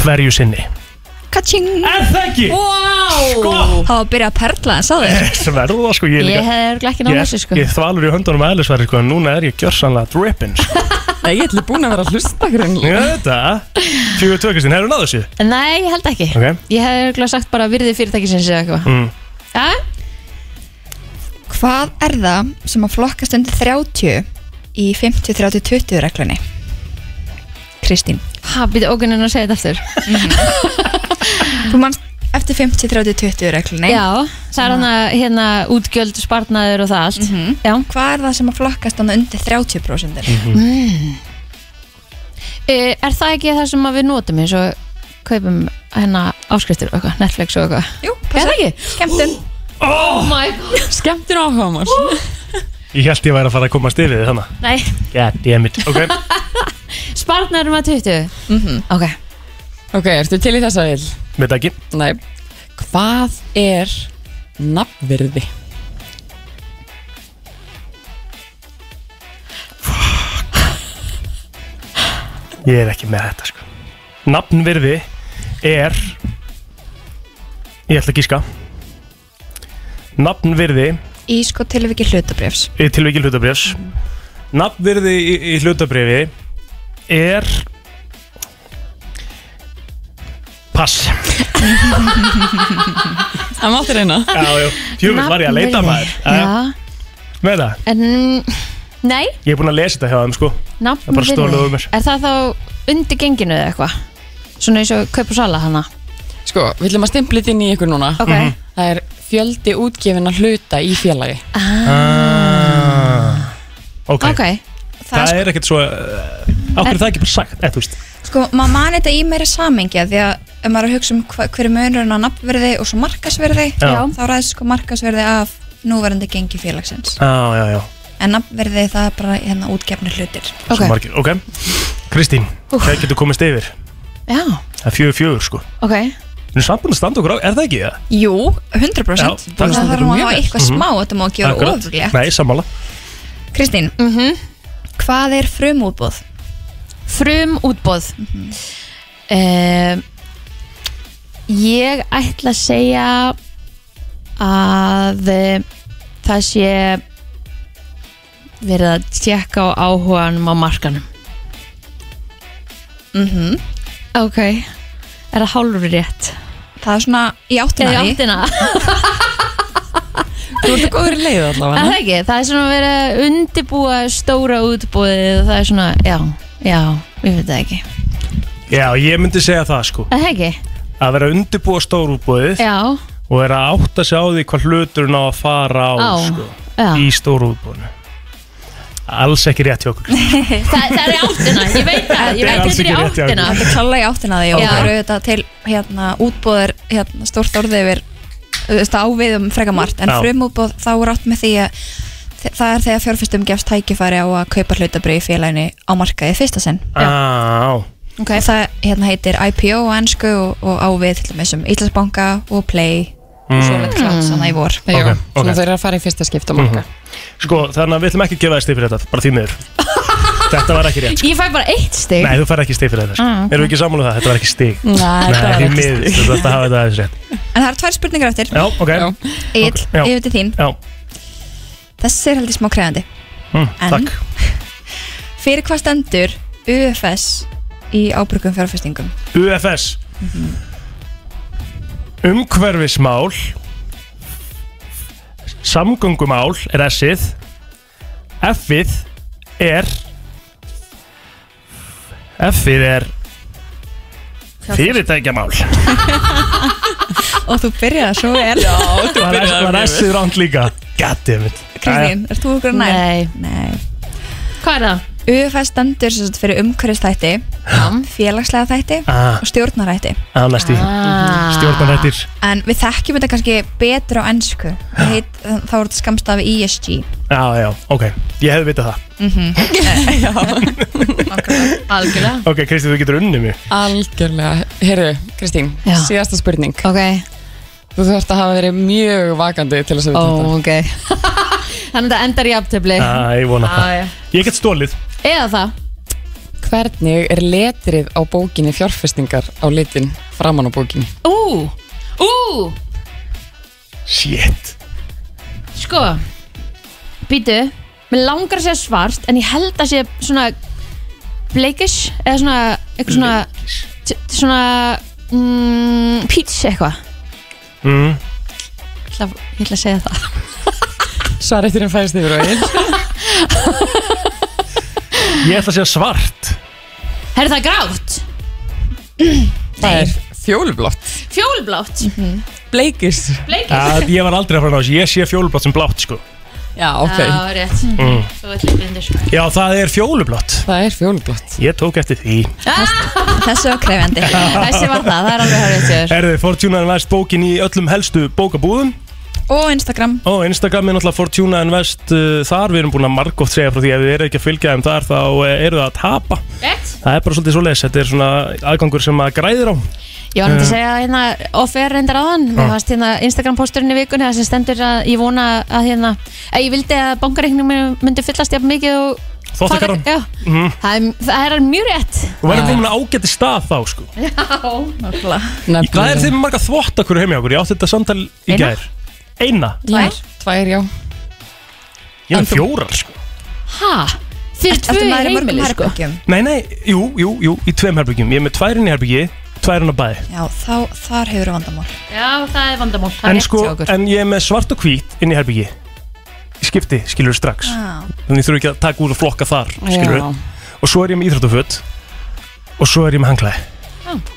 Speaker 1: hverju sinni
Speaker 7: Kaching
Speaker 1: Er það ekki? Sko-
Speaker 7: Það var að byrja að perla en sagði þér
Speaker 1: Sverðu það sko, ég er
Speaker 2: ég
Speaker 1: líka
Speaker 2: hefði örugglega ekki
Speaker 1: Ég,
Speaker 2: náð þessu
Speaker 1: er-
Speaker 2: sko
Speaker 1: ég þvalur í höndunum að eðlisverði sko, en núna er ég gjörsanlega drippin sko.
Speaker 8: Nei, ég ætli búin að vera að hlusta grunlega
Speaker 1: Já, Þetta, 42 Kristín, hefur náðu þessu?
Speaker 2: Nei, ég held ekki
Speaker 1: Ok.
Speaker 2: Ég hefði örugglega sagt bara virði fyrirtækisins eða eitthvað
Speaker 1: Mm.
Speaker 2: ja?
Speaker 7: Hvað er það sem að flokkast undir 30 í 50-30-20 reglunni? Kristín
Speaker 2: Ha, býta ógunin að segja þetta aftur
Speaker 7: Þú manst eftir 50-30-20 reglunni
Speaker 2: Já, það er hana, hérna útgjöld, spartnaður og það allt Já,
Speaker 7: Hvað er það sem að flokkast hann undir 30%?
Speaker 2: e, er það ekki það sem að við notum eins og kaupum hérna áskriftir og eitthvað, Netflix og eitthvað
Speaker 7: Jú,
Speaker 2: Er það
Speaker 7: passa
Speaker 2: ekki?
Speaker 7: Skemmtun
Speaker 2: Oh my god
Speaker 8: Skemmtir áhuga mál
Speaker 1: Ég held ég væri að fara að komast yfir þig þannig
Speaker 2: Nei, um
Speaker 1: God damn it Ok,
Speaker 2: spartnaður með 20 Ok,
Speaker 8: Ok, ertu til í þessa vil?
Speaker 1: með daginn
Speaker 8: Nei Hvað er nafnvirði?
Speaker 1: Ég er ekki með þetta sko Nafnvirði er Ég ætla að gíska Nafnvirði
Speaker 7: Í sko tilviki hlutabrefs
Speaker 1: í tilviki hlutabrifs Nafnvirði í, í hlutabrifi er Pass
Speaker 8: Það mátti reyna
Speaker 1: Já, já, fjöfum var ég að leita maður Eh? Jæja,
Speaker 2: Já,
Speaker 1: Með það,
Speaker 2: en Nei,
Speaker 1: ég er búin að lesa þetta hjá þeim sko
Speaker 2: nafn
Speaker 1: Það bara stólaðu um mér.
Speaker 2: Er það þá undir genginu eða eitthvað? Svona eins og kaup og sala hana
Speaker 8: Sko, við ætlum að stimpla þetta inn í ykkur núna Mhm.
Speaker 2: Ok,
Speaker 8: Það er fjöldi útgefin að hluta í félagi
Speaker 1: ah. Ok,
Speaker 2: ok
Speaker 1: það, er ekkert svo uh, Ákveður það ekki bara sagt, eða þú veist
Speaker 7: Sko, maður man þetta í meira samengja því að ef maður er að hugsa um hva, hver er munurinn á nafnverði og svo markasverði
Speaker 1: Já. Já.
Speaker 7: þá ræðist sko markasverði af núverandi gengi félagsins
Speaker 1: Já, já, já,
Speaker 7: en nafnverði það er bara hérna útgefni hlutir
Speaker 1: svo
Speaker 2: Ok,
Speaker 1: margir Ok, Kristín, hvað getur komist yfir?
Speaker 2: já,
Speaker 1: Það er fjögur fjögur, sko
Speaker 2: ok
Speaker 1: Við erum samt búin að standa okkur á, er það ekki það?
Speaker 7: Jú, 100%
Speaker 1: Já,
Speaker 7: það
Speaker 1: það stendur
Speaker 7: þarf nú að hafa
Speaker 1: mjög vel. Mhm.
Speaker 7: eitthvað smá þetta má ekki vera ofurlega
Speaker 1: Nei, sammála
Speaker 7: Kristín, hvað er frumútbóð?
Speaker 2: Frum útbóð Ég ætla að segja að eh, það sé verið að tjekka á áhuganum á markanum Mhm Ok Er það hálfur rétt?
Speaker 7: Það er svona í áttina
Speaker 2: Eða í
Speaker 7: í
Speaker 2: áttina?
Speaker 8: Þú ert að góður í leið
Speaker 2: Er
Speaker 8: allavega
Speaker 2: Það ekki, það er svona verið að undibúa stóra útbóðið og það er svona, já, já, ég veit það ekki Er
Speaker 1: Já, ég myndi segja það, sko
Speaker 2: Það ekki,
Speaker 1: Að vera að undirbúa stórúbúið
Speaker 2: já,
Speaker 1: og vera að átta sig á því hvað hlutur ná að fara á,
Speaker 2: á,
Speaker 1: sko
Speaker 2: já
Speaker 1: Í stórúbúinu Alls ekki rétt hjá okkur sko. Kristín.
Speaker 2: Þa, Það er í áttina, ég veit það, ég
Speaker 1: er
Speaker 2: veit
Speaker 1: alls
Speaker 2: þetta er í
Speaker 1: ekki
Speaker 2: áttina
Speaker 1: rétt hjá ykkur.
Speaker 7: Þetta er klálega í áttina því og
Speaker 2: Já.
Speaker 7: það eru þetta til hérna, útbóðir hérna, stórt orðið yfir þú veist, á við um freka margt en
Speaker 1: Já.
Speaker 7: frumútbóð þá er átt með því að þe- það er þegar fjárfyrstum gefst tækifæri á að kaupa hlutabrið í félaginu á markaði fyrsta sinn
Speaker 1: Á, á.
Speaker 7: okay. það hérna, heitir IPO á ennsku og, og á við til dæmis um Íslandsbanka og Play
Speaker 1: Mm.
Speaker 7: og svo leitt
Speaker 2: Mm.
Speaker 7: klart sann í vor
Speaker 8: Jú,
Speaker 1: Ok, ok.
Speaker 8: Svona þeir eru að fara í fyrsta skipt á marka
Speaker 1: Sko, þannig að við ætlum ekki að gefa þér stig fyrir þetta, bara því miður Þetta var ekki rétt,
Speaker 2: Ég fæ bara eitt stig
Speaker 1: Nei, þú fær ekki stig fyrir þetta sko.
Speaker 2: Ah, ok.
Speaker 1: Erum við ekki sammála um það? Þetta var ekki stig
Speaker 8: Næ, þetta var
Speaker 1: Nei, því
Speaker 8: ekki
Speaker 1: miður, þú þarfst að hafa þetta aðeins rétt
Speaker 7: en það eru tvær spurningar eftir
Speaker 1: Já, ok
Speaker 8: Já.
Speaker 7: Egil,
Speaker 1: Já.
Speaker 7: yfir til þín
Speaker 1: Já,
Speaker 7: þessi er heldur smá krefandi
Speaker 1: mm,
Speaker 7: En-
Speaker 1: takk
Speaker 7: fyrir hvað stendur UFS í ábyrgum fjárfyrstingum
Speaker 1: UFS Umhverfismál Samgöngumál er S-ið F-ið er F-ið er Fyrirtækjamál
Speaker 7: og þú byrjaði svo vel
Speaker 1: Var var S-ið ránt líka Goddammit
Speaker 7: Kristín, ert þú okkur nær?
Speaker 2: Nei,
Speaker 7: Nei.
Speaker 2: hvað er það?
Speaker 7: UFS stendur sem sagt fyrir umhverfistætti, félagslega þætti
Speaker 1: Ah,
Speaker 7: og stjórnarætti.
Speaker 1: ah, næst í
Speaker 2: Ah.
Speaker 1: Stjórnarrættir
Speaker 7: En við þekkjum þetta kannski betur á ennsku. Það Heit, þá er þetta E skamstafi ESG.
Speaker 1: Ah, Já, já, ok, ég hefði vitað það
Speaker 2: Algjörlega
Speaker 1: Ok, Kristi, þú getur unnið mig
Speaker 8: Algjörlega, heyrðu, Kristín
Speaker 2: Já.
Speaker 8: Síðasta spurning
Speaker 2: Ok,
Speaker 8: Þú þurft að hafa verið mjög vakandi til þess að vita þetta
Speaker 2: ok Þannig að það endar í aftöfli
Speaker 1: Æ, Ah, ég vona það
Speaker 2: Ah, já.
Speaker 1: Ég get stólið
Speaker 2: Eða það,
Speaker 8: Hvernig er letrið á bókinni fjárfestingar á litin framan á bókinni?
Speaker 2: ú, ú
Speaker 1: Shit
Speaker 2: Sko, býtu Mér langar að segja svart En ég held að sé svona Bleikish, eða svona Eitthvað svona, t- svona mm, Peach eitthvað
Speaker 1: mm.
Speaker 2: Ég ætla- Ég ætla að segja það
Speaker 8: Svar eftir en fæðist yfir og einn
Speaker 1: Ég ætla að segja svart
Speaker 2: Herðu það er grátt,
Speaker 8: Það er fjólublott
Speaker 2: fjólblátt
Speaker 8: Bleikis
Speaker 2: Bleikish
Speaker 1: að Ég var aldrei að fara á þessu, ég sé fjólublátt sem blátt sko
Speaker 8: Já, ok
Speaker 2: Já, rétt Þú ert líkblindur
Speaker 1: Já, það er fjólublátt
Speaker 8: Það er fjólublott
Speaker 1: Ég tók eftir því
Speaker 7: Þessu var krefjandi.
Speaker 2: Þessi var það, það er alveg hærið tjóður
Speaker 1: Erðu, Fortuna Invest bókin í öllum helstu bókabúðum
Speaker 7: og Instagram.
Speaker 1: Ó, Instagram er náttúrulega Fortuna Invest uh, Þar við erum búin að margótt segja frá því Ef þið eru ekki að fylgja þeim þar, þá uh, eru það að tapa
Speaker 2: Rétt
Speaker 1: Það er bara svolítið svo Þetta er svona aðgangur sem að græðir á
Speaker 2: Ég var náttúrulega að segja hérna off-air reyndar áðan Mér fannst hérna Instagram posturinn í vikunni Það sem stendur að ég vona að hérna að Ég vildi að bankareiknum minn myndi fyllast jafn mikið og
Speaker 1: Þvottakassan.
Speaker 2: Já, það, er, það er mjög rétt
Speaker 1: Þú verður komin að ágæti stað þá sko Hvað er þeim marga þvott okkur heima hjá okkur? Ég átti þetta samtal í
Speaker 2: Eina?
Speaker 1: gær Eina?
Speaker 8: Tvær Tvær, já
Speaker 1: Ég er fjórar sko
Speaker 2: Ha? Fyrir tvö í
Speaker 7: Ertu maður í mörgum
Speaker 2: heimili sko
Speaker 7: herbergjum?
Speaker 1: Nei, nei, jú, jú, jú, í tveim herbyggjum Ég er með tværinn í herbyggi, tværinn á bæði
Speaker 7: Já, þá, þar hefur við vandamál.
Speaker 2: Já, það er vandamál Það er
Speaker 1: En
Speaker 2: rétt
Speaker 1: sko,
Speaker 2: hjá okkur.
Speaker 1: en ég er með svart og hvít inn í herbyggi Í skipti, skilur strax
Speaker 9: Ah.
Speaker 7: Já.
Speaker 1: Þannig ég þurfi ekki að taka úr og flokka þar, skilur
Speaker 8: Já.
Speaker 1: Og svo er ég með íþróttuföt Og svo er ég með hanglaði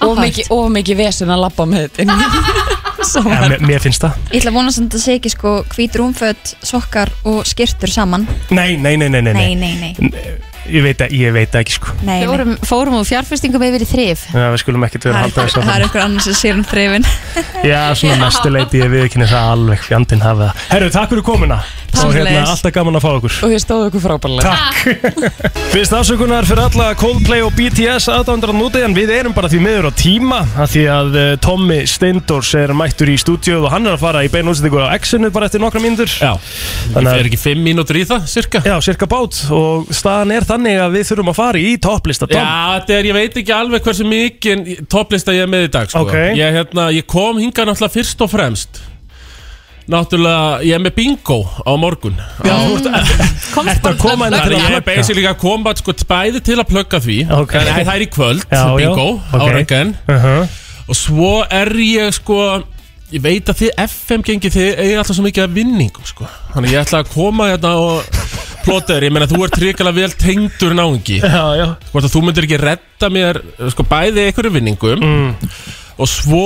Speaker 8: Of mikið, of mikið vesen að labba með þetta inn í-
Speaker 1: ja,
Speaker 8: Saman.
Speaker 1: mér, mér finnst það
Speaker 7: Ég ætla að vona sem þetta sé ekki sko hvít rúmföt, sokkar og skirtur saman.
Speaker 1: Nei, nei, nei, nei, nei,
Speaker 7: Nei, nei, nei.
Speaker 1: Ég veit, að- ég veit ekki sko
Speaker 7: Nei, nei.
Speaker 2: Fórum, fórum úr fjárfestingum yfir í þrif
Speaker 1: Já, Við skulum ekkert vera að halda þess
Speaker 7: Það
Speaker 1: að
Speaker 7: er ykkur annars að sé um þrifin
Speaker 1: Já, svona mestuleiti ég viðkynni það alveg Fjandinn hafa það Herru, takk fyrir komuna Og hérna,
Speaker 8: Sömuleiðis.
Speaker 1: alltaf gaman að fá okkur
Speaker 8: og þið stóðu okkur frábælega
Speaker 1: Takk Fyrst afsökunar fyrir alla Coldplay og BTS aðdándur að núti en við erum bara því miður á tíma að því að eh, Tommy Steindors er mættur í stúdíóð og hann er að fara í beinu útsendingu á X-inu bara eftir nokkra mínútur
Speaker 10: Já,
Speaker 1: Þannig að-
Speaker 10: það er ekki fimm mínútur í það, cirka
Speaker 1: Já, cirka bát og staðan er þannig að við þurfum að fara í topplista
Speaker 10: Já,
Speaker 1: Tom
Speaker 10: þetta er, ég veit ekki alveg hversu mikið topplista ég er með í dag sko.
Speaker 1: Ok.
Speaker 10: ég, hérna, ég kom hingað náttúrulega fyrst og fremst Náttúrulega, ég er með bingo á morgun
Speaker 1: Já, þú ert ertu að koma inn
Speaker 10: Þannig að
Speaker 1: til að
Speaker 10: ég er
Speaker 1: plugga
Speaker 10: basically að koma sko, bæði til að plugga því
Speaker 1: Ok.
Speaker 10: En það er í kvöld,
Speaker 1: Já, já,
Speaker 10: bingo, á
Speaker 1: ok.
Speaker 10: röggen
Speaker 1: Uh-huh.
Speaker 10: Og svo er ég sko Ég veit að þið FM gengið þið eigið alltaf svo mikið að vinningum sko Þannig ég ætla að koma hérna og plóta þér Ég meina þú ert ríkala vel tengdur náungi
Speaker 1: Já, já,
Speaker 10: Hvort að þú myndir ekki redda mér eh, sko bæði einhverju vinningum
Speaker 1: Mm.
Speaker 10: Og svo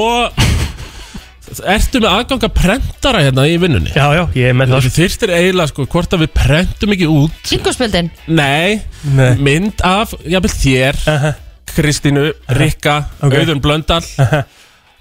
Speaker 10: Ertu með aðgang að prentara hérna í vinnunni
Speaker 1: já, já, ég er með það
Speaker 10: Þú þyrftir eiginlega sko hvort að við prentum ekki út
Speaker 2: Yngospöldin
Speaker 10: Nei,
Speaker 1: Nei.
Speaker 10: mynd af jafnvel þér
Speaker 1: Uh-huh.
Speaker 10: Kristínu, Rikka,
Speaker 1: Ok.
Speaker 10: Auðun Blöndal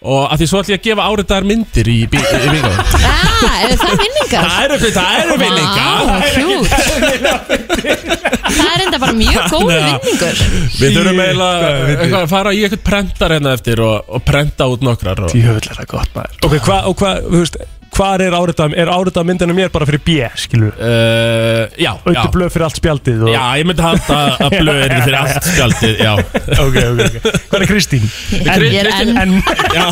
Speaker 10: og að því svo ætlum ég að gefa áritaðar myndir í, bí- í, í bíó
Speaker 2: ah, Er það minningar?
Speaker 10: Það eru fyrir, það eru vinningar
Speaker 2: Vá, cute. Það er enda bara mjög góð vinningur
Speaker 10: Við þurfum eiginlega
Speaker 1: Hvað er fyndið?
Speaker 10: eitthvað að fara í eitthvað prentar hérna eftir og, og prenta út nokkrar og,
Speaker 1: Jöfull er það gott maður Ok, hvað, og hvað, þú veist Hvar er áritað, er áritað myndinu mér bara fyrir B, skilur
Speaker 10: uh, Já, já
Speaker 1: Öllu blöð fyrir allt spjaldið og...
Speaker 10: Já, ég myndi halda að blöð er fyrir allt skjaldið Já,
Speaker 1: ok, ok, ok Hvað er Kristín?
Speaker 2: Ég er enn
Speaker 1: En
Speaker 10: já,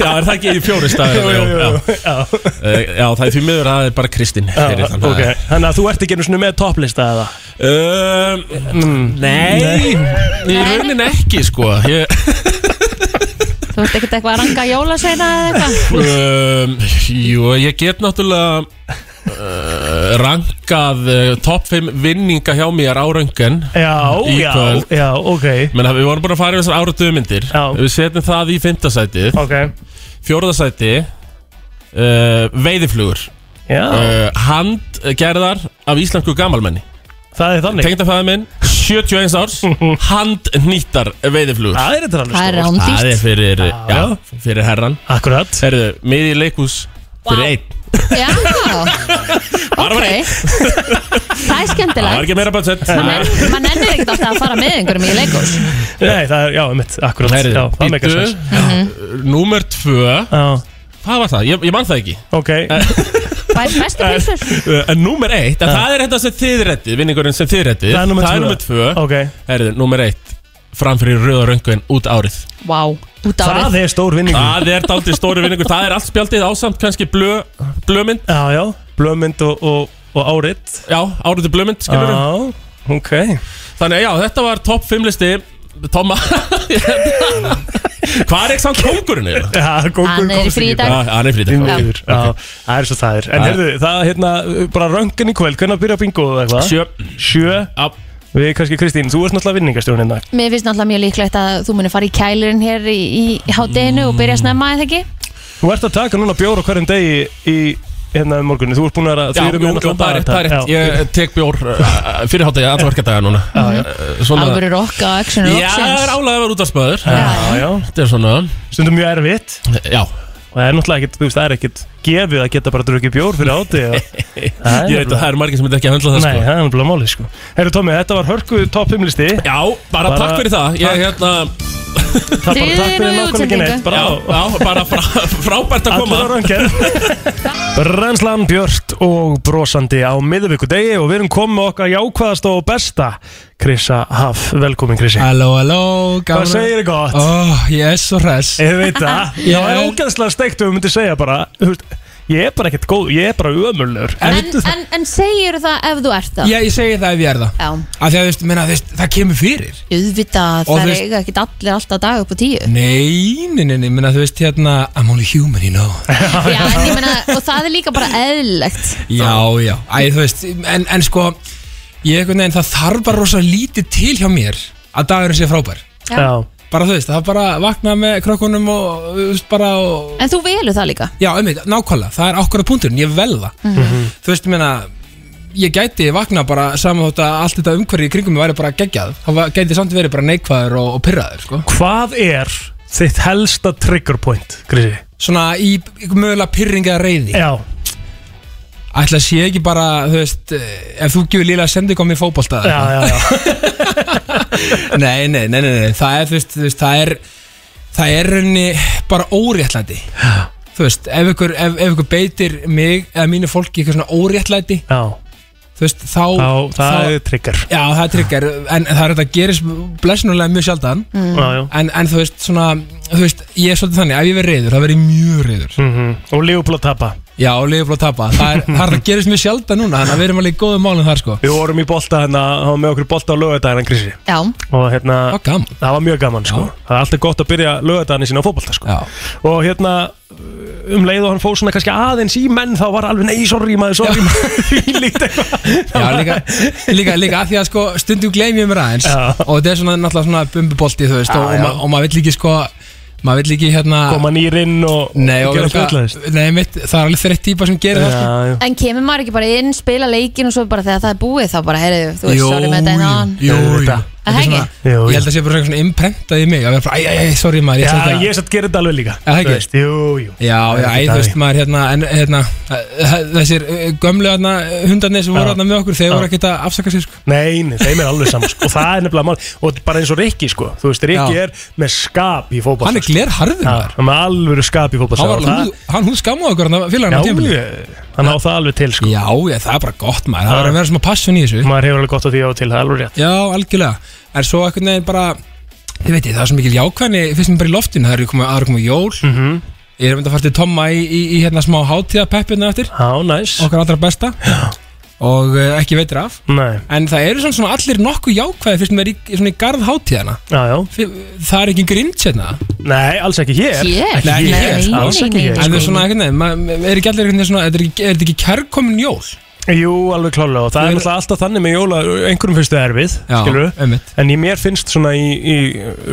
Speaker 10: já er það ekki í fjóri staðið
Speaker 1: Jú, jú, jú, já.
Speaker 10: Eh, já, það er því miður að það er bara Kristín fyrir þannig að-
Speaker 1: Ok, þannig að þú ert ekki einu sinni með topplista eða
Speaker 10: Um, nei, Í raunin ekki sko ég,
Speaker 2: Þú ert ekkert eitthvað að ranga jólasveina eða eitthvað
Speaker 10: um, Jú, ég get náttúrulega uh, rankað uh, top 5 vinninga hjá mér á röngan
Speaker 1: Já,
Speaker 10: Í
Speaker 1: já,
Speaker 10: kvöld.
Speaker 1: já, ok
Speaker 10: menn við vorum bara að fara í þessar ára dögmyndir
Speaker 1: Já.
Speaker 10: við setjum það í fimmtasætið
Speaker 1: Ok,
Speaker 10: fjórðasæti uh, veiðiflugur
Speaker 1: já,
Speaker 10: uh, handgerðar af íslensku gamalmenni
Speaker 1: það er þannig
Speaker 10: tengdafæðar minn 71 árs handnýttar veiðiflugur
Speaker 1: Það er þetta alveg
Speaker 2: Það er
Speaker 1: stórt.
Speaker 10: það er
Speaker 2: rándýrt
Speaker 10: fyrir, já,
Speaker 1: já.
Speaker 10: fyrir herran
Speaker 1: Akkurat
Speaker 11: Eh,
Speaker 10: Herðu, miði leikus fyrir einn
Speaker 2: Já, ok Það er
Speaker 10: Það var
Speaker 2: skemmtilegt
Speaker 10: ekki meira budget
Speaker 2: Man nenn- Man ennir ekkert alltaf að fara með einhverjum í leikús
Speaker 1: Nei, það er, já, mitt, akkurat Já,
Speaker 10: Herðu,
Speaker 1: það er meikar
Speaker 10: býttu
Speaker 1: sens
Speaker 10: Númer tvö
Speaker 1: Já,
Speaker 10: Hvað var það? Ég, ég man það ekki
Speaker 1: ok
Speaker 2: Bæri bestu pilsur
Speaker 10: uh, En númer eitt En það er þetta sem þið rettið Vinningurinn sem þið rettið
Speaker 1: Það er númer tvö.
Speaker 10: tvö
Speaker 1: Ok,
Speaker 10: Herðu, númer eitt Framfyrir rauðarönguinn út árið
Speaker 2: Vá, út árið
Speaker 1: það er stór
Speaker 11: Ah.
Speaker 1: vinningur
Speaker 10: Það er daldið stóri vinningur Það er allt spjaldið ásamt kannski blö, blömynd
Speaker 1: Já, já, blöðmynd og, og, og árit
Speaker 10: Já, árið til blömynd skilur við
Speaker 1: Já, ok
Speaker 10: Þannig að já, þetta var topp 5 listi Tomma Hvað er ekki samt kóngurinn? eiginlega? Ah,
Speaker 1: Já, Google
Speaker 2: Hann er í
Speaker 1: komst
Speaker 2: frí í
Speaker 1: ekki
Speaker 2: dag.
Speaker 10: Já, Hann er frítið
Speaker 1: Því miður, já, það er svo það er En
Speaker 10: Já.
Speaker 1: heyrðu, það hérna, bara röngin í kvöld Hvernig byrja bingo eða eitthvað?
Speaker 10: Sjö
Speaker 1: Sjö
Speaker 10: Já.
Speaker 1: Við kannski Kristín, þú ert náttúrulega vinningastjórn hérna
Speaker 2: Mér finnst náttúrulega mjög líklegt að þú munir fara í kælirinn hér í, í hátdeinu og byrja snemma eða ekki
Speaker 1: Þú ert að taka núna bjór á hverjum degi í hérna um morgunni Þú ert búin að
Speaker 10: Já, jú, jú, það er rétt, það er rétt Ég tek bjór uh, fyrir hátegi alla verkadaga núna Uh, Svona
Speaker 2: Alvöru rokka og action
Speaker 10: Já, það er
Speaker 2: rocksins
Speaker 10: álega að vera út af spöður
Speaker 1: Já, já,
Speaker 10: Þetta er svona
Speaker 1: stundum mjög erfitt
Speaker 10: Já,
Speaker 1: og það er náttúrulega ekkit, þú veist, það er ekkit gefið að geta bara drukkið bjór fyrir áti og... Það
Speaker 10: ég veit að það eru margir sem myndi ekki að höndla það sko
Speaker 1: Nei, það er náttúrulega máli, sko Herru Tómi, þetta var hörku top 5 listi
Speaker 10: Já, bara
Speaker 1: Bara-
Speaker 10: takk fyrir það Ég, hérna,
Speaker 1: Það bara
Speaker 2: Drífið nú
Speaker 1: takk fyrir
Speaker 2: í
Speaker 1: nákvæmlega
Speaker 2: útsendingu.
Speaker 1: neitt,
Speaker 10: já,
Speaker 1: bara
Speaker 10: já, bara frá, frábært að koma
Speaker 1: Allir á röngen Renslan Björt og brosandi á miðvíkudegi og við erum komið með okkar jákvæðast og besta Krissa Haf, velkomin Krissi
Speaker 11: Halló, halló,
Speaker 1: Hvað
Speaker 11: gaman
Speaker 1: segir þið gott?
Speaker 11: Ó, ég er svo hress
Speaker 1: Ég veit það,
Speaker 11: Ég
Speaker 1: það er
Speaker 11: er-
Speaker 1: ógæðslega steikt og við myndum segja bara þú veist, Ég er bara ekkert góð, ég er bara ömurlegur
Speaker 2: En, en, en segir það ef þú ert það?
Speaker 11: Ég, ég segi það ef ég er það
Speaker 2: Já,
Speaker 11: Af því að þú veist, minna, þú veist, það kemur fyrir
Speaker 2: auðvitað,
Speaker 11: Og
Speaker 2: það
Speaker 11: þú
Speaker 2: er
Speaker 11: veist-
Speaker 2: eiga ekkert allir alltaf dag upp á tíu
Speaker 11: Nei, nei, nei, nei, minna, þú veist, hérna I'm only human, you know
Speaker 2: Já, en ég meina, og það er líka bara eðlilegt
Speaker 11: Já, já, æ, þú veist, en, en sko Ég einhvern veginn, það þarf bara rosa lítið til hjá mér Að dagurinn sé frábær
Speaker 1: Já,
Speaker 11: Bara þú veist, það er bara að vakna með krökkunum og, þú veist, bara og
Speaker 2: En þú velur það líka
Speaker 1: Mhm.
Speaker 11: Já, einmitt, nákvæmlega, það er ákvæmlega punkturinn, ég vel það Þú veist, ég meina, ég gæti vakna bara saman þótt að allt þetta umhverfi í kringum mig væri bara geggjað þá va- gæti ég samt verið bara neikvæður og, og pyrraður sko.
Speaker 1: Hvað er þitt helsta trigger point, Grísi?
Speaker 11: Svona í í mögulega pyrringa reyði
Speaker 1: Já
Speaker 11: Ætla að sé ekki bara, þú veist eh, ef þú gefur líla að senda ykkur á mig í fótbolta
Speaker 1: Já, já, já
Speaker 11: nei, nei, nei, nei, nei, það er, þú veist, þú veist það er, það er raunni bara óréttlæti þú veist, ef ykkur, ef, ef ykkur beitir mig eða mínu fólki í eitthvað svona óréttlæti
Speaker 1: já.
Speaker 11: þú veist, þá,
Speaker 1: Þá- það er trigger.
Speaker 11: já, það er trigger, en það er þetta gerist blessunulega mjög sjaldan
Speaker 1: Mm. Já, já.
Speaker 11: En, en þú veist, svona, þú veist, ég er svolítið þannig ef ég verið reyður, það verið mjög reyður
Speaker 1: mm -hmm. og lífbúl að tapa
Speaker 11: já, og lífbúl að tapa, það er, það er að gerist mjög sjaldan núna, þannig að við erum alveg í góðum málum þar sko
Speaker 1: Við vorum í bolta hérna, það var með okkur í bolta á lögadaginn, Grísi
Speaker 2: Já,
Speaker 1: og hérna,
Speaker 11: gaman.
Speaker 1: það var mjög gaman sko. það er alltaf gott að byrja lögadaginn sína á fótbolta sko. og hérna um leið og hann fóð svona kannski aðeins í menn þá var alveg nei, sorry maður, sorry maður því líkt eitthvað
Speaker 11: Já, líka, líka, líka að því að sko stundum gleymjum mér aðeins og þetta er svona náttúrulega svona bumbubolti þú veist
Speaker 1: Já,
Speaker 11: og, og,
Speaker 1: já.
Speaker 11: ma og maður vill ekki sko maður vill ekki hérna
Speaker 1: koma nýrinn og,
Speaker 11: nei, og
Speaker 1: gera
Speaker 11: vera
Speaker 1: skutlaðist.
Speaker 11: eitthvað- nei, mitt, það er alveg þreitt típa sem gerir það sko.
Speaker 1: já,
Speaker 2: en kemur maður ekki bara inn, spila leikin og svo bara þegar það er búið þá bara, heyrðu, þú veist,
Speaker 11: Jú,
Speaker 2: sorry með þetta en hann
Speaker 11: jú, jú.
Speaker 2: Það er ekki?
Speaker 11: Ég held að það sé bara svona imprentað í mig að vera bara, æ, æ, æ, sorry maður
Speaker 1: já,
Speaker 11: ætla ekki að-
Speaker 1: ég satt gerir þetta alveg líka
Speaker 11: Já, það ekki.
Speaker 1: Þú veist, jú, jú
Speaker 11: Já, já,
Speaker 1: Það er
Speaker 11: æ,
Speaker 1: ekki
Speaker 11: þú
Speaker 1: það
Speaker 11: veist maður hérna, en, hérna eh, þessir eh, gömlu hérna, hundarnir sem voru
Speaker 1: Já.
Speaker 11: hérna með okkur þeir
Speaker 1: Já.
Speaker 11: voru ekkert að afsaka sér sko
Speaker 1: Nei, nei, þeim er alveg saman sko. og það er nefnilega mál og bara eins og Rikki sko, þú veist, Rikki
Speaker 11: Já.
Speaker 1: er með skap í fótbolta
Speaker 11: Hann er
Speaker 1: sko.
Speaker 11: glerharður,
Speaker 1: Já,
Speaker 11: maður.
Speaker 1: hann er með alvöru skap í fótbolta sko.
Speaker 11: Hann, var
Speaker 1: og
Speaker 11: alveg,
Speaker 1: það-
Speaker 11: húð- hann hún skammaði okkur hann
Speaker 1: Já,
Speaker 11: félaginn á tímpili
Speaker 1: ég- hann á það alveg til sko.
Speaker 11: Já, ég, það er bara gott maður, það
Speaker 1: Já.
Speaker 11: verður að vera svona passun í þessu
Speaker 1: maður hefur alveg gott á því á og til, það er alveg rétt
Speaker 11: Já, algjörlega, en svo einhvern veginn bara þið veit ég, það er svo mikil jákvæðni fyrst mér bara í loftinu, það eru komið, það eru komið jól
Speaker 1: -hmm.
Speaker 11: ég er myndið að fara til Tomma í, í, í hérna smá hátíðapeppinu eftir
Speaker 1: Já, næs
Speaker 11: Okkar allra besta Já. og uh, ekki veitir af
Speaker 1: Nei,
Speaker 11: En það eru svona, svona allir nokkuð jákvæði fyrst mér í, í, svona í garð hátíðana
Speaker 1: já, já
Speaker 11: Það er ekki grinds hérna
Speaker 1: Nei, alls ekki hér
Speaker 2: Hér?
Speaker 1: Ekki
Speaker 11: Nei,
Speaker 1: hér,
Speaker 11: nei,
Speaker 1: alls
Speaker 2: nei,
Speaker 1: ekki
Speaker 2: nei,
Speaker 1: hér
Speaker 11: En það er
Speaker 1: sko.
Speaker 11: svona, einhvern veginn, maður- er ekki allir einhvern veginn svona, er þetta ekki- er þetta ekki kærkomin jól?
Speaker 1: Jú, alveg klálega og það er
Speaker 11: Þeir-
Speaker 1: náttúrulega alltaf þannig með jóla einhverjum finnst þau erfið,
Speaker 11: Já,
Speaker 1: skilur
Speaker 11: einmitt.
Speaker 1: en í mér finnst svona í, í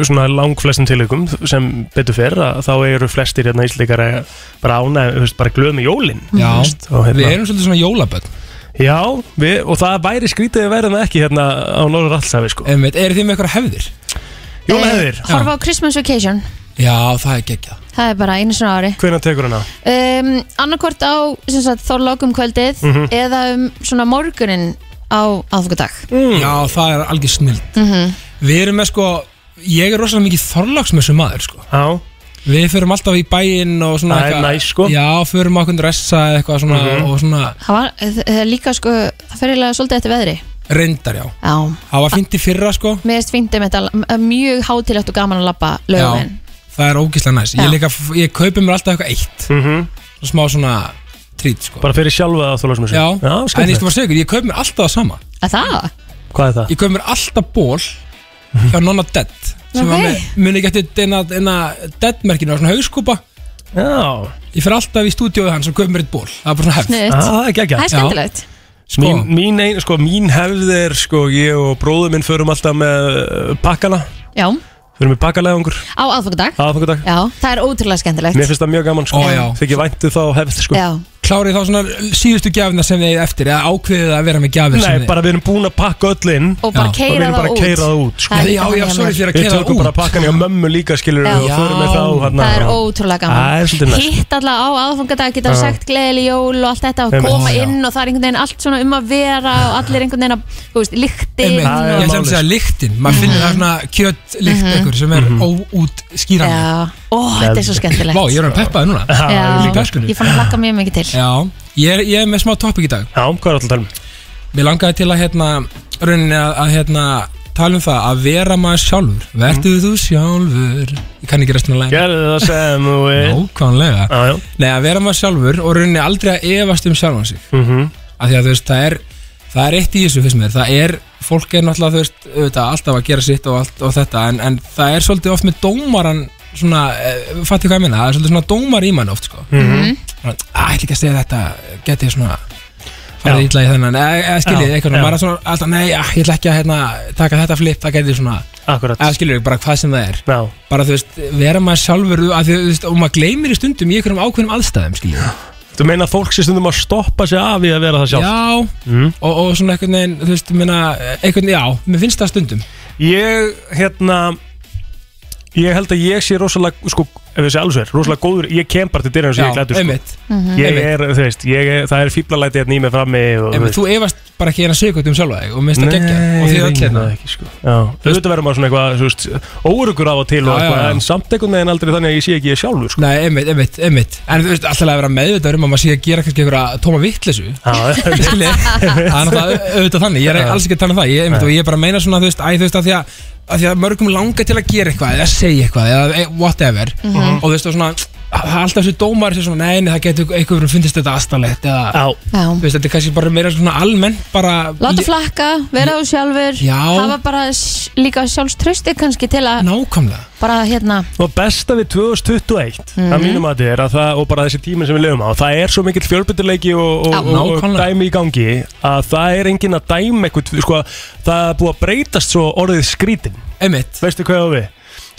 Speaker 1: svona langflestin tilökum sem betur fyrr að þá eru flestir hérna íslíkar að bara ána, veist, bara glöð með jólin
Speaker 11: Já,
Speaker 1: og hérna-
Speaker 11: við erum svolítið svona jólabönn
Speaker 1: Já, við, og það væri skrítið að verða ekki hérna á Norður Allsafi sko
Speaker 11: Einmitt, eru þið með eitthvað hefðir?
Speaker 1: Jólahefðir,
Speaker 2: Eh, Horfa á Christmas Vacation,
Speaker 11: Já, það er geggjað
Speaker 2: það er bara einu sinna ári
Speaker 1: hvenær tekur hann á?
Speaker 2: um, Annarkvort á sem sagt, þorlókum kvöldið
Speaker 1: Mhm.
Speaker 2: eða um svona morgunin á aðfokadag
Speaker 1: Mm.
Speaker 11: Já, það er algjör snild Við erum með sko, ég er rosalega mikið þorlagsmessu maður sko
Speaker 1: Já,
Speaker 11: Við förum alltaf í bæinn og svona
Speaker 1: Það er næs, sko.
Speaker 11: Já, förum á okkur ressa eða eitthvað svona
Speaker 1: Mhm.
Speaker 11: og svona
Speaker 2: Það var eh, eh, líka sko, það fer eiginlega svolítið eftir veðri
Speaker 11: reyndar já
Speaker 2: Já,
Speaker 11: Það var fint í fyrra sko
Speaker 2: mér finnst fyndið með þetta eh, mjög hátilegt og gaman að labba löguminn
Speaker 11: það er ógislega næs Ég,
Speaker 2: Já.
Speaker 11: líka, ég kaupi mér alltaf eitthvað eitt
Speaker 1: mm -hmm.
Speaker 11: Smá svona trít sko
Speaker 1: bara fyrir sjálfa það þólasmessu
Speaker 11: Já, en
Speaker 1: Já
Speaker 11: ég skal
Speaker 1: skemmtilegt.
Speaker 11: bara segja ykkur, ég kaup mér alltaf það sama
Speaker 2: Að það?
Speaker 1: Hvað er það?
Speaker 11: Ég kaup mér alltaf ból
Speaker 1: Mhm.
Speaker 11: hjá Nonna Dead sem var
Speaker 2: Ok.
Speaker 11: með, muni ekki eftir eina, eina Dead-merkinu, svona haugskúpa
Speaker 1: Já,
Speaker 11: Ég fer alltaf í stúdíóið hans og kaup mér eitt ból Það er bara svona hefð
Speaker 2: Snuðt,
Speaker 1: Ah, það er geggjað.
Speaker 2: það er skemmtilegt
Speaker 11: Sko,
Speaker 1: Mín, mín, ein, sko, mín hefð er sko, ég og bróður minn förum alltaf með uh, pakkana
Speaker 2: Já,
Speaker 1: förum við pakkalegungur
Speaker 2: á aðfokadag
Speaker 1: aðfangadag
Speaker 2: Já, það er ótrúlega skemmtilegt
Speaker 1: Ah. mér finnst það mjög gaman sko.
Speaker 11: Ó, já.
Speaker 1: þykir væntu þá hefð sko.
Speaker 2: Já,
Speaker 11: klárið þá svona síðustu gjafina sem þið eigið eftir eða ákveðið að vera með gjafir sem
Speaker 1: Nei,
Speaker 11: þið
Speaker 1: bara við erum búin að pakka öll inn
Speaker 2: og bara
Speaker 11: Já.
Speaker 1: og við
Speaker 2: keira það
Speaker 1: erum
Speaker 2: út
Speaker 1: bara að keira það út sko.
Speaker 2: Það er
Speaker 11: Já, já,
Speaker 2: gaman.
Speaker 11: sorry fyrir að
Speaker 1: við
Speaker 11: kera
Speaker 1: tökum bara pakkan hjá mömmu líka skilur
Speaker 2: Já.
Speaker 1: og förum við þá hérna,
Speaker 2: Það er ótrúlega
Speaker 1: Það
Speaker 2: gaman
Speaker 1: er svolítið næst.
Speaker 2: Hitt alltaf á aðfangadag geta
Speaker 1: Já.
Speaker 2: sagt gleðileg jól og allt þetta og
Speaker 1: Einmitt.
Speaker 2: koma
Speaker 11: Já, já.
Speaker 2: inn og það er einhvern veginn allt svona um að vera og allir einhvern veginn að, þú veist, lyktin
Speaker 11: Einmitt,
Speaker 1: Það er
Speaker 11: ég ætlum
Speaker 1: málið,
Speaker 11: að segja
Speaker 1: sko.
Speaker 11: lyktin maður finnir það svona kjötlykt ekkur sem er óút skýranlega
Speaker 2: Já, ó, þetta er svo skemmtilegt
Speaker 11: Vá, ég er að peppaði núna
Speaker 1: Já,
Speaker 2: Já,
Speaker 11: líka sko.
Speaker 2: ég fann að hlakka mjög mikið til
Speaker 11: Já, ég er, ég er með smá topic í dag
Speaker 1: Já, hvað er alltaf um? talum?
Speaker 11: Mér langaði til að hérna rauninni að, að hérna tala um það að vera maður sjálfur Vertu þú sjálfur Ég kann ekki restina að læna
Speaker 1: Gerðu það sem þú er
Speaker 11: Nákvæmlega
Speaker 1: Já, já
Speaker 11: Nei, að vera maður sjálfur og rauninni aldrei að efast um sjálfan sig
Speaker 1: Mhm.
Speaker 11: af því að þú veist, það er það er eitt í þessu fyrst mér, það er fólk er náttúrulega, þú veist, auðvitað, alltaf að gera sitt og, allt, og þetta, en, en það er svolítið oft með dómaran, svona eh, fatti hvað ég minna, það er svolítið svona dómar í mann oft sko,
Speaker 1: Mhm.
Speaker 11: Svona, að ætla ekki að segja þetta geti ég svona farið
Speaker 1: Já.
Speaker 11: ítla í þennan, eða eða skiljið
Speaker 1: Já,
Speaker 11: eitthvað,
Speaker 1: já.
Speaker 11: svona, maður er svona alltaf, nei, ah, ég ætla ekki að hérna, taka þetta flip, það geti svona
Speaker 1: Akkurat
Speaker 11: eða skiljið, bara hvað sem það er
Speaker 1: Já,
Speaker 11: bara þú veist, vera maður sjálfur að, því, þú veist, og maður gleymir í stundum í einhverjum ákveðnum aðstæðum skiljið
Speaker 1: Þú meina að fólk sé stundum að stoppa sig af í að vera það sjálf
Speaker 11: Já,
Speaker 1: Mhm.
Speaker 11: og, og svona einhvern veginn, þú veist, ég meina, einhvern veginn, já, mér finnst það stundum
Speaker 1: Ég, hérna Ég held að ég sé rosalega sko, ef ég sé alveg sér, rosalega góður ég kem bara til dyrum
Speaker 11: Já,
Speaker 1: sem ég glætur sko.
Speaker 11: einmitt. Mhm.
Speaker 1: Ég er,
Speaker 11: Einmitt.
Speaker 1: þú veist, ég er, það er fíblalæti hérna í mig frammi og,
Speaker 11: Ef þú efast bara ekki eina sigurkvæmt um sjálfa þig og minnst það geggja
Speaker 1: Nei,
Speaker 11: og því
Speaker 1: ég
Speaker 11: öll
Speaker 1: reyni
Speaker 11: hérna
Speaker 1: það ekki, sko. Já, auðvitað verður maður svona eitthvað, þú veist, óurugur af og til
Speaker 11: Já,
Speaker 1: og
Speaker 11: já,
Speaker 1: eitthvað,
Speaker 11: já.
Speaker 1: en samt einhvern veginn aldrei þannig að ég sé ekki ég sjálfur, sko.
Speaker 11: Nei, einmitt, einmitt, einmitt En þú veist, alltaf að vera meðvitað um að maður sé að gera kannski einhverja tóma vittlesu
Speaker 1: einmitt.
Speaker 11: Það er náttúrulega auðvitað þannig, ég er
Speaker 1: Já.
Speaker 11: alls ekki að tala um það ég, einmitt,
Speaker 1: Nei.
Speaker 11: Og ég er bara að meina svona, þú veist, æ, þú veist, að því að að því að mörgum langar til að gera eitthvað eða segja eitthvað eða e- whatever
Speaker 1: Mhm.
Speaker 11: og þú veist og svona það er alltaf þessi dómar sem svona neini það getur einhverjum fundist þetta aðstæðlegt eða
Speaker 2: Já.
Speaker 11: þú veist þetta er kannski bara meira svona almennt bara
Speaker 2: Láta flakka, vera þú sjálfur
Speaker 11: Já.
Speaker 2: hafa bara s- líka sjálfströsti kannski til að
Speaker 11: Nákvæmlega
Speaker 2: bara hérna
Speaker 1: Og besta við 2021
Speaker 2: Mhm.
Speaker 1: að mínum að þetta er að það, og bara þessi tími sem við lefum á, það er svo mikill fjölbyrduleiki og, og,
Speaker 11: Já.
Speaker 1: og, og
Speaker 11: Nákvæmlega.
Speaker 1: dæmi í gangi að það er enginn að dæmi eitthvað, sko, það er búið að breytast svo orðið skrítin.
Speaker 11: Einmitt.
Speaker 1: Veistu hvað ég á við?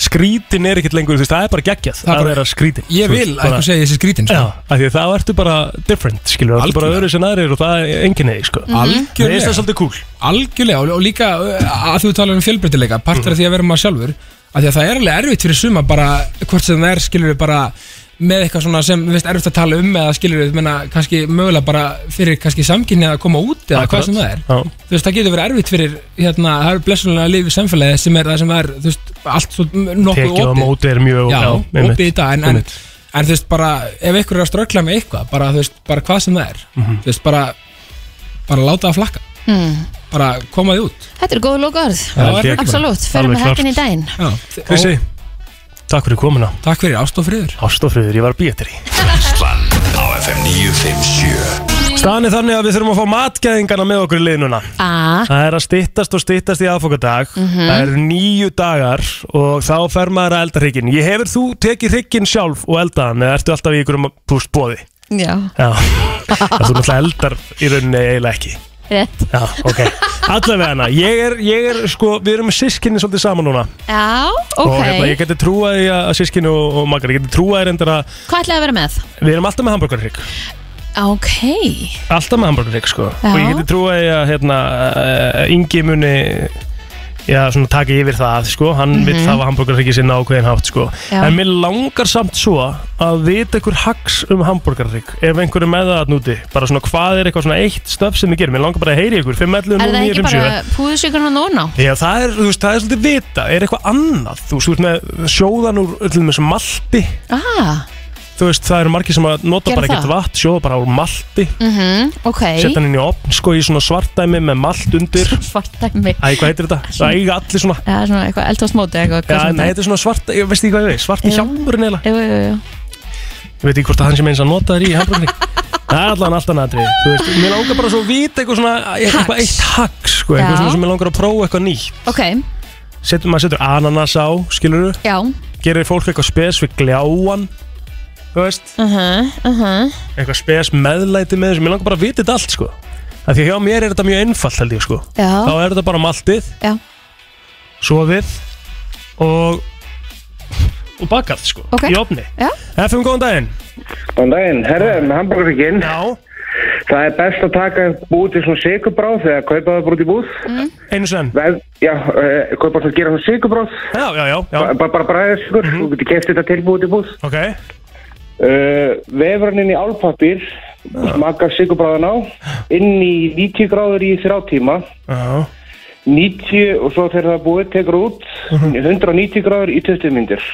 Speaker 1: Skrítin er ekkert lengur, þú veist, það er bara geggjað
Speaker 11: Það er
Speaker 1: að
Speaker 11: bara-
Speaker 1: vera skrítin.
Speaker 11: Ég
Speaker 1: Þú
Speaker 11: vil
Speaker 1: veist,
Speaker 11: að
Speaker 1: bara-
Speaker 11: einhver segja þessi skrítin sko.
Speaker 1: Já, af því þá ertu bara different, skilur, ertu bara öðru sem aðrir og það er enginn eigi, sko.
Speaker 11: Algjörlega.
Speaker 1: Mér finnst það svolítið cool.
Speaker 11: Algjörlega og- og líka uh, að þú talar um fjölbreytileika
Speaker 1: Mhm.
Speaker 11: partur af því að vera maður sjálfur af því að það er alveg erfitt fyrir suma bara hvort sem það er skilur við bara með eitthvað svona sem við veist erfitt að tala um eða skilur við menna kannski mögulega bara fyrir kannski samkynni að koma út eða
Speaker 1: Akkurat.
Speaker 11: hvað sem það er
Speaker 1: Já.
Speaker 11: þú veist það getur verið erfitt fyrir hérna það er blessunlega lífið samfélagi sem er það sem það er þú veist allt svo nokkuð
Speaker 1: Tekið á
Speaker 11: opið
Speaker 1: móti er mjög,
Speaker 11: já,
Speaker 1: einmitt,
Speaker 11: opið í dag en, en,
Speaker 1: einmitt.
Speaker 11: en þú veist bara, ef ykkur er að ströggla með eitthvað bara, þú veist, bara hvað sem það er
Speaker 1: Mhm.
Speaker 11: þú veist, bara, bara láta það flakka
Speaker 2: mm.
Speaker 1: Hmm.
Speaker 11: bara koma því út
Speaker 2: Þetta er góð lókaðurð
Speaker 11: Já, það er ekki.
Speaker 2: Absolutt, fyrir
Speaker 1: Alveg
Speaker 2: með
Speaker 1: klárt.
Speaker 2: hekkin í daginn
Speaker 1: Krissi, takk fyrir komuna.
Speaker 11: Takk fyrir ást og friður.
Speaker 1: Ást og friður, ég var að býja þér í.
Speaker 3: Brennslan á FM 957
Speaker 1: Staðan er þannig að við þurfum að fá matgæðingana með okkur í liðnuna.
Speaker 2: A
Speaker 1: Það er að styttast og styttast í aðfokadag
Speaker 2: Mhm.
Speaker 1: Það eru nýju dagar og þá fer maður að elda hrygginn Ég hefur þú tekið hrygginn sjálf og eldaðan eða ertu alltaf í ykkur um púst bóði?
Speaker 7: Já
Speaker 1: Já, það þú náttúrulega eldar í rauninni eiginlega ekki
Speaker 2: Rétt
Speaker 1: Já, ok, allavega hana ég er, ég er, sko, við erum sískinni svolítið saman núna
Speaker 2: Já,
Speaker 1: Og hérna, ég
Speaker 2: ok
Speaker 1: geti trúað í að að sískinni og, og magar Ég geti trúað í reyndar að
Speaker 2: Hvað ætlaði að vera með?
Speaker 1: við erum alltaf með hamburgarhrygg
Speaker 2: Ok
Speaker 1: Alltaf með hamburgarhrygg, sko
Speaker 2: Já.
Speaker 1: Og ég geti trúið að hérna, uh, Ingi muni Já, svona taka yfir það, sko Hann mm
Speaker 2: Mhm.
Speaker 1: -hmm. vill hafa hamburgarhryggi sinna ákveðin hátt, sko
Speaker 2: Já.
Speaker 1: En mér langar samt svo að vita einhver hags um hamburgarhrygg Ef einhver er með það að núti Bara svona hvað er eitthvað svona eitt stöf sem þið gerum Mér langar bara að heyri ykkur, 5, 11,
Speaker 2: Er
Speaker 1: 0,
Speaker 2: það
Speaker 1: 9,
Speaker 2: ekki
Speaker 1: 5, 7
Speaker 2: bara púðusjökurinn og nóna?
Speaker 1: Já, það er, þú veist, það er svolítið vita Er eitthvað annað, þú veist, þú veist með sjóðan úr öllum þessum malti
Speaker 2: Ah,
Speaker 1: Þú veist, það eru margir sem að nota
Speaker 2: Gera
Speaker 1: bara ekkert
Speaker 2: það?
Speaker 1: vatn, sjóða bara úr malti
Speaker 2: mhm, ok
Speaker 1: setja hann inn í opn sko í svona svartdæmi með malt undir
Speaker 2: Svartæmi
Speaker 1: Æ, hvað heitir þetta? Það eiga allir svona
Speaker 2: Já, svona eitthvað eldhásmóti eitthvað
Speaker 1: Já, nei, þetta er svona svart, ég veist ekki hvað ég veist, svart í hjálmurinn eða
Speaker 2: Jú, jú, jú
Speaker 1: Ég veit ekki hvort að hann sem eins að nota þér í hamburgni Það er allan alltaf natrið, þú veist, mér langar bara svo að vita eitthvað svona, eitthvað eitt hack, sko,
Speaker 2: Já.
Speaker 1: eitthvað svona sem mér langar að prófa eitthvað nýtt
Speaker 2: Ok,
Speaker 1: Setur, maður setur ananas á, skilur
Speaker 2: já
Speaker 1: gerir fólk eitthvað spes við gljáan, þú veist,
Speaker 2: Uh -huh, uh -huh.
Speaker 1: eitthvað spes meðlæti með þessu, mér langar bara að vita þetta allt sko af því að hjá mér er þetta mjög einfalt held ég sko
Speaker 2: Já.
Speaker 1: þá er þetta bara maltið
Speaker 2: Já.
Speaker 1: sofið og og bakað sko
Speaker 2: Ok.
Speaker 1: í ofni
Speaker 2: Já.
Speaker 1: FM góðan daginn
Speaker 12: Góðan daginn, herðu, með hambúrgarfingin
Speaker 1: Já
Speaker 12: Það er best að taka búið til svona sigubráð þegar kaupa það bara út í búð
Speaker 1: mm. Einu sen
Speaker 12: Veð, Já, uh, kaupa það að gera svona sigubráð
Speaker 1: Já, já, já, já. Mhm.
Speaker 12: Bara, bara bræðið sigur, þú getur keft þetta tilbúið út í búð
Speaker 1: Ok
Speaker 12: uh, Vefraninn í álpappir smaka sigubráðan á inn í 90 gráður í þrjá tíma
Speaker 1: Já
Speaker 12: 90 og svo þegar það er búið tekur út 190 gráður í 20 myndir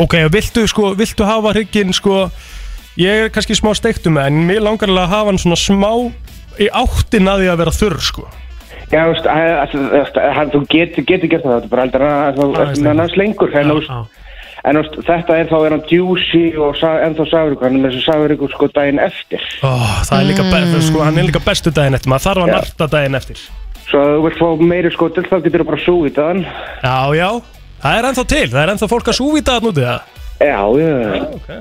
Speaker 1: ok, og viltu sko, viltu hafa hrygginn sko, ég er kannski smá steiktu með en mér langar alveg að hafa hann svona smá í áttin að því að vera þurr sko
Speaker 12: Já, þú veist, að- að- að- að- að- að- þú getur getur gert það, þetta er bara heldur að þú ert með annars lengur, en þú veist, en þú veist, þetta er þá er hann djúsi og sa- ennþá safuríkur, hann er með þessu safuríkur sko daginn eftir.
Speaker 1: oh, það er líka, mm. sko, hann er líka bestu daginn eftir maður þarf að
Speaker 12: Já.
Speaker 1: narta daginn eftir
Speaker 12: Svo að þú vilt fá meiri sko til þá getur þú bara súvítið hann.
Speaker 1: Já, já, það er ennþá til, það er ennþá fólk að súvita þarna úti það
Speaker 12: Já, já.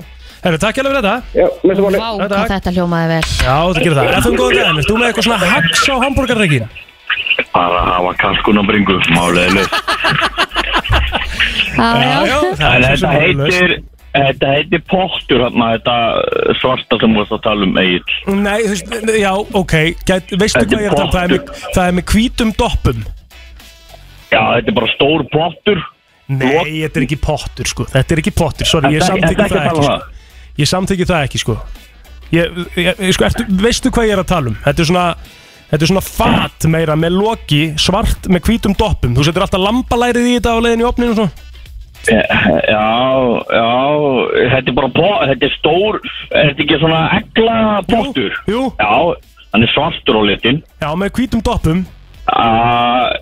Speaker 1: Herru, takk hérlega fyrir þetta
Speaker 12: Já, með
Speaker 2: Vá, hvað þetta hljómaði vel
Speaker 1: Já, það gerir það, ef þú góðan daginn, erst þú með eitthvað svona hax á hambúrgarreikin?
Speaker 13: Bara að hafa kalkun á bringu, málið er löst.
Speaker 2: Já, já
Speaker 13: En þetta
Speaker 1: svo sem málið er
Speaker 13: heitir, Þetta heitir pottur hérna, þetta svarta sem voru að tala um eigin.
Speaker 1: Nei, þú veist, já, ok Gæt, Veistu
Speaker 13: Þetta
Speaker 1: hvað ég er að tala? um? Það er með- Það er með hvítum doppum
Speaker 13: Já, þetta er bara stór pottur.
Speaker 1: Nei, þetta er ekki pottur, sko Þetta er ekki pottur, sorry, ég
Speaker 13: Ertu ekki- ertu ekki
Speaker 1: samþykki
Speaker 13: að tala
Speaker 1: það
Speaker 13: um
Speaker 1: ekki sko. Ég samþykki það ekki, sko Ég, ég, ég sko, ertu, veistu hvað ég er að tala um? Þetta er svona Þetta er svona fat meira með loki svart með hvítum doppum Þú setur alltaf lambalærið í þetta á leiðinu í opninu og svona
Speaker 13: Já, já, þetta er bara pottur, þetta er stór, er þetta ekki svona egla pottur?
Speaker 1: Jú, jú.
Speaker 13: Já, hann er svartur á litin.
Speaker 1: Já, með hvítum doppum
Speaker 13: Uh,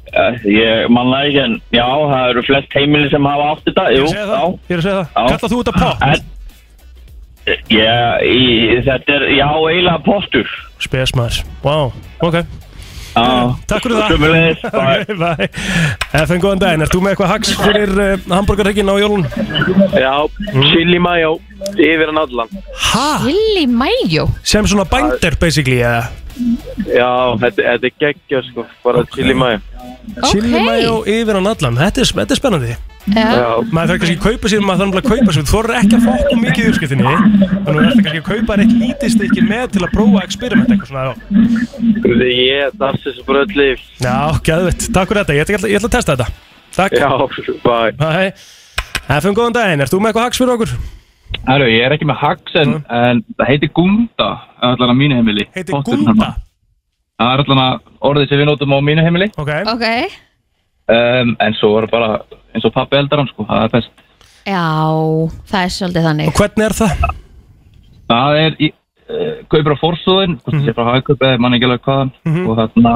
Speaker 13: ég manna ekki en já, það eru flest heimili sem hafa átt þetta,
Speaker 1: Ég er
Speaker 13: jú,
Speaker 1: að segja það,
Speaker 13: já.
Speaker 1: ég er að segja
Speaker 13: Já.
Speaker 1: það Kallar þú þetta pott?
Speaker 13: Já, í, þetta er, já, eiginlega postur.
Speaker 1: Spes maður, wow, ok
Speaker 13: Já.
Speaker 1: Takk fyrir það
Speaker 13: Sömuleiðis, bye.
Speaker 1: Ok, bye. FN, góðan daginn, ert þú með eitthvað hags fyrir uh, hambúrgarheginn á jólun?
Speaker 14: Já, chili mayo yfir hann allan
Speaker 1: Hæ?
Speaker 2: Chili mayo?
Speaker 1: Sem svona bændur, basically, eða?
Speaker 14: Já, þetta, þetta er geggja sko, bara chili mayo
Speaker 1: Chili mayo yfir hann allan, þetta er, þetta er spennandi
Speaker 14: Já.
Speaker 1: Maður þarf kannski að kaupa sér, maður þarf nefnilega að kaupa sér Þú þorir ekki að fokka of mikið í uppskiptinni Þannig að þetta kannski að kaupa þér eitt lítið stykki með til að prófa að experiment eitthvað svona já.
Speaker 14: Gruði ég, það er þessu bara öll líf
Speaker 1: Já, gæðvett, takk fyrir þetta, ég ætla, ég ætla að testa þetta Takk
Speaker 14: Já, bye
Speaker 1: Bye FN, góðan daginn, ert þú með eitthvað hags fyrir okkur?
Speaker 15: Herru, ég er ekki með hax en, en það heitir gunda allan á mínu heimili
Speaker 1: Heitir gunda?
Speaker 15: hérna. Það er allan að orðið sem við notum á mínu heimili
Speaker 1: okay.
Speaker 2: Ok,
Speaker 15: um, En svo er bara eins og pappi eldar hann sko, það er best
Speaker 2: já, það er svolítið þannig
Speaker 1: Hvernig er það?
Speaker 15: Það er í, uh, kaupir á forsóðin hvort
Speaker 1: Mhm.
Speaker 15: það sé frá hagkaup eða mann ekki alveg hvaðan og þarna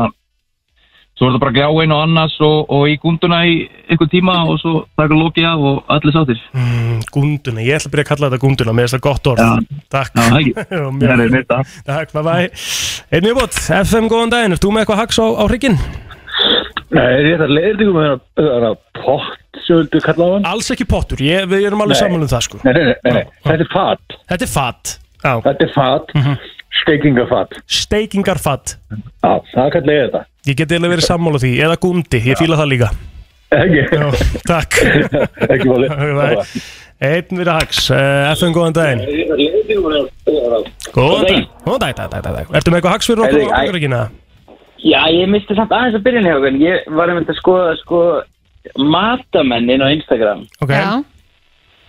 Speaker 15: svo er það bara gljáin og annars og, og í gunduna í einhver tíma og svo taka lokið af og allir sáttir
Speaker 1: Mm, gunduna, ég ætla að byrja að kalla þetta gunduna Mér finnst það gott orð Takk
Speaker 15: Já, ekki.
Speaker 1: Já, mjög.
Speaker 15: Herru, mitt að.
Speaker 1: Takk, bye bye Einn viðbót, FM góðan daginn Ert þú með eitthvað hags á, á hrygginn?
Speaker 16: Nei, er þetta leiðingum með þarna pott sem vildu kalla á hann?
Speaker 1: Alls ekki pottur, ég, við erum alveg
Speaker 16: Nei.
Speaker 1: saman um það sko
Speaker 16: Nei, nei, nei, nei. þetta er fat.
Speaker 1: Þetta er fat. Já. Mhm.
Speaker 16: Þetta er fat, mm -hmm. steikingarfat.
Speaker 1: Steikingarfat.
Speaker 16: Já, það kallar ég þetta.
Speaker 1: Ég geti eða verið sammála því, eða gundi, ég fíla það líka
Speaker 16: Ekki.
Speaker 1: Já, takk
Speaker 16: Ekki máli.
Speaker 1: Bye, bye. Einn viðra hags, uh, FM góðan daginn Góðan dag, góðan dag, dag, dag, dag, dag Ertu með eitthvað hags fyrir
Speaker 17: Heyrðu,
Speaker 1: okkur á
Speaker 17: æ-
Speaker 1: hrygginn? eða?
Speaker 17: Já, ég misti samt aðeins að byrjun hjá okkur. Ég var einmitt að skoða, sko, matamennin á Instagram.
Speaker 1: Ok. Já.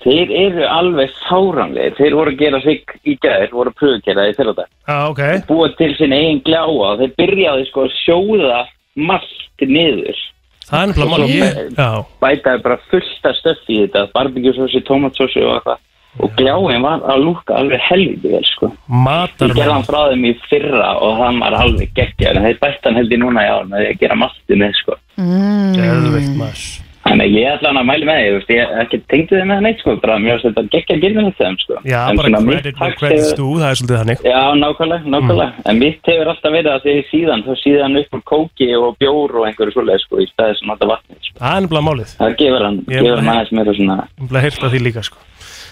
Speaker 17: Þeir eru alveg sáranlegir. Þeir voru að gera sig í gæðir, voru að pröfugera þeir fyrir þetta.
Speaker 1: Já, ok
Speaker 17: Búa til sinn eigin gljáa og þeir byrjaði, sko, að sjóða malt niður.
Speaker 1: Það er
Speaker 17: Og
Speaker 1: nefnilega mál
Speaker 17: svo
Speaker 1: ég, já,
Speaker 17: Bætaði bara fullt af stöffi í þetta, barbegjusósi, tomatsósi og eitthvað. Og gljáin var að lúka alveg helviti vel, sko. Ég gerði hann
Speaker 1: matarmann
Speaker 17: frá þeim í fyrra og hann var alveg geggja en þeir bætt hann held ég núna í ár með því að gera masti með sko.
Speaker 2: Mm.
Speaker 1: Geðveikt maður
Speaker 17: Þannig að ég ætla hann að mæli með því, þú veist, ég ekki tengdi þið með hann eitt sko, bara mér finnst þetta geggja að gera með þeim sko.
Speaker 1: Já,
Speaker 17: En
Speaker 1: bara
Speaker 17: svona mitt
Speaker 1: credit Mm. where
Speaker 17: hax
Speaker 1: credit's
Speaker 17: hefur-
Speaker 1: due, það er svolítið þannig
Speaker 17: Já, nákvæmlega, nákvæmlega. En mitt hefur alltaf verið að því síðan, þá síðan upp úr kóki og bjór og einhverju svoleið sko í staði sem alltaf vatnið sko.
Speaker 1: Það er nefnilega málið
Speaker 17: Það gefur hann,
Speaker 1: Ég
Speaker 17: gefur hann
Speaker 1: bara-
Speaker 17: aðeins meira svona,
Speaker 1: Nefnilega heyrta því líka sko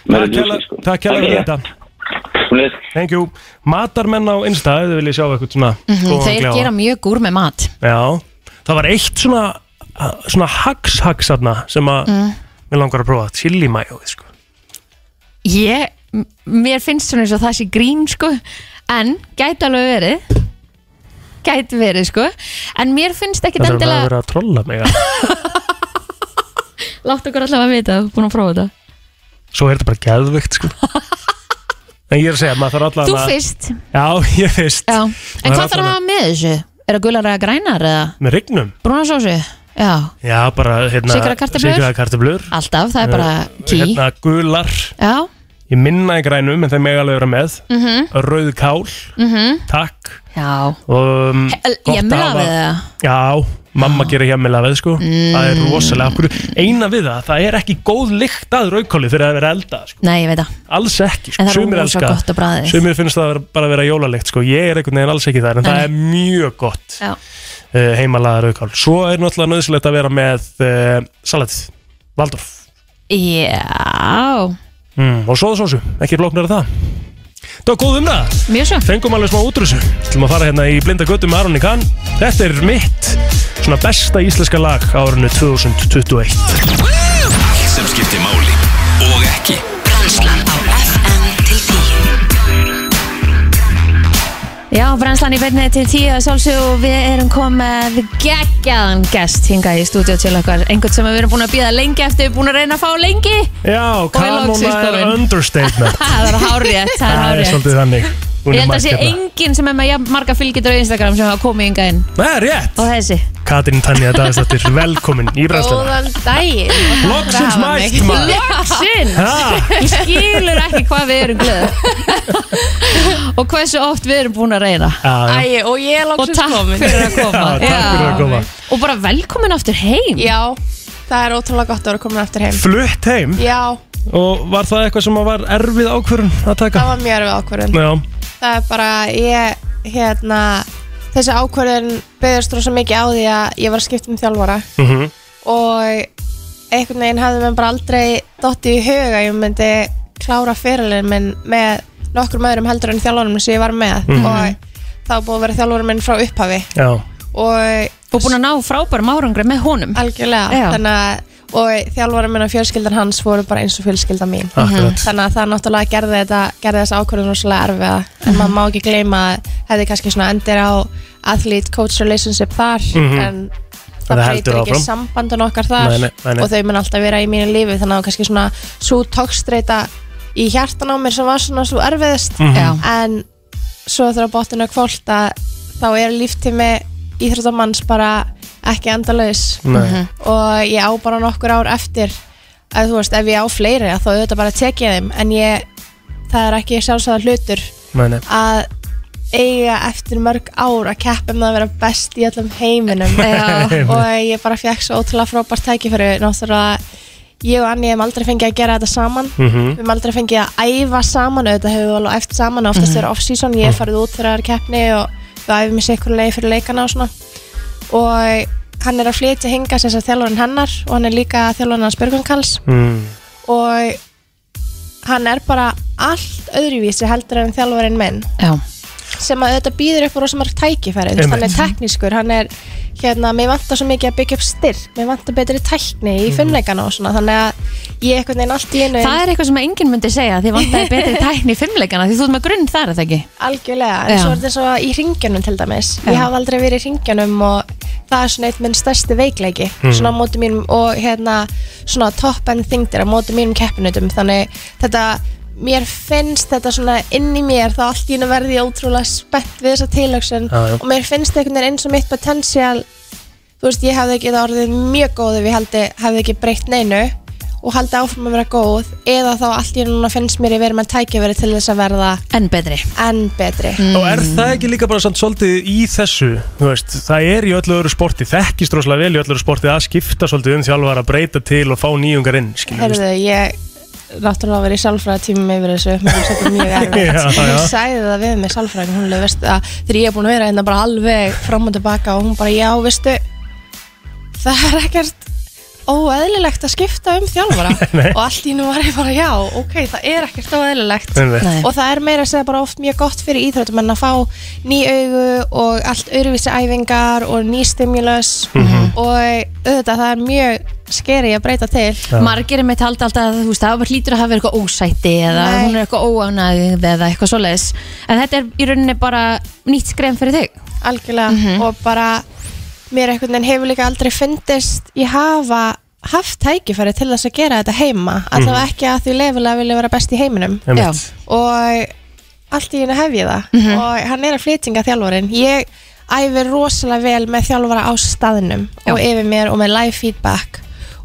Speaker 17: meira
Speaker 1: Takk
Speaker 17: djúsi
Speaker 1: kjærlega-
Speaker 17: sko.
Speaker 1: Takk kjæla fyrir þetta
Speaker 17: Bless.
Speaker 1: Thank you Matarmenn á Insta, ef þið viljið sjá eitthvað svona
Speaker 2: Mhm,
Speaker 1: góðan
Speaker 2: Þeir
Speaker 1: klefa.
Speaker 2: gera mjög gúr með mat
Speaker 1: Já, það var eitt svona svona hags-hags þarna sem að
Speaker 2: Mm.
Speaker 1: mér langar að prófa chili mayo sko.
Speaker 2: Ég, m- mér finnst svona eins og það sé grín sko En gæti alveg verið Gæti verið sko En mér finnst ekkit
Speaker 1: Það þarf að
Speaker 2: endilega
Speaker 1: vera að trolla mig að-
Speaker 2: Látt okkur allavega að vita, þú ert búin að prófa þetta
Speaker 1: Svo er þetta bara geðveikt sko. En ég er að segja, maður þarf allavega
Speaker 2: Þú fyrst
Speaker 1: Já, ég fyrst
Speaker 2: Já, en hvað
Speaker 1: Maður
Speaker 2: þarf að
Speaker 1: allavega-
Speaker 2: hafa með þessu? Er það gular eða grænar eða
Speaker 1: Með rygnum?
Speaker 2: brúnasósu? Já,
Speaker 1: Já, bara hérna
Speaker 2: Sykraðar kartöflur?
Speaker 1: sykraðar kartöflur.
Speaker 2: alltaf, það er bara key
Speaker 1: Hérna gular
Speaker 2: Já,
Speaker 1: Ég minna í grænum, en það mega alveg vera með
Speaker 2: mhm,
Speaker 1: Rauð kál,
Speaker 2: mhm
Speaker 1: takk
Speaker 2: Já
Speaker 1: um,
Speaker 2: He-
Speaker 1: gott að
Speaker 2: jemmilaveið
Speaker 1: hafa-
Speaker 2: eða? Ah.
Speaker 1: Já, mamma gerir hjemmilafið sko Það
Speaker 2: Mm.
Speaker 1: er rosalega okkur Eina við það, það er ekki góð lykt að rauðkáli þegar það er að vera elda sko.
Speaker 2: Nei, ég veit það
Speaker 1: Alls ekki sko.
Speaker 2: En það er
Speaker 1: Sumir
Speaker 2: rosa
Speaker 1: elska-
Speaker 2: gott að bragðið.
Speaker 1: Sumir finnst það að vera- bara að vera jólalikt sko. Ég er einhvern veginn alls ekki þar En það
Speaker 2: Nei.
Speaker 1: er mjög gott
Speaker 2: Já.
Speaker 1: uh, heimalaða rauðkál Svo er náttúrulega nöðsilegt að vera með uh, salatið, Valdorf
Speaker 2: Já,
Speaker 1: mm, Og sóðsósu, ekki flóknar að það Það var góð um það
Speaker 2: Mjög svo
Speaker 1: Fengum alveg smá útrúsu Til að fara hérna í blinda göttu með Aron í kann Þetta er mitt Svona besta íslenska lag árinu 2021
Speaker 3: Allt sem skiptir máli og ekki
Speaker 6: Brennslan á FM til 10
Speaker 2: Já, brennslan í beinni til tíu að sjálfsög og við erum komið geggjaðan gest hingað í stúdíu til okkar einhvern sem við erum búin að býða lengi eftir, búin að reyna að fá lengi
Speaker 1: Já,
Speaker 2: er loksins
Speaker 1: kanona er
Speaker 2: komin.
Speaker 1: understatement
Speaker 2: Ha, það er hárið, það er
Speaker 1: Það er
Speaker 2: hárið
Speaker 1: svolítið þannig Hún
Speaker 2: Ég
Speaker 1: er
Speaker 2: held að sé
Speaker 1: mætt hérna.
Speaker 2: enginn sem er með jafn marga fylgjendur á Instagram sem hafa komið hingað inn
Speaker 1: Það er rétt
Speaker 2: Og þessi
Speaker 1: Katrín Tanja Dagastóttir, velkomin í bræðsluna
Speaker 9: Góðan daginn
Speaker 1: Loksins mætt, maður.
Speaker 2: Loksins
Speaker 1: Ha.
Speaker 2: Þú skilur ekki hvað við erum glöð Og hversu oft við erum búin að reyna
Speaker 1: Já, já.
Speaker 9: Æ, og ég er
Speaker 2: Og
Speaker 9: loksins
Speaker 2: takk
Speaker 9: komin
Speaker 2: fyrir að koma
Speaker 1: Já, takk fyrir að koma.
Speaker 2: Og bara velkomin aftur heim
Speaker 9: Já, það er ótrúlega gott að vera komin aftur heim
Speaker 1: Flutt heim
Speaker 9: Já,
Speaker 1: Og var það eitthvað sem var erfið ákvörðun að taka?
Speaker 9: það var mjög erfið ákvörðun
Speaker 1: Já,
Speaker 9: Það er bara, ég, hérna Þessi ákvörðun byggðist rosa mikið á því að ég var að skipta um þjálfara
Speaker 1: mhm
Speaker 9: Og einhvern veginn hafði mér bara aldrei dottið í huga Ég myndi klára fyrirlinn minn með nokkrum öðrum heldur en þjálfarum sem ég var með
Speaker 1: Mhm.
Speaker 9: Og það var búið að vera þjálfarum minn frá upphafi
Speaker 1: já
Speaker 9: og,
Speaker 2: og búin að ná frábærum árangri með honum
Speaker 9: algjörlega
Speaker 2: Já.
Speaker 9: þannig að og þjálfara minn og fjölskyldan hans voru bara eins og fjölskyldan mín
Speaker 1: Akkurat.
Speaker 9: þannig að það náttúrulega gerði, þetta, gerði þessa ákvörðun rosalega erfiða en maður má ekki gleyma að hefði kannski svona endir á athlete coach relationship þar
Speaker 1: Mhm.
Speaker 9: en
Speaker 1: En
Speaker 9: það
Speaker 1: það heldur
Speaker 9: breytir ekki
Speaker 1: áfram.
Speaker 9: sambandun okkar þar
Speaker 1: Nei, nei, nei, nei.
Speaker 9: og þau mun alltaf vera í mínu lífi þannig að kannski svona svo tókstreita í hjartan á mér sem var svona svo erfiðist
Speaker 1: Mhm. Já.
Speaker 9: en svo þegar bóttinu er kvólt að þá er líftími íþróttamanns bara ekki endalaus
Speaker 1: Nei. Mhm.
Speaker 9: og ég á bara nokkur ár eftir að þú veist, ef ég á fleiri að þá auðvitað bara tekið þeim en ég, það er ekki sjálfsagðar hlutur
Speaker 1: Nei, nei.
Speaker 9: að eiga eftir mörg ár að keppa um að vera best í öllum heiminum
Speaker 1: Já.
Speaker 9: og ég bara fekk svo ótrúlega frábært tækifæri náttúrulega ég og Anni hefum aldrei fengið að gera þetta saman
Speaker 1: Mhm.
Speaker 9: við hefum aldrei fengið að æfa saman auðvitað hefur við alveg eftir saman oftast
Speaker 1: Mhm.
Speaker 9: þegar off-season ég hef farið út fyrir aðra keppni og við æfum í sikkur leið fyrir leikana og svona og hann er að flytja hinga sem þess að þjálfurinn hennar og hann er líka þjálfurinn hans Björgum Kalls
Speaker 1: Mm.
Speaker 9: og hann er bara allt öðruvísi heldur en þjálfarinn minn
Speaker 2: Já.
Speaker 9: sem að þetta býður upp á rosa margt tækifæri þú veist,
Speaker 2: Einmitt.
Speaker 9: hann er teknískur, hann er hérna, mér vantar svo mikið að byggja upp styrk mér vantar betri tækni í fimmleikana og svona þannig að ég einhvern veginn allt í einu
Speaker 2: Það er eitthvað sem enginn myndi segja Þið vantaði betri tækni í fimmleikana Því þú ert með grunn þar, er það ekki?
Speaker 9: algjörlega, en
Speaker 2: Já.
Speaker 9: svo er þetta svo í ringjunum til dæmis,
Speaker 2: Já.
Speaker 9: ég hafði aldrei verið í ringjunum og það er svona eitt minn stærsti veikleiki,
Speaker 1: Hmm.
Speaker 2: Mhm.
Speaker 9: svona á móti mínum og hérna, svona top end þingdir á móti mínum keppinutum, þannig þetta, mér finnst þetta svona inn í mér, þá allt í einu verði ég ótrúlega spennt við þessa tilöksun
Speaker 1: Já, já.
Speaker 9: og mér finnst einhvern veginn eins og mitt potensial þú veist, ég hefði ekki það orðið mjög góð ef ég haldi, hefði ekki breytt neinu og haldi áfram að vera góð eða þá allt í einu núna finnst mér ég verið með tækifæri til þess að verða
Speaker 2: enn betri,
Speaker 1: Mhm. Og er það ekki líka bara samt svolítið í þessu þú veist, Það er í öllu öðru sporti Þekkist rosalega vel í öllu öðru sporti Að skipta svolítið um þjálfar að breyta til og fá nýjungar inn skilur,
Speaker 9: Herðu, ég náttúrulega verið í sálfræða tímum yfir þessu mér finnst þetta mjög
Speaker 1: Já,
Speaker 9: erfitt
Speaker 1: já.
Speaker 9: hún sagði það við mig sálfræðin hún leið, veistu að þegar ég er búin að vera hérna bara alveg fram og tilbaka og hún bara já veistu það er ekkert óeðlilegt að skipta um þjálfara
Speaker 1: Nei.
Speaker 9: og allt í nú var ég bara já ok, það er ekkert óeðlilegt
Speaker 1: Einmitt. Nei.
Speaker 9: og það er meira að segja bara oft mjög gott fyrir íþróttum en að fá ný augu og allt öðruvísi æfingar og ný stimulus
Speaker 1: Mhm.
Speaker 9: og auðvitað það er mjög skeri að breyta til
Speaker 2: Já. Margir er með taldi alltaf að þú veist, það hlýtur að hafa verið eitthvað ósæti eða
Speaker 9: Nei.
Speaker 2: hún er eitthvað óánægð eða eitthvað svoleiðis en þetta er í rauninni bara nýtt skrefn fyrir þig
Speaker 9: algjörlega og bara mér einhvern veginn hefur líka aldrei fundist ég hafa haft tækifæri til þess að gera þetta heima allavega
Speaker 1: Mhm.
Speaker 9: ekki að því lefilega vilja vera best í heiminum
Speaker 1: Einmitt.
Speaker 9: og allt í henni hef ég það
Speaker 1: Mhm.
Speaker 9: og hann er að flytinga þjálfarin ég æfi rosalega vel með þjálfara á staðnum og yfir mér og með live feedback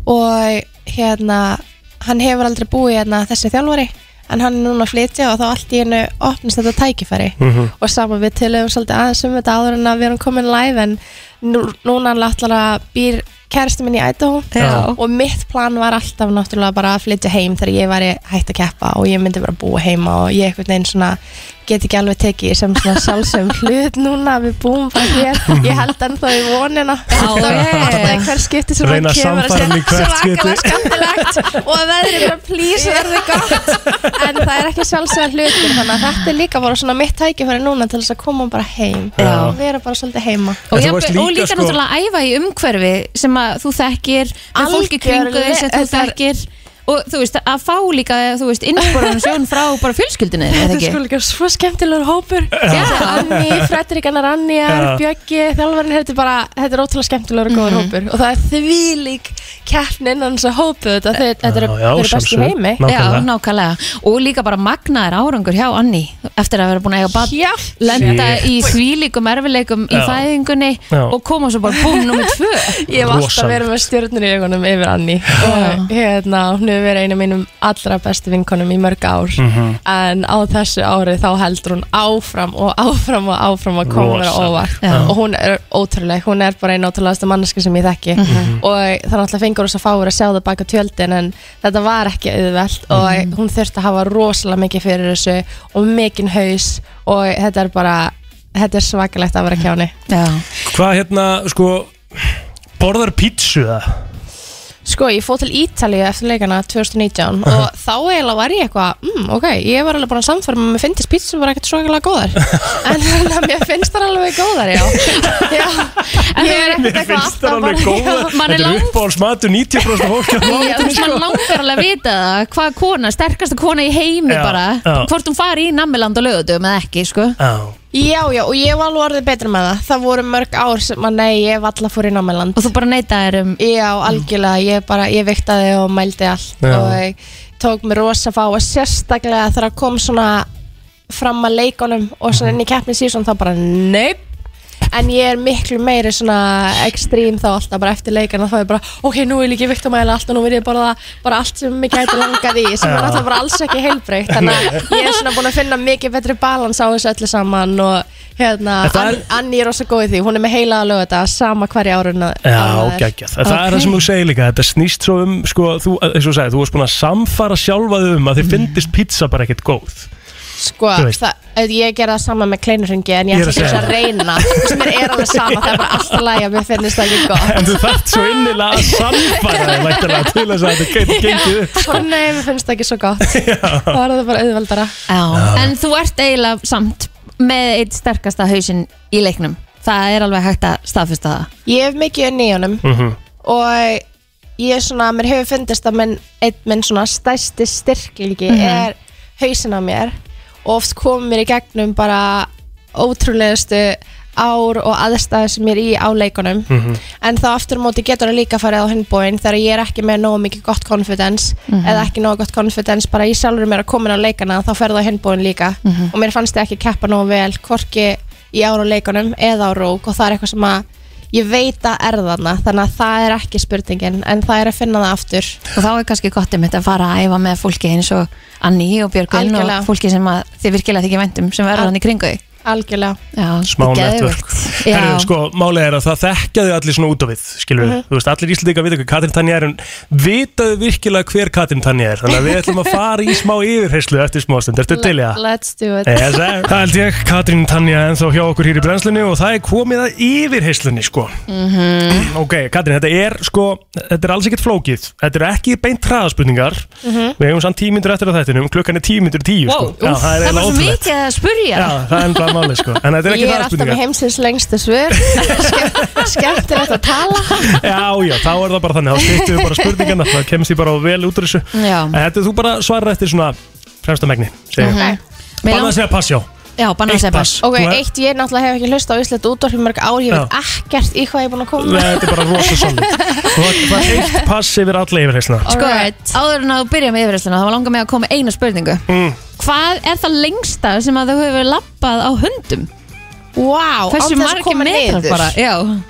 Speaker 9: og hérna hann hefur aldrei búið hérna þessi þjálfari en hann er núna að flytja og þá allt í hennu opnist þetta tækifæri
Speaker 1: Mhm.
Speaker 9: og saman við tilögum svolítið aðeins um þetta áður en að við erum komin live en nú, núna náttúrulega býr kæristu minn í Idaho
Speaker 1: Já.
Speaker 9: og mitt plan var alltaf náttúrulega bara að flytja heim þegar ég væri hægt að keppa og ég myndi bara búa heima og ég einhvern veginn svona get ekki alveg tekið sem svona sjálfsögum hlut núna við búum bara hér ég held ennþá í vonina þá ég held að hver skipti sem
Speaker 1: Reyna
Speaker 9: hann
Speaker 1: að
Speaker 9: kemur að
Speaker 1: sannfæra mig
Speaker 9: segja
Speaker 1: hvert
Speaker 9: svakalega
Speaker 1: skipti.
Speaker 9: skandilegt og að veðrið bara please verði gott en það er ekki sjálfsögum hlutur þannig að þetta er líka bara svona mitt tækifæri núna til þess að koma bara heim
Speaker 1: Já.
Speaker 9: og vera bara svolítið heima
Speaker 2: og, jafnvel- og
Speaker 9: sko-
Speaker 2: líka náttúrulega að æfa í umhverfi sem að þú þekkir með fólki kringu þess að þú
Speaker 9: Algjörlega,
Speaker 2: þekkir og þú veist að fá líka þú veist innsporan sjón frá bara fjölskyldinni eða
Speaker 9: Þetta er
Speaker 2: ekki
Speaker 9: sko líka svo skemmtilegur hópur Þessi Anni, Fredrik, Annar Anniar,
Speaker 2: Já.
Speaker 9: Bjöggi, þjálfarinn Þetta er bara, þetta er ótrúlega skemmtilegur og góður
Speaker 2: Mhm.
Speaker 9: hópur Og það er þvílík keppni innan þess að hópu Þetta, þeir, þetta eru
Speaker 2: Eh, Já, já,
Speaker 9: þeir eru best í
Speaker 2: sjálfsögðu.
Speaker 9: heimi
Speaker 2: Já, nákvæmlega Og líka bara magnaðir árangur hjá Anni Eftir að vera búin að eiga bad Lenda
Speaker 9: Shit.
Speaker 2: í þvílíkum erfileikum í
Speaker 9: Já.
Speaker 2: fæðingunni
Speaker 9: Já.
Speaker 2: Og koma svo bara búin nummið tvö
Speaker 9: Ég hef alltaf verið með stjörnur í augunum yfir Anni og hérna, hún hefur verið einu af mínum allra bestu vinkonum í mörg ár
Speaker 2: Mhm.
Speaker 9: en á þessu ári þá heldur hún áfram og áfram og áfram að koma mér á
Speaker 2: Rosalegt.
Speaker 9: óvart
Speaker 2: Já.
Speaker 9: og hún er ótrúleg, hún er bara einu ótrúlegasta manneska sem ég þekki
Speaker 2: Mhm.
Speaker 9: og það er alltaf fengur þess að fáur að sjá það baka tjöldin en þetta var ekki auðvelt og hún þurfti að hafa rosalega mikið fyrir þessu og mikinn haus og þetta er bara, þetta er svakalegt að vera kjáni
Speaker 2: Já.
Speaker 1: Hvað hérna, sko Borðar pítsu það?
Speaker 9: Sko, ég fóð til Ítalíu eftir leikana 2019 og þá eiginlega var ég eitthvað mm, ok, ég var alveg búin að samfæra með að mér finnst pítsu var ekkert svo ekki góðar en þannig að mér finnst það alveg góðar, já, já. Ég er ekkert
Speaker 1: Mér
Speaker 9: eitthvað
Speaker 1: finnst
Speaker 9: alltaf
Speaker 1: það alveg
Speaker 9: bara-
Speaker 1: góða
Speaker 9: Já.
Speaker 2: Mann er
Speaker 1: Þetta er
Speaker 2: lang-
Speaker 1: uppáhaldsmatur 90% af fólki á
Speaker 2: Já, þú
Speaker 1: landinu,
Speaker 2: veist,
Speaker 1: sko.
Speaker 2: maður langar alveg að vita það hvað kona, sterkasta kona í heimi
Speaker 1: Já,
Speaker 2: bara
Speaker 1: já.
Speaker 2: hvort hún fari í nammiland og lögutum eða ekki, sko
Speaker 1: Já,
Speaker 9: Já, já, og ég var alveg orðið betra með það Það voru mörg ár sem að nei, ég var alltaf fór í námæland
Speaker 2: Og þú bara neitaðir um
Speaker 9: Já, algjörlega, ég bara, ég viktaði og mældi allt
Speaker 2: Já.
Speaker 9: Og ég tók mér rosa fá og sérstaklega þegar kom svona fram að leikunum Og svona inn í keppni síðan þá bara, neip En ég er miklu meiri svona ekstrím þá alltaf bara eftir leikana þá er bara ok, nú vil ég ekki vikt að mæla allt og nú vil ég borða bara allt sem mig gæti langað í sem er
Speaker 2: Já.
Speaker 9: alltaf bara alls ekki heilbreytt þannig að ég er svona búin að finna mikið betri balans á þessu öllu saman og hérna,
Speaker 1: En það er-
Speaker 9: Ann, Anni er rosa góð í því hún er með heila að löga þetta sama hverja árun
Speaker 1: Já, geggjað. Það er það sem þú segir líka, þetta snýst svo um, sko, þú, eins og þú sagði, þú varst búin að samfara sjálfað um að þið fyndist pizza bara ekkert góð.
Speaker 9: Sko,
Speaker 1: Þú veist.
Speaker 9: það, ég ger það sama með kleinurringi en ég
Speaker 1: Ég er
Speaker 9: ætla
Speaker 1: að
Speaker 9: ekki
Speaker 1: segja
Speaker 9: að reyna sem er alveg sama, það er bara alltaf læg að mér finnist það ekki gott
Speaker 1: En þú þarft svo innilega að samfara þig, væntanlega, til þess að þetta geti gengið upp,
Speaker 9: Ó,
Speaker 1: sko.
Speaker 9: Nei, mér finnst það ekki svo gott Það var það bara auðveldara
Speaker 2: Já. En þú ert eiginlega samt með eitt sterkasta hausinn í leiknum Það er alveg hægt að staðfesta það
Speaker 9: Ég hef mikið unni í honum
Speaker 1: Mhm.
Speaker 9: og ég er svona, mér hefur fundist að minn, einn minn svona stæsti styrkilgi
Speaker 2: Mhm.
Speaker 9: er hausin á mér og oft komið mér í gegnum bara ótrúlegustu ár og aðstæði sem ég er í á leikunum
Speaker 4: Mhm.
Speaker 9: en þá aftur á móti getur það líka farið á hinnbóin þegar ég er ekki með nógu mikið gott confidence
Speaker 4: Mhm.
Speaker 9: eða ekki nógu gott confidence bara ég sjálfur mér að komin á leikana þá ferðu á hinnbóin líka
Speaker 4: Mhm.
Speaker 9: og mér fannst ég ekki keppa nógu vel hvorki í ár og leikunum eða á rók og það er eitthvað sem að ég veit að er þarna þannig að það er ekki spurningin en það er að finna það aftur
Speaker 2: Og þá er kannski gott um þetta að fara að æfa með fólki eins og Anni og Björgun og
Speaker 9: Algjörlega.
Speaker 2: fólki sem að þið virkilega þykir væntum sem verður hann í kringu þig.
Speaker 9: algjörlega
Speaker 2: Já,
Speaker 1: Smá
Speaker 2: þetta er
Speaker 1: network.
Speaker 2: geðveikt. Já.
Speaker 1: Herru, sko, málið er að það þekkjaðu allir svona út á við, skilur
Speaker 2: Mhm.
Speaker 1: Þú veist, allir Íslandingar vita hvað Katrin Tanja er, en vitaðu virkilega hver Katrin Tanja er. Þannig að við ætlum að fara í smá yfirheyslu eftir smástund. Ertu til í það?
Speaker 9: Let's do it
Speaker 1: Yes, sir. það held ég, Katrín Tanja ennþá hjá okkur hér í brennslunni og það er komið að yfirheyslunni sko Ok, Katrín, þetta er sko, þetta er alls ekkert flókið Þetta er ekki beint hraðaspurningar
Speaker 2: Mhm.
Speaker 1: Við hefum samt tímyndur eftir að þettinum, klukkan er tímyndur tíu
Speaker 2: Wow,
Speaker 1: sko. Já,
Speaker 2: úff,
Speaker 1: það
Speaker 2: það
Speaker 1: er eiginlega
Speaker 2: var svo
Speaker 1: ótrúlegt
Speaker 2: mikið að spurja
Speaker 1: Já, það er ennþá máli sko En þetta er
Speaker 9: Ég
Speaker 1: ekki
Speaker 9: er alltaf með
Speaker 1: hraðaspurningar
Speaker 9: heimsins lengstu svör Ske- Skemmtilegt að tala
Speaker 1: Já, já, þá er það bara þannig, þá stýttum við bara spurningarna Það kemst ég bara vel út úr þessu
Speaker 2: Já.
Speaker 1: En Þetta er þú bara svarar eftir svona fremsta megni mm
Speaker 9: Ok.
Speaker 1: -hmm. Bara að segja pass, já
Speaker 2: Já, banna að
Speaker 1: Eitt
Speaker 2: segja
Speaker 1: pass.
Speaker 2: pass
Speaker 9: Ok,
Speaker 1: Þú er-
Speaker 9: eitt, ég náttúrulega hef ekki hlust á Ísland útvarp í mörg ár, ég veit
Speaker 1: Já.
Speaker 9: ekkert í hvað ég er búin að koma
Speaker 1: Nei, þetta er bara rosa solid Þú var- Það er eitt pass yfir alla yfirheysluna
Speaker 2: Sko, áður en að þú byrja með yfirhersluna þá var langar mig að koma með eina spurningu
Speaker 1: Mm.
Speaker 2: Hvað er það lengsta sem að þú hefur lappað á hundum?
Speaker 9: Vá,
Speaker 2: Hversu margir metrar bara? Já.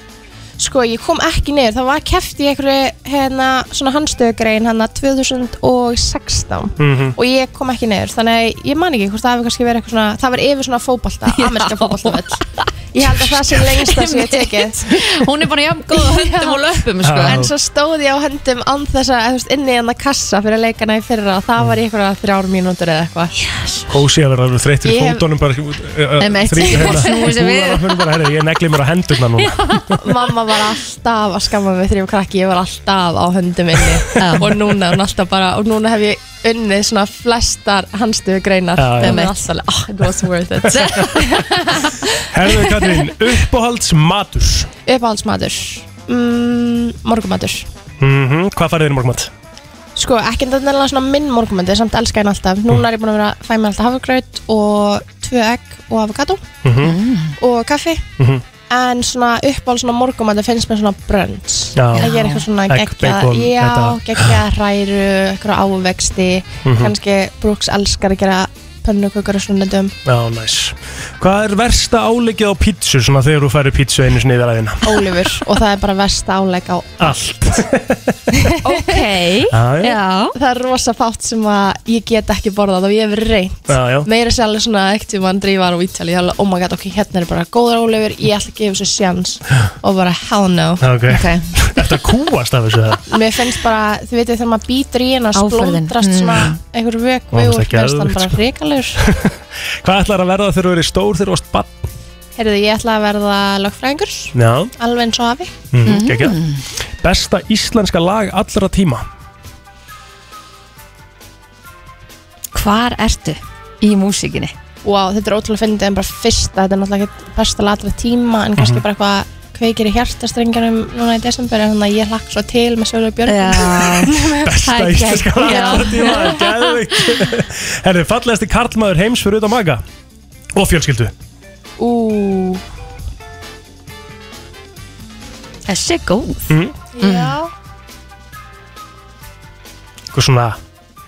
Speaker 9: Sko, ég kom ekki niður, það var keft í einhverju hérna, svona handstöðugrein hérna 2016
Speaker 4: Mhm.
Speaker 9: og ég kom ekki niður, þannig að ég man ekki hvort það hefur kannski verið eitthvað svona, það var yfir svona fótbolta, amerska fótboltavöll Ég held að það sé lengsta sem ég hef tekið
Speaker 2: Hún er bara jafn góð á höndum og löpum, sko.
Speaker 9: En svo stóð ég á höndum án þess að, þú veist, inni í hann kassa fyrir leikana í fyrra og það var í einhverja þrjár mínútur eða eitthvað yes.
Speaker 1: Hósi að vera alveg þreyttur í
Speaker 9: Ég hef-
Speaker 1: fótunum bara
Speaker 9: Einmitt. Snúið sér við.
Speaker 1: þrýtur Ég negli mér á hendurna núna
Speaker 9: Mamma var alltaf að skamma mig þegar ég var krakki, ég var alltaf á höndum inni og núna er hún alltaf bara og núna hef ég unnið svona flestar handstöðu greinar
Speaker 1: Já, já.
Speaker 9: og hún er alltaf alveg, oh, it was worth it
Speaker 1: Herðu Katrín, uppáhalds matur
Speaker 9: Uppáhaldsmatur mm, Morgumatur
Speaker 1: mm Hvað farið Mhm, þér í morgmat?
Speaker 9: Sko, ekki endilega svona minn morgumöndi, samt elska henni alltaf. Núna er ég búin að vera að fæ mér alltaf hafragraut og tvö egg og avokado
Speaker 1: Mhm,
Speaker 9: og kaffi. En svona uppáhald svona morgumöndi finnst mér svona brönds.
Speaker 1: Já.
Speaker 9: Að ég er eitthvað svona
Speaker 1: Egg,
Speaker 9: geggjað,
Speaker 1: bacon,
Speaker 9: já,
Speaker 1: þetta.
Speaker 9: geggjað hræru, eitthvað ávexti.
Speaker 1: Mhm.
Speaker 9: Kannski Brooks elskar að gera pönnukökur og svona döm.
Speaker 1: Já, næs Hvað er versta áleikið á pítsu svona þegar þú færir pítsu einu sinni yfir aðeina?
Speaker 9: Ólífur og það er bara versta áleik á
Speaker 1: Allt
Speaker 2: sko.
Speaker 9: Ok
Speaker 1: Já, já.
Speaker 9: Það er rosa fátt sem að ég get ekki borðað og ég hef reynt
Speaker 1: Já, já.
Speaker 9: Meira sér alveg svona ekkert um hann drífar á Ítali Ég er alveg, oh my god, ok, hérna er bara góður ólefur Ég ætla að gefa þessu sjans Og bara, hell no
Speaker 1: Ok. Þetta kúast af þessu það
Speaker 9: Mér finnst bara, þið veitir þegar maður býtur í hennar
Speaker 1: Áferðin.
Speaker 2: Mm.
Speaker 9: Splóndrast svona einhver
Speaker 1: Ó,
Speaker 9: vökvi
Speaker 1: það
Speaker 9: Og
Speaker 1: er
Speaker 9: finnst hann
Speaker 1: geðveikt,
Speaker 9: bara
Speaker 1: sko.
Speaker 9: hrikalur
Speaker 1: Hvað ætlar að verða þegar þú verið stór þegar þú varst bann?
Speaker 9: Heyrðu, ég ætla að verða lögfræðingur
Speaker 1: Já,
Speaker 9: Alveg eins og afi
Speaker 1: mm, mm. Besta íslenska lag allra tíma
Speaker 2: Hvar ertu í músíkinni?
Speaker 9: Wow, þetta er ótrúlega fyndið en bara fyrsta Þetta er náttúrulega ekki besta latra tíma En kannski
Speaker 2: Mhm.
Speaker 9: bara eitthvað kveikir í hjartastrengjanum Núna í desember en þannig að ég hlakk svo til Með Sjölu Björn
Speaker 1: Besta íslenska lag allra tíma það er Geðvikt Herðu, fallegasti karlmaður heims fyrir utan maga Og fjölskyldu
Speaker 9: Ú
Speaker 2: Þessi er góð
Speaker 1: mm.
Speaker 9: Já
Speaker 1: Hvað svona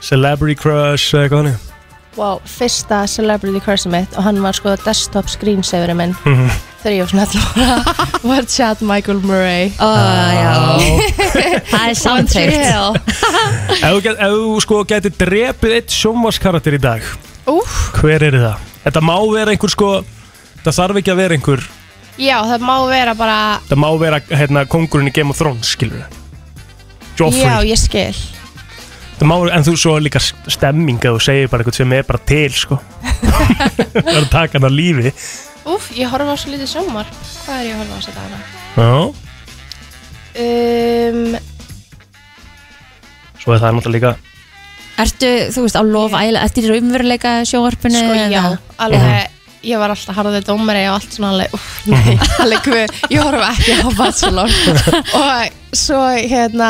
Speaker 1: celebrity crush eða eitthvað þannig
Speaker 9: Wow, fyrsta celebrity crush mitt Og hann var sko desktop screensaverið minn
Speaker 1: Mhm.
Speaker 9: Þegar ég var svona 11 ára Var Chad Michael Murray
Speaker 2: Ó,
Speaker 1: já.
Speaker 2: Það er samtryggt.
Speaker 1: Ef þú get- ef þú sko getið drepið eitt sjónvarskarakter í dag
Speaker 9: Úf
Speaker 1: Hver er það? Þetta má vera einhver sko Það þarf ekki að vera einhver
Speaker 9: Já, það má vera bara
Speaker 1: Það má vera hérna, kongurinn í Game of Thrones skilur Joffrey
Speaker 9: Já, ég skil
Speaker 1: Það má vera, en þú svo er líka stemming að þú segir bara eitthvað sem er bara til sko Það er að taka hann á lífi
Speaker 9: Úf, ég horfa á svo lítið sjómar Hvað er ég að horfa á sér dagana?
Speaker 1: Já,
Speaker 9: Um,
Speaker 1: svo er það náttúrulega líka
Speaker 2: Ertu, þú veist, á Love Island, ertu í raunveruleika sjóarpinu?
Speaker 9: Sko, já, alveg ég var alltaf harðið dómari og allt svona alveg, uff, nei, alveg hvað, ég horfa ekki á Bachelor og svo hérna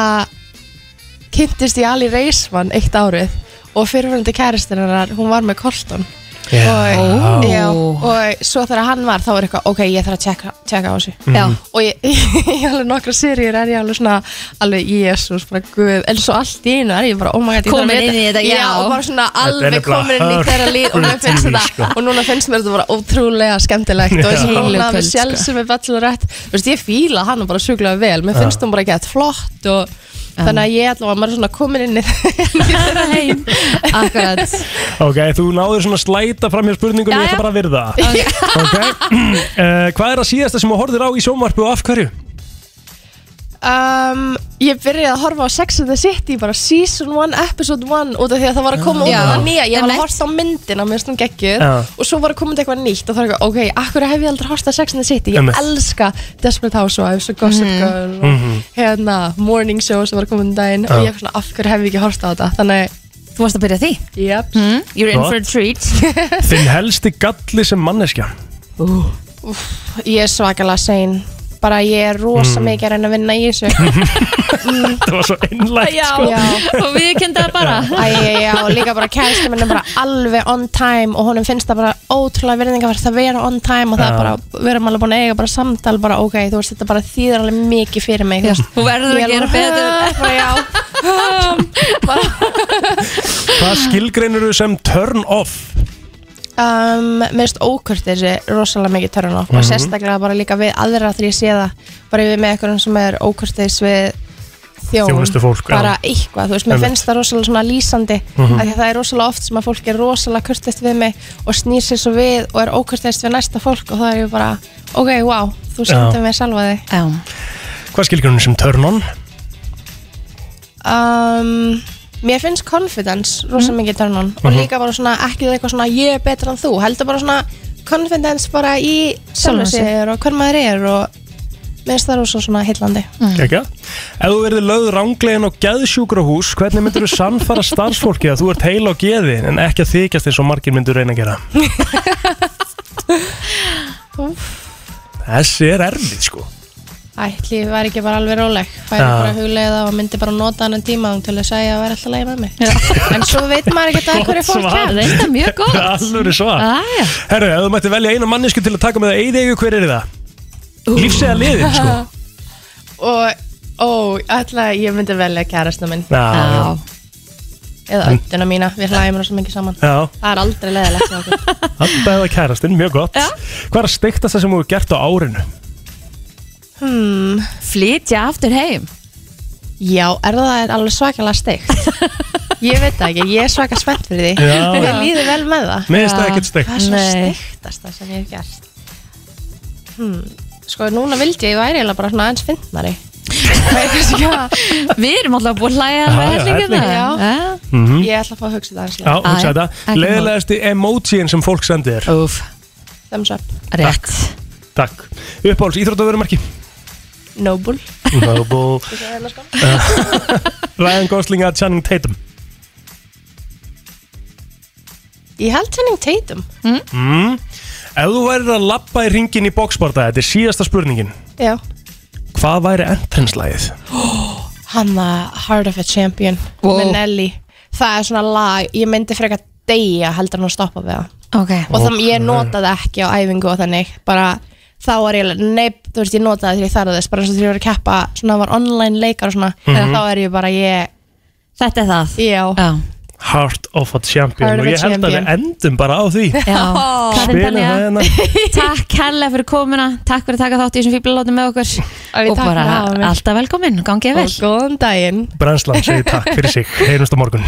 Speaker 9: kynntist ég Ali Reisman eitt árið og fyrirfærendi kæristin hennar, hún var með Colton
Speaker 1: Já.
Speaker 9: og,
Speaker 1: Ó.
Speaker 9: já, og svo þegar hann var þá var eitthvað, ok, ég þarf að tjekka, tjekka á þessu
Speaker 1: Já.
Speaker 9: og ég, ég alveg nokkra seríur er ég alveg svona, alveg jésús, bara guð, en svo allt í einu er ég bara, oh my god, ég þarf að
Speaker 2: Komin
Speaker 9: vita-
Speaker 2: inn í þetta, já.
Speaker 9: og bara svona
Speaker 2: Þetta er
Speaker 9: alveg
Speaker 2: nefnilega
Speaker 9: komin inn í þeirra líf og mér finnst
Speaker 2: hörku tími,
Speaker 9: þetta
Speaker 2: sko.
Speaker 9: og núna finnst mér þetta bara ótrúlega skemmtilegt og
Speaker 2: Já.
Speaker 9: þessi
Speaker 2: Heilu
Speaker 9: kona með
Speaker 2: kvöld,
Speaker 9: sjálf
Speaker 2: sko.
Speaker 9: sem er bachelorett þú veist, ég fíla hann bara sjúklega vel mér
Speaker 1: Já.
Speaker 9: finnst hún bara gett flott og þannig að ég allavega, maður er svona komin inn í í þeirra heim
Speaker 2: Akkurat
Speaker 1: Ok, þú náður svona slæta fram hjá spurningum Ég ætla bara að virða það. Ok, uh, hvað er að síðasta sem þú horfir á í sjónvarpu og af hverju?
Speaker 9: um, ég byrjaði að horfa á Sex and the City bara season 1, episode 1 út af því að það var að koma út
Speaker 2: Já.
Speaker 9: af það nýja ég var að horfa á myndina, mér finnst hún geggjuð
Speaker 1: Já.
Speaker 9: og svo var að koma út eitthvað nýtt og það var eitthvað, ok, akkur hef ég aldrei horfst á Sex and the City ég
Speaker 1: Einmitt.
Speaker 9: elska Desperate Housewives og Gossip Girl
Speaker 1: Mm.
Speaker 9: og hérna, Morning Show sem var að koma um daginn
Speaker 1: Mhm.
Speaker 9: og
Speaker 1: Já.
Speaker 9: ég var svona, af hverju hef ég ekki horfst á þetta þannig
Speaker 2: Þú varst að byrja því?
Speaker 9: Yep.
Speaker 2: Mm, you're in
Speaker 1: Gott.
Speaker 2: for a treat
Speaker 1: Þinn helsti galli sem manneskja
Speaker 2: uh.
Speaker 9: Úff, ég er svakalega sein bara ég er rosa
Speaker 1: Mm.
Speaker 9: mikið að reyna að vinna í þessu
Speaker 1: Það var svo
Speaker 9: Mm.
Speaker 1: innlægt
Speaker 9: Já,
Speaker 1: sko.
Speaker 9: já.
Speaker 2: Og við kynna það bara
Speaker 9: Æ, já, já, og líka bara kæristin minn er bara alveg on time og honum finnst það bara ótrúlega virðingarvert að vera on time og það
Speaker 2: Já.
Speaker 9: er bara, við erum alveg búin að eiga bara samtal bara ok, þú veist, þetta bara þýðir alveg mikið fyrir mig þú veist.
Speaker 2: Þú verður
Speaker 9: Ég
Speaker 2: að
Speaker 9: er
Speaker 2: gera
Speaker 9: alveg,
Speaker 2: betur
Speaker 9: bara, já.
Speaker 1: Hvað skilgreinir þú sem turn off?
Speaker 9: um, mér finnst ókurt þessi rosalega mikið törun off og
Speaker 1: Mhm.
Speaker 9: sérstaklega bara líka við aðra þegar ég sé það bara við með eitthvað sem er ókurt við þjón,
Speaker 1: Þjónustufólk, já.
Speaker 9: bara eitthvað, þú veist, mér
Speaker 1: Einmitt.
Speaker 9: finnst það rosalega svona lýsandi mm
Speaker 1: Mhm.
Speaker 9: -hmm. það er rosalega oft sem að fólk er rosalega kurtist við mig og snýr sér svo við og er ókurtist við næsta fólk og það er ég bara ok, wow, þú
Speaker 1: Mhm. Já.
Speaker 9: sendir mig sjálfa þig
Speaker 2: Já.
Speaker 1: Hvað skilgreinir þú sem turn on?
Speaker 9: um, Mér finnst confidence rosa mikið törnun og
Speaker 1: Mhm.
Speaker 9: líka bara svona ekki eitthvað svona ég er betra en þú heldur bara svona confidence bara í
Speaker 2: Sjálfan
Speaker 9: sjálfum
Speaker 2: sig.
Speaker 9: sér og hver maður er og mér finnst það rosa svona hillandi
Speaker 1: Kekja. Ef þú verður lögð ránglegin á geðsjúkrahús, hvernig myndur þú sannfara starfsfólki að þú ert heil á geði en ekki að þykjast eins og margir myndur reyna að gera? Þessi er erfið sko.
Speaker 9: Ætli, ég væri ekki bara alveg róleg Færi
Speaker 1: Já.
Speaker 9: bara að huglega og myndi bara nota annan tíma til að segja að væri alltaf leið með mig En svo veit maður ekki að hverju fólk kemur
Speaker 1: Allur er svar
Speaker 2: Ah,
Speaker 9: Aja.
Speaker 1: Herru, ef þú mætti velja eina mannesku til að taka með það Eyðegu, hver er það? Lífs eða liðin, sko
Speaker 9: Og, ó, ætla að ég myndi velja kærasta minn
Speaker 1: Já, já.
Speaker 9: Eða önduna mína, við hlægjum rosa mikið saman
Speaker 1: Já.
Speaker 9: Það er aldrei leiðilegt hjá okkur.
Speaker 1: Alltaf eða kærastinn, mjög gott Hvað er að steikta það sem þú hefur gert á árinu?
Speaker 9: hmm.
Speaker 2: Flytja aftur heim
Speaker 9: Já, er það alveg svakalega steikt Ég veit það ekki, ég er svaka spennt fyrir því
Speaker 1: Já.
Speaker 9: Ég líði vel með það
Speaker 1: Mér finnst það ekkert steikt.
Speaker 9: Það er svo
Speaker 1: Nei.
Speaker 9: steiktasta sem ég hef gert hmm. Sko, núna vildi ég ég væri eiginlega bara svona aðeins fyndnari
Speaker 2: Við erum alltaf búin að hlæja alveg
Speaker 1: Já, já,
Speaker 2: hellingi
Speaker 1: helling.
Speaker 2: það Já.
Speaker 1: Mhm.
Speaker 9: Ég ætla að fá að hugsa það aðeins
Speaker 1: Já, hugsa þetta Leðilegasti emojín sem fólk sendir þér
Speaker 2: Úf,
Speaker 9: Thumbs up
Speaker 2: rétt
Speaker 1: Takk Uppáhalds íþróttavörumarki
Speaker 9: Noble
Speaker 1: Noble
Speaker 9: Ég hérna sko.
Speaker 1: Ryan Gosling að Channing Tatum
Speaker 9: Ég held henning Tatum mm?
Speaker 1: mm. Ef þú værið að labba í ringin í boxbarta Þetta er síðasta spurningin
Speaker 9: Já
Speaker 1: Hvað væri entrenslægið?
Speaker 9: Hanna Heart of a Champion wow. með Nelly Það er svona lag, ég myndi frekar deyja heldur hann að stoppa við það
Speaker 2: okay.
Speaker 9: og þannig ég notaði ekki á æfingu og þannig bara þá var ég alveg, nei, þú veist ég notaði þegar ég þarði þess bara eins og þegar ég var að keppa svona var online leikar og svona
Speaker 1: Mhm.
Speaker 9: þá er ég bara ég
Speaker 2: Þetta er það
Speaker 9: Já,
Speaker 1: Heart of a Champion
Speaker 9: Heart of
Speaker 1: Og
Speaker 9: a
Speaker 1: ég held að
Speaker 9: Champion.
Speaker 1: við endum bara á því
Speaker 2: Já, Katrín
Speaker 1: Spilum það
Speaker 2: Tanja,
Speaker 1: hérna
Speaker 2: takk hella fyrir komuna Takk fyrir að taka þátt í þessum fíblalótum með okkur Og
Speaker 9: takk
Speaker 2: bara
Speaker 9: fyrir að hafa mig.
Speaker 2: alltaf velkomin, gangið vel
Speaker 9: Og góðan daginn
Speaker 1: Brænslan segir takk fyrir sig Heyrumst á morgun